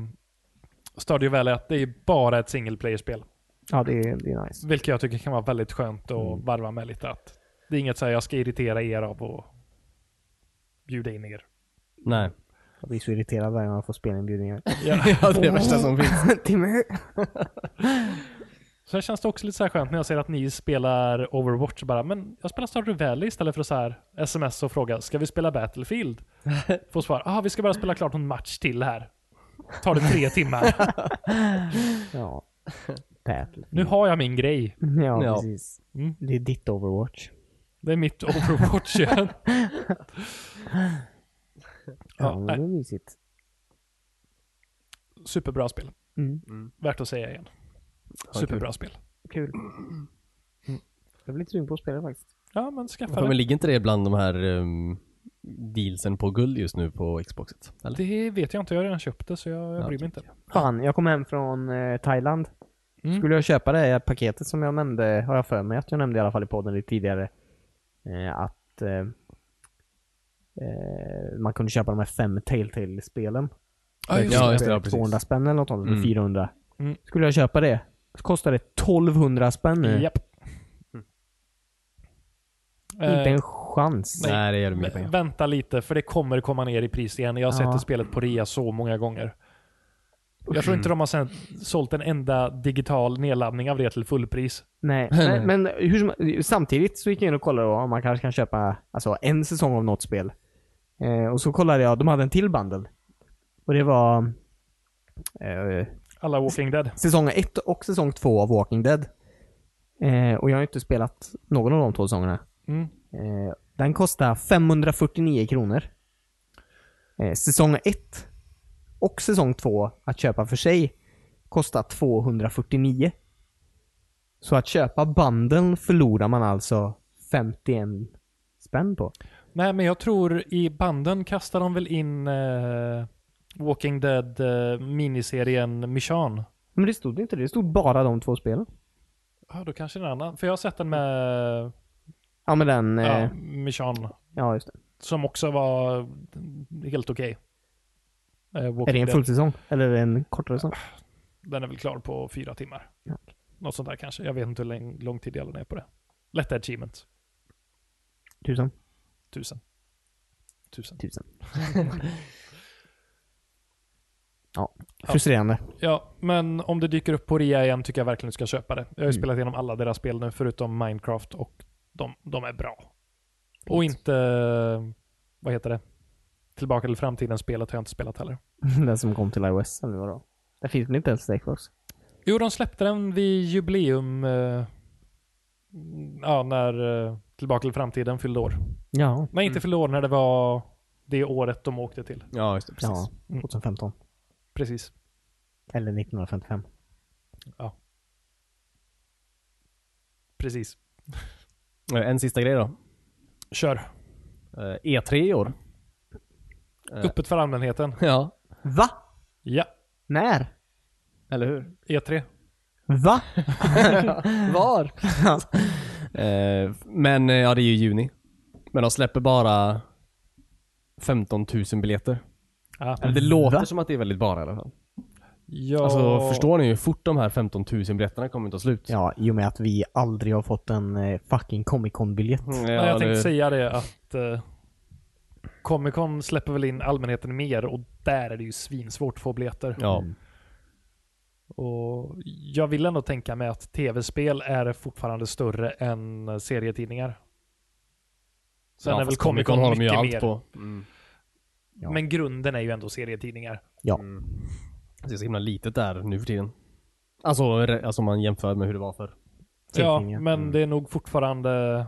Speaker 1: Stadio Valley att det är bara ett single player-spel.
Speaker 3: Ja, det är, det är nice.
Speaker 1: Vilket jag tycker kan vara väldigt skönt att varva med lite. Att det är inget så här jag ska irritera er av och bjuda in er.
Speaker 2: Nej.
Speaker 3: Jag blir så irriterad varje gång jag får spelinbjudningar.
Speaker 2: Ja, det är det värsta som finns.
Speaker 3: Timmer.
Speaker 1: Sen känns det också lite så här skönt när jag ser att ni spelar Overwatch och bara, men jag spelar Stardew Valley istället för att så här sms och fråga, ska vi spela Battlefield? Får svar, ah vi ska bara spela klart en match till här. Tar det tre timmar.
Speaker 3: Ja. Battle.
Speaker 1: Nu har jag min grej.
Speaker 3: Ja,
Speaker 2: Ja.
Speaker 3: precis.
Speaker 1: Mm.
Speaker 3: Det är ditt Overwatch.
Speaker 1: Det är mitt Overwatch igen.
Speaker 3: Ja,
Speaker 1: Ja,
Speaker 3: men
Speaker 1: nej,
Speaker 3: det är mysigt.
Speaker 1: superbra spel.
Speaker 3: Mm.
Speaker 1: Värt att säga igen.
Speaker 2: kul.
Speaker 1: Superbra spel.
Speaker 3: Kul.
Speaker 1: Mm.
Speaker 3: Jag blir lite sugen på att spela faktiskt.
Speaker 1: Ja, men skaffa
Speaker 2: Ja,
Speaker 1: det.
Speaker 2: men ligger inte det bland de här ehm, dealsen på guld just nu på Xboxet? Eller?
Speaker 1: Det vet jag inte. Jag har redan köpt det så jag, jag
Speaker 2: Ja,
Speaker 1: bryr mig inte.
Speaker 3: Fan, jag kom hem från eh, Thailand.
Speaker 1: Mm.
Speaker 3: Skulle jag köpa det här paketet som jag nämnde, har jag för mig att jag nämnde i alla fall i podden lite tidigare. Eh, att eh, eh, man kunde köpa de här fem Telltale-spelen.
Speaker 1: Ja, just
Speaker 2: Ja,
Speaker 1: det.
Speaker 2: just det. Ja, precis.
Speaker 3: 200 spänn eller något sånt, eller
Speaker 2: Mm.
Speaker 3: 400.
Speaker 1: Mm.
Speaker 3: Skulle jag köpa det, så kostar det 1200 spänn nu.
Speaker 1: Japp. Eh,
Speaker 3: Inte en chans.
Speaker 1: nej.
Speaker 2: Nej, det gör det mycket
Speaker 1: vä-
Speaker 2: pengar.
Speaker 1: vänta lite, för det kommer komma ner i pris igen. Jag har
Speaker 3: Ja.
Speaker 1: sett det spelet på rea så många gånger. Jag tror inte de har sen, sålt en enda digital nedladdning av det till fullpris.
Speaker 3: Nej,
Speaker 2: Nej.
Speaker 3: men, men hur som, samtidigt så gick jag in och kollade då, om man kanske kan köpa alltså, en säsong av något spel. Eh, och så kollade jag, de hade en till bundle. Och det var eh,
Speaker 1: Alla Walking Dead.
Speaker 3: säsong 1 och säsong 2 av Walking Dead. Eh, och jag har ju inte spelat någon av de två säsongerna.
Speaker 1: Mm.
Speaker 3: Eh, den kostar 549 kronor. Eh, säsong 1 och säsong 2 att köpa för sig kostar 249. Så att köpa banden förlorar man alltså 51 spänn på.
Speaker 1: Nej, men jag tror i banden kastar de väl in eh, Walking Dead eh, miniserien Mission.
Speaker 3: Men det stod inte det. Det stod bara de två spelen.
Speaker 1: Ja, då kanske en annan. För jag har sett den med
Speaker 3: Ja men den... Ja,
Speaker 1: ja, Mission.
Speaker 3: ja just det.
Speaker 1: Som också var helt okej. Eh, Walking
Speaker 3: Är det en
Speaker 1: Dead.
Speaker 3: full säsong? Eller är det en kortare säsong?
Speaker 1: Den är väl klar på fyra timmar.
Speaker 3: Ja.
Speaker 1: Något sånt där kanske. Jag vet inte hur lång, lång tid jag la ner på det. Lätta achievement.
Speaker 3: Tusen.
Speaker 1: Tusen. Tusen.
Speaker 3: Tusen. ja, frustrerande.
Speaker 1: Ja, men om det dyker upp på rea igen tycker jag verkligen du ska köpa det. Jag har ju
Speaker 3: Mm.
Speaker 1: spelat igenom alla deras spel nu förutom Minecraft och de, de är bra. Och
Speaker 3: Fint.
Speaker 1: inte, vad heter det? Tillbaka till framtiden-spelet har jag inte spelat heller.
Speaker 3: Den som kom till iOS eller vadå? Den finns väl inte ens till Xbox?
Speaker 1: Jo, de släppte den vid jubileum, eh, ja, när eh, Tillbaka till framtiden fyllde år.
Speaker 3: Ja.
Speaker 1: Nej, inte
Speaker 2: Mm.
Speaker 1: fyllde år, när det var det året de åkte till.
Speaker 2: Ja, just det. Precis. Mm.
Speaker 3: Ja, 2015.
Speaker 1: Precis.
Speaker 3: Eller 1955.
Speaker 1: Precis.
Speaker 2: Eh, En sista grej då.
Speaker 1: Kör.
Speaker 2: Eh, E3 i år. Eh.
Speaker 1: Öppet för allmänheten.
Speaker 2: Ja.
Speaker 3: Va?
Speaker 1: Ja. E
Speaker 3: När?
Speaker 2: Eller hur?
Speaker 1: E3.
Speaker 3: Va?
Speaker 2: Var? men eh, ja, det är ju juni. Men de släpper bara 15 000 biljetter.
Speaker 1: Ja.
Speaker 2: Eller det låter
Speaker 3: Va?
Speaker 2: som att det är väldigt bara i alla fall.
Speaker 1: Ja.
Speaker 2: Alltså förstår ni hur fort de här 15 000 biljetterna kommer att ta slut?
Speaker 3: Ja, i och med att vi aldrig har fått en eh, fucking Comic Con-biljett.
Speaker 2: Mm,
Speaker 1: Nej, jag tänkte
Speaker 2: det-
Speaker 1: säga det att eh, Comic Con släpper väl in allmänheten mer och där är det ju svinsvårt att få biljetter.
Speaker 2: Ja.
Speaker 1: Och jag vill ändå tänka mig att tv-spel är fortfarande större än serietidningar. Sen
Speaker 2: ja,
Speaker 1: är väl
Speaker 2: fast
Speaker 1: Comic Con
Speaker 2: har
Speaker 1: mycket
Speaker 2: de ju allt
Speaker 1: mer. Mm.
Speaker 2: på.
Speaker 3: Ja.
Speaker 1: Men grunden är ju ändå serietidningar.
Speaker 2: Mm. Det är så himla litet där nu för tiden. Alltså, re- alltså om man jämför med hur det var förr.
Speaker 1: Ja,
Speaker 3: Serietidningar.
Speaker 1: men
Speaker 2: Mm.
Speaker 1: det är nog fortfarande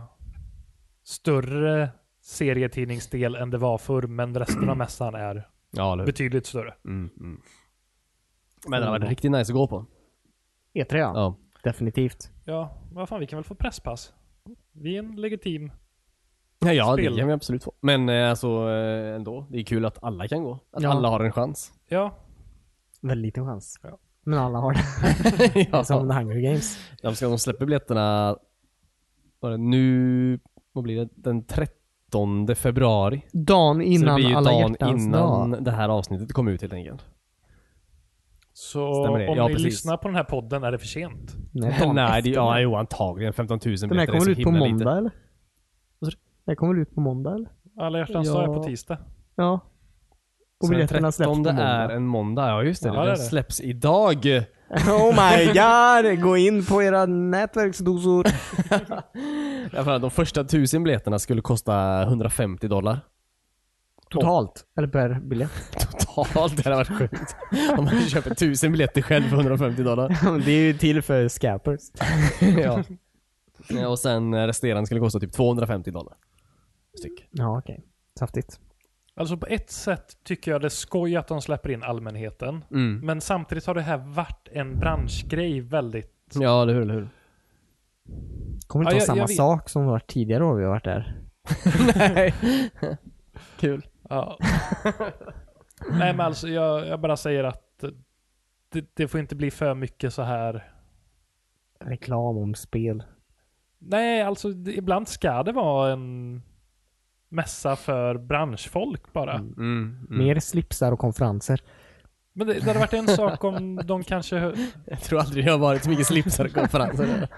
Speaker 1: större serietidningsdel än det var förr, men resten av mässan är
Speaker 2: Ja, eller hur?
Speaker 1: betydligt större.
Speaker 2: Mm, mm. Men det har varit riktigt nice att gå på.
Speaker 3: E3 E ja.
Speaker 2: Ja.
Speaker 3: Definitivt.
Speaker 1: Ja, vad fan, vi kan väl få presspass? Vi är en legitim
Speaker 2: Ja, ja
Speaker 1: Spel.
Speaker 2: det kan vi absolut få. Men eh, alltså eh, ändå, det är kul att alla kan gå. Att
Speaker 3: Ja.
Speaker 2: alla har en chans.
Speaker 1: Ja,
Speaker 3: Väldigt liten chans.
Speaker 1: Ja.
Speaker 3: Men alla har det.
Speaker 2: ja.
Speaker 3: Som The Hunger Games.
Speaker 2: De, ska, de släpper biljetterna var det nu, vad blir det? Den 13 februari.
Speaker 3: Dagen
Speaker 2: Så det
Speaker 3: innan
Speaker 2: blir ju
Speaker 3: alla
Speaker 2: dagen
Speaker 3: hjärtans
Speaker 2: innan
Speaker 3: dag.
Speaker 2: det här avsnittet kom ut helt enkelt.
Speaker 1: så
Speaker 2: Stämmer det?
Speaker 1: om
Speaker 2: Ja,
Speaker 1: ni
Speaker 2: precis.
Speaker 1: lyssnar på den här podden är det för sent.
Speaker 3: Nej, dagen
Speaker 2: Nej, det,
Speaker 3: efter.
Speaker 2: ja, jo, antagligen 15 000 biljetter.
Speaker 3: Den här
Speaker 2: det är så
Speaker 3: kommer väl ut på
Speaker 2: himla
Speaker 3: måndag
Speaker 2: lite.
Speaker 3: eller?
Speaker 2: Vad sa
Speaker 3: Den här kommer väl ut på måndag eller?
Speaker 1: Alla hjärtans
Speaker 3: Ja.
Speaker 1: dag är på tisdag.
Speaker 3: Ja. Och
Speaker 2: Så den
Speaker 3: biljetterna släpps på
Speaker 2: 13
Speaker 3: måndag.
Speaker 2: är en måndag, ja just det.
Speaker 1: Ja,
Speaker 2: den
Speaker 1: det är det.
Speaker 2: släpps idag.
Speaker 3: Oh my god! Gå in på era nätverksdosor.
Speaker 2: Därför att de första 1000 biljetterna skulle kosta 150 dollar.
Speaker 3: Totalt. Eller per biljett.
Speaker 2: Totalt, det hade varit sjukt. Om man köper 1000 biljetter själv för 150 dollar.
Speaker 3: det är ju till för scappers.
Speaker 2: ja. Ja, Och sen eh, resterande skulle kosta typ 250 dollar. Styck.
Speaker 3: Ja, okej. Saftigt.
Speaker 1: Alltså på ett sätt tycker jag det är skoj att de släpper in allmänheten.
Speaker 2: Mm.
Speaker 1: Men samtidigt har det här varit en branschgrej väldigt.
Speaker 2: Ja, eller hur, eller hur.
Speaker 3: Kommer
Speaker 1: Ja,
Speaker 3: inte vara
Speaker 1: jag-
Speaker 3: samma
Speaker 1: jag vet.
Speaker 3: sak som det varit tidigare år vi har varit där.
Speaker 2: Nej. Kul.
Speaker 1: Ja. Nej men alltså jag, jag bara säger att det, det får inte bli för mycket så här.
Speaker 3: Reklam om spel.
Speaker 1: Nej alltså det, ibland ska det vara en mässa för branschfolk bara.
Speaker 2: Mm, mm.
Speaker 3: Mer slipsar och konferenser.
Speaker 1: Men det, det hade varit en sak om de kanske hö-
Speaker 2: Jag tror aldrig det har varit så mycket slipsar och konferenser.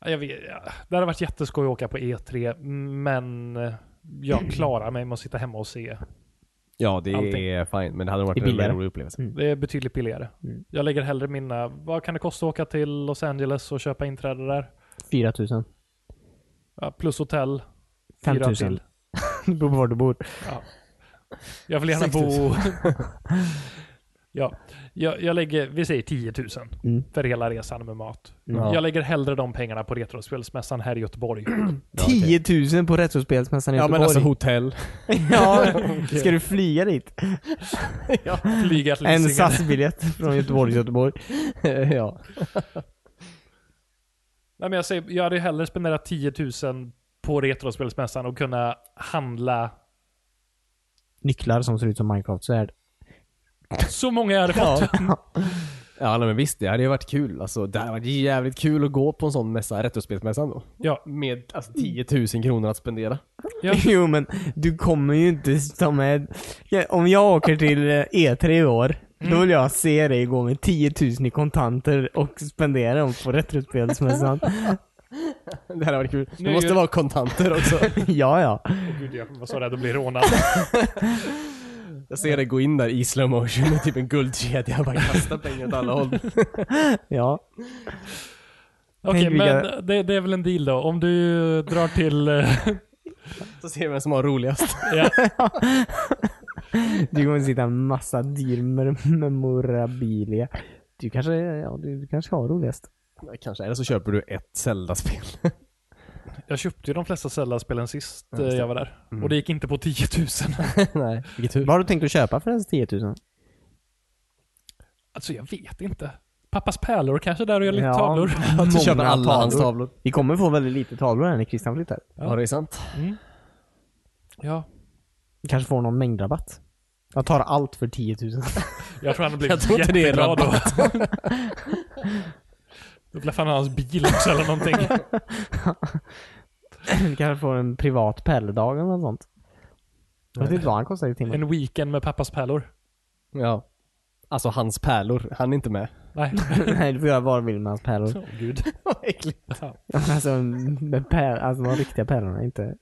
Speaker 1: Ja, Jag vet, ja. det hade varit E jätteskoj att åka på E3, men jag klarar mig med att sitta hemma och se
Speaker 2: Ja, det
Speaker 1: Allting.
Speaker 2: är fine. Men det hade nog
Speaker 3: Det är
Speaker 2: varit en
Speaker 3: billigare.
Speaker 2: rolig upplevelse.
Speaker 1: Det är betydligt billigare.
Speaker 3: Mm.
Speaker 1: Jag lägger hellre mina, vad kan det kosta att åka till Los Angeles och köpa inträde där?
Speaker 3: 4000.
Speaker 1: Ja, plus hotell.
Speaker 3: 5
Speaker 1: fyra
Speaker 3: 000.
Speaker 1: till.
Speaker 3: Det beror på var du bor.
Speaker 1: Jag vill gärna
Speaker 2: 6
Speaker 1: bo... ja, jag, jag lägger, vi säger 10 000
Speaker 3: Mm.
Speaker 1: för hela resan med mat.
Speaker 3: Mm.
Speaker 2: Ja.
Speaker 1: Jag lägger hellre de pengarna på Retrospelsmässan här i Göteborg.
Speaker 3: 10 000 på Retrospelsmässan i
Speaker 2: Ja men
Speaker 3: Göteborg.
Speaker 2: alltså hotell.
Speaker 3: ja, ska du flyga dit?
Speaker 1: Flyga till
Speaker 3: En
Speaker 1: Hisingen.
Speaker 3: SAS-biljett från Göteborg till Göteborg.
Speaker 2: ja.
Speaker 1: Nej, men jag, säger, jag hade ju hellre spenderat 10 000 på Retrospelsmässan och kunna handla
Speaker 3: Nycklar som ser ut som Minecraft-svärd.
Speaker 1: så många jag hade fått.
Speaker 2: Ja nej, men visst, det hade ju varit kul. Alltså, det hade varit jävligt kul att gå på en sån mässa, Retrospelsmässan då.
Speaker 1: Ja.
Speaker 2: Med alltså, 10 000 kronor att spendera.
Speaker 1: Ja.
Speaker 3: Jo men, du kommer ju inte ta med... Ja, Om jag åker till eh, E3 i år,
Speaker 1: Mm.
Speaker 3: då vill jag se dig gå med 10 000 i kontanter och spendera dem på Retrospelsmässan.
Speaker 2: Det hade varit kul.
Speaker 1: Nu
Speaker 2: Det måste
Speaker 1: gör-
Speaker 2: vara kontanter också.
Speaker 3: ja, ja.
Speaker 1: Åh Gud, jag var så rädd att bli rånad.
Speaker 2: Jag ser dig gå in där i slow motion med typ en guldkedja och bara kasta pengar åt alla håll.
Speaker 3: Ja.
Speaker 1: Okej,
Speaker 3: Tänk vilka-
Speaker 1: men det, det är väl en deal då. Om du drar till... eh,
Speaker 2: Så ser vi vem som har roligast.
Speaker 1: ja,
Speaker 3: Du kommer sitta en massa dyr mer- memorabilia. Du kanske, ja, du, du kanske har roligast.
Speaker 2: Kanske, eller så köper du ett Zelda-spel.
Speaker 1: jag köpte ju de flesta Zelda-spelen sist
Speaker 2: just
Speaker 1: eh,
Speaker 2: det. Mm.
Speaker 1: jag var där. Och det gick inte på 10 000.
Speaker 2: Nej, vilket tur.
Speaker 3: Vad har du tänkt att köpa för ens 10 000?
Speaker 1: Alltså jag vet inte. Pappas pärlor kanske där och gör lite
Speaker 3: Ja.
Speaker 1: tavlor.
Speaker 2: Du
Speaker 3: Många
Speaker 2: köper alla hans
Speaker 3: tavlor.
Speaker 2: tavlor.
Speaker 3: Vi kommer få väldigt lite tavlor här när Christian flyttar.
Speaker 1: Ja.
Speaker 2: Ja, det är sant.
Speaker 1: Mm. Ja,
Speaker 3: Vi kanske får någon mängdrabatt. Jag tar allt för 10 000.
Speaker 1: jag tror han hade
Speaker 2: Jag
Speaker 1: blivit
Speaker 2: tror inte det är
Speaker 1: jätteglad då. Då blev han hans bil också eller någonting.
Speaker 3: Vi kanske får en privat pärledag eller något sånt. Jag vet inte vad han kostar i timmen.
Speaker 1: En weekend med pappas pärlor.
Speaker 2: Ja. Alltså hans pärlor. Han är inte med.
Speaker 1: Nej.
Speaker 2: Mm.
Speaker 3: Nej, du får göra vad du vill med hans pärlor.
Speaker 1: Åh gud.
Speaker 2: Vad äckligt.
Speaker 1: Fan.
Speaker 3: Alltså, med pär, alltså de riktiga pärlorna, inte,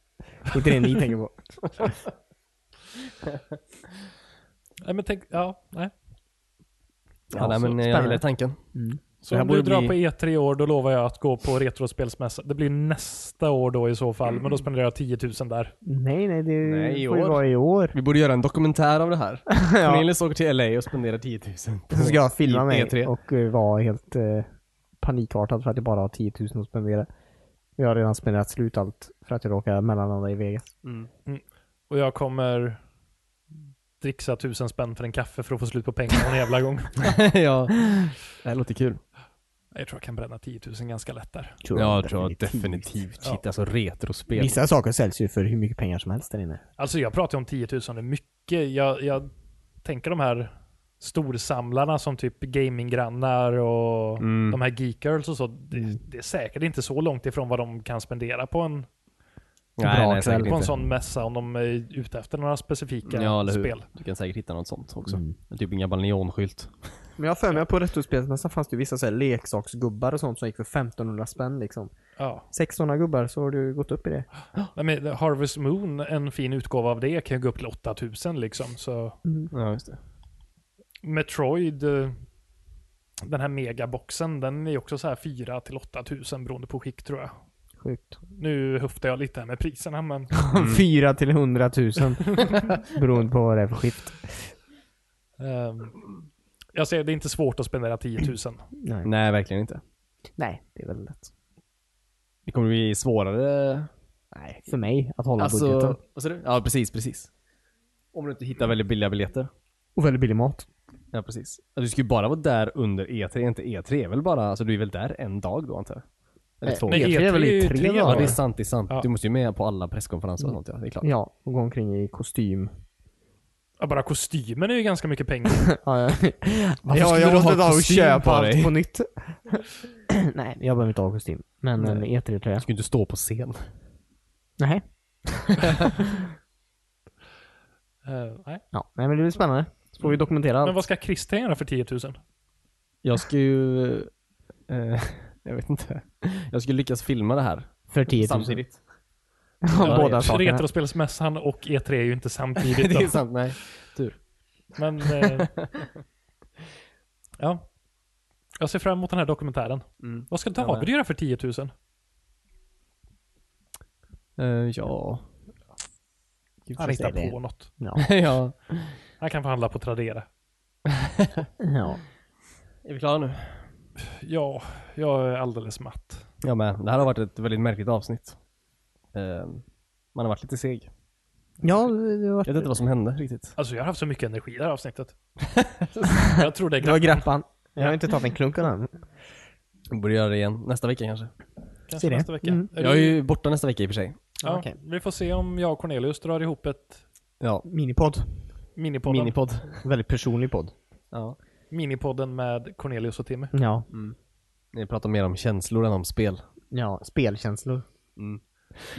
Speaker 3: inte det ni tänker på.
Speaker 1: Nej men tänk, ja, nej.
Speaker 2: Ja,
Speaker 3: Ja,
Speaker 2: nej,
Speaker 3: så
Speaker 2: men jag
Speaker 3: spännande.
Speaker 2: gillar tanken.
Speaker 1: Så
Speaker 3: Mm.
Speaker 2: Det här
Speaker 1: om
Speaker 2: borde
Speaker 1: du drar
Speaker 2: bli-
Speaker 1: på E3 i år, då lovar jag att gå på Retrospelsmässan. Det blir nästa år då i så
Speaker 2: Mm.
Speaker 1: fall, men då spenderar jag 10 000 där.
Speaker 3: Nej, nej, det
Speaker 2: Nej, i
Speaker 3: får ju
Speaker 2: år.
Speaker 3: vara i år.
Speaker 2: Vi borde göra en dokumentär av det här.
Speaker 3: Ja.
Speaker 2: Cornelis åker till LA och spenderar E 10 000. på
Speaker 3: Så ska jag filma
Speaker 2: E3.
Speaker 3: mig och eh, vara helt eh, panikartad för att jag bara har 10 000 att spendera. Jag har redan spenderat slut allt för att jag råkar mellanlanda i Vegas.
Speaker 2: Mm.
Speaker 1: Och jag kommer dricksa tusen spänn för en kaffe för att få slut på pengarna någon jävla gång.
Speaker 2: ja. Det här låter kul.
Speaker 1: Jag tror jag kan bränna 10 000 ganska lätt där.
Speaker 2: Ja, jag tror definitivt. Shit, alltså retrospel.
Speaker 3: Vissa saker säljs ju för hur mycket pengar som helst där inne.
Speaker 1: Alltså jag pratar ju om 10 000, det är mycket. Jag, jag tänker de här storsamlarna som typ gaminggrannar och
Speaker 2: Mm.
Speaker 1: de här geekgirls och så. Det, det är säkert inte så långt ifrån vad de kan spendera på en,
Speaker 2: nej,
Speaker 3: bra
Speaker 2: nej,
Speaker 3: kväll
Speaker 2: säkert
Speaker 1: på en
Speaker 2: inte.
Speaker 1: sån mässa om de är ute efter några specifika
Speaker 2: Ja, eller hur.
Speaker 1: spel.
Speaker 2: Du kan säkert hitta något sånt också.
Speaker 3: Mm.
Speaker 2: Typ en gammal neonskylt.
Speaker 3: Men jag har för mig att på Retrospelsmässan fanns det ju vissa så här leksaksgubbar och sånt som gick för 1500 spänn liksom.
Speaker 1: Ja.
Speaker 3: Sex sådana gubbar så har du gått upp i det.
Speaker 1: Nej, men Harvest Moon, en fin utgåva av det, kan ju gå upp till 8 000 liksom. Så
Speaker 3: Mm.
Speaker 2: Ja, just det.
Speaker 1: Metroid, eh, den här megaboxen, den är också så här 4 till 8 000 beroende på skick tror jag.
Speaker 3: Sjukt.
Speaker 1: Nu höftar jag lite här med priserna, men
Speaker 3: Fyra till 100 000. Beroende på vad det är för skift.
Speaker 1: ehm, jag säger det är inte svårt att spendera 10 000.
Speaker 3: Nej.
Speaker 2: Nej, verkligen inte.
Speaker 3: Nej, det är väl lätt.
Speaker 2: Det kommer bli svårare.
Speaker 3: Nej, för mig att hålla budgeten.
Speaker 2: Alltså, vad sa du? Ja, precis, precis. Om du inte hittar väldigt billiga biljetter.
Speaker 3: Och väldigt billig mat.
Speaker 2: Ja, precis. Ja, Du ska ju bara vara där under E3, inte E3 är väl bara, alltså du är väl där en dag då antar jag? Eller
Speaker 3: Nej,
Speaker 2: två?
Speaker 3: nej, E3 är väl i
Speaker 1: E ju
Speaker 3: tre
Speaker 1: dagar.
Speaker 2: Ja,
Speaker 3: dagar.
Speaker 2: det är sant, det är sant.
Speaker 1: Ja.
Speaker 2: Du måste ju med på alla presskonferenser och sånt ja, det är klart.
Speaker 3: Ja, och gå omkring i kostym.
Speaker 1: Ja, bara kostymen är ju ganska mycket pengar.
Speaker 3: Ja, ja.
Speaker 2: skulle du
Speaker 3: jag måste
Speaker 2: ha
Speaker 3: ta och
Speaker 2: kostym
Speaker 3: köpa
Speaker 2: på dig?
Speaker 3: allt på nytt. Nej, jag behöver inte ha kostym. Men en E E3-tröja.
Speaker 2: Du ska ju inte stå på scen.
Speaker 3: Nej.
Speaker 1: Eh, nej.
Speaker 3: Ja, nej men det blir spännande. Så får vi dokumentera allt.
Speaker 1: Men vad ska Christian göra för 10 000?
Speaker 2: Jag ska ju... Eh, jag vet inte. Jag ska lyckas filma det här.
Speaker 3: För 10 000.
Speaker 2: Samtidigt. Ja,
Speaker 3: Båda
Speaker 2: det-
Speaker 3: sakerna.
Speaker 1: Retrospelsmässan och E3 är ju inte samtidigt.
Speaker 2: det
Speaker 1: då.
Speaker 2: är sant, nej.
Speaker 1: Men... Eh, ja. Jag ser fram emot den här dokumentären.
Speaker 2: Mm.
Speaker 1: Vad ska
Speaker 2: Jag
Speaker 1: David
Speaker 2: med.
Speaker 1: göra för 10 000?
Speaker 2: Eh, ja. Gud,
Speaker 1: Han
Speaker 2: vad
Speaker 1: hittar
Speaker 2: säger det?
Speaker 1: på något.
Speaker 3: Ja.
Speaker 2: ja.
Speaker 1: Han kan få handla på Tradera.
Speaker 3: ja.
Speaker 2: Är vi klara nu?
Speaker 1: Ja, jag är alldeles matt.
Speaker 2: Jag med. Det här har varit ett väldigt märkligt avsnitt. Eh, man har varit lite seg.
Speaker 3: Ja, det var,
Speaker 2: Jag vet inte vad som hände riktigt.
Speaker 1: Alltså jag har haft så mycket energi i det här avsnittet. jag tror det är
Speaker 3: det var
Speaker 1: glatt.
Speaker 3: grappan. Jag har inte tagit en klunk av den.
Speaker 2: Vi borde göra det igen nästa vecka kanske.
Speaker 1: kanske
Speaker 3: ser det.
Speaker 1: nästa vecka.
Speaker 3: Mm.
Speaker 1: Är
Speaker 2: Jag är
Speaker 1: du-
Speaker 2: ju borta nästa vecka i och för sig.
Speaker 1: ja,
Speaker 3: Okej.
Speaker 1: Vi får se om jag och Cornelius drar ihop ett
Speaker 2: Ja.
Speaker 3: Minipodd.
Speaker 1: minipodden,
Speaker 2: Minipodd.
Speaker 3: Väldigt personlig podd.
Speaker 2: Ja.
Speaker 1: minipodden med Cornelius och Timmy.
Speaker 3: Ja.
Speaker 2: Ni pratar mer om känslor än om spel.
Speaker 3: Ja, spelkänslor.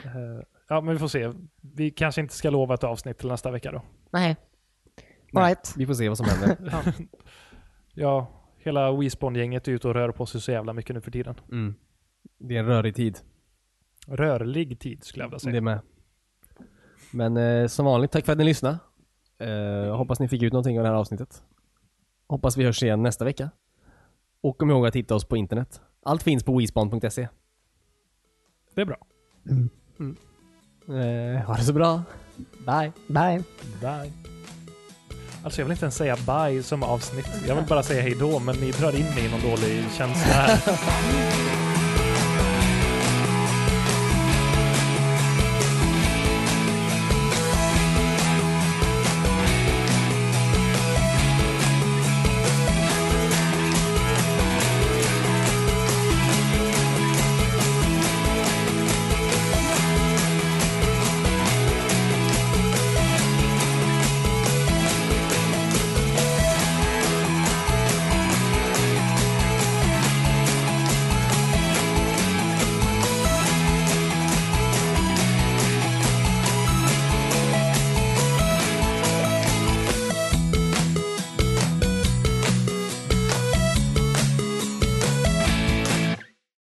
Speaker 1: Eh, Ja, men vi får se. Vi kanske inte ska lova ett avsnitt till nästa vecka då.
Speaker 3: Nej.
Speaker 2: Nej.
Speaker 3: Alright.
Speaker 2: Vi får se vad som händer.
Speaker 1: Ja, hela Wispon-gänget är ute och rör på sig så jävla mycket nu för tiden.
Speaker 2: Mm. Det är en rörig tid.
Speaker 1: Rörlig tid skulle jag vilja säga.
Speaker 2: Det med. Men eh, som vanligt, tack för att ni lyssnade. Eh, jag hoppas ni fick ut någonting av det här avsnittet. Hoppas vi hörs igen nästa vecka. Och kom ihåg att hitta oss på internet. Allt finns på wespawn.se.
Speaker 1: det är bra.
Speaker 2: Eh, ha det så bra. Bye.
Speaker 3: Bye.
Speaker 1: Bye. Alltså jag vill inte ens säga bye som avsnitt. Jag vill bara säga hej då, men ni drar in mig i någon dålig känsla här.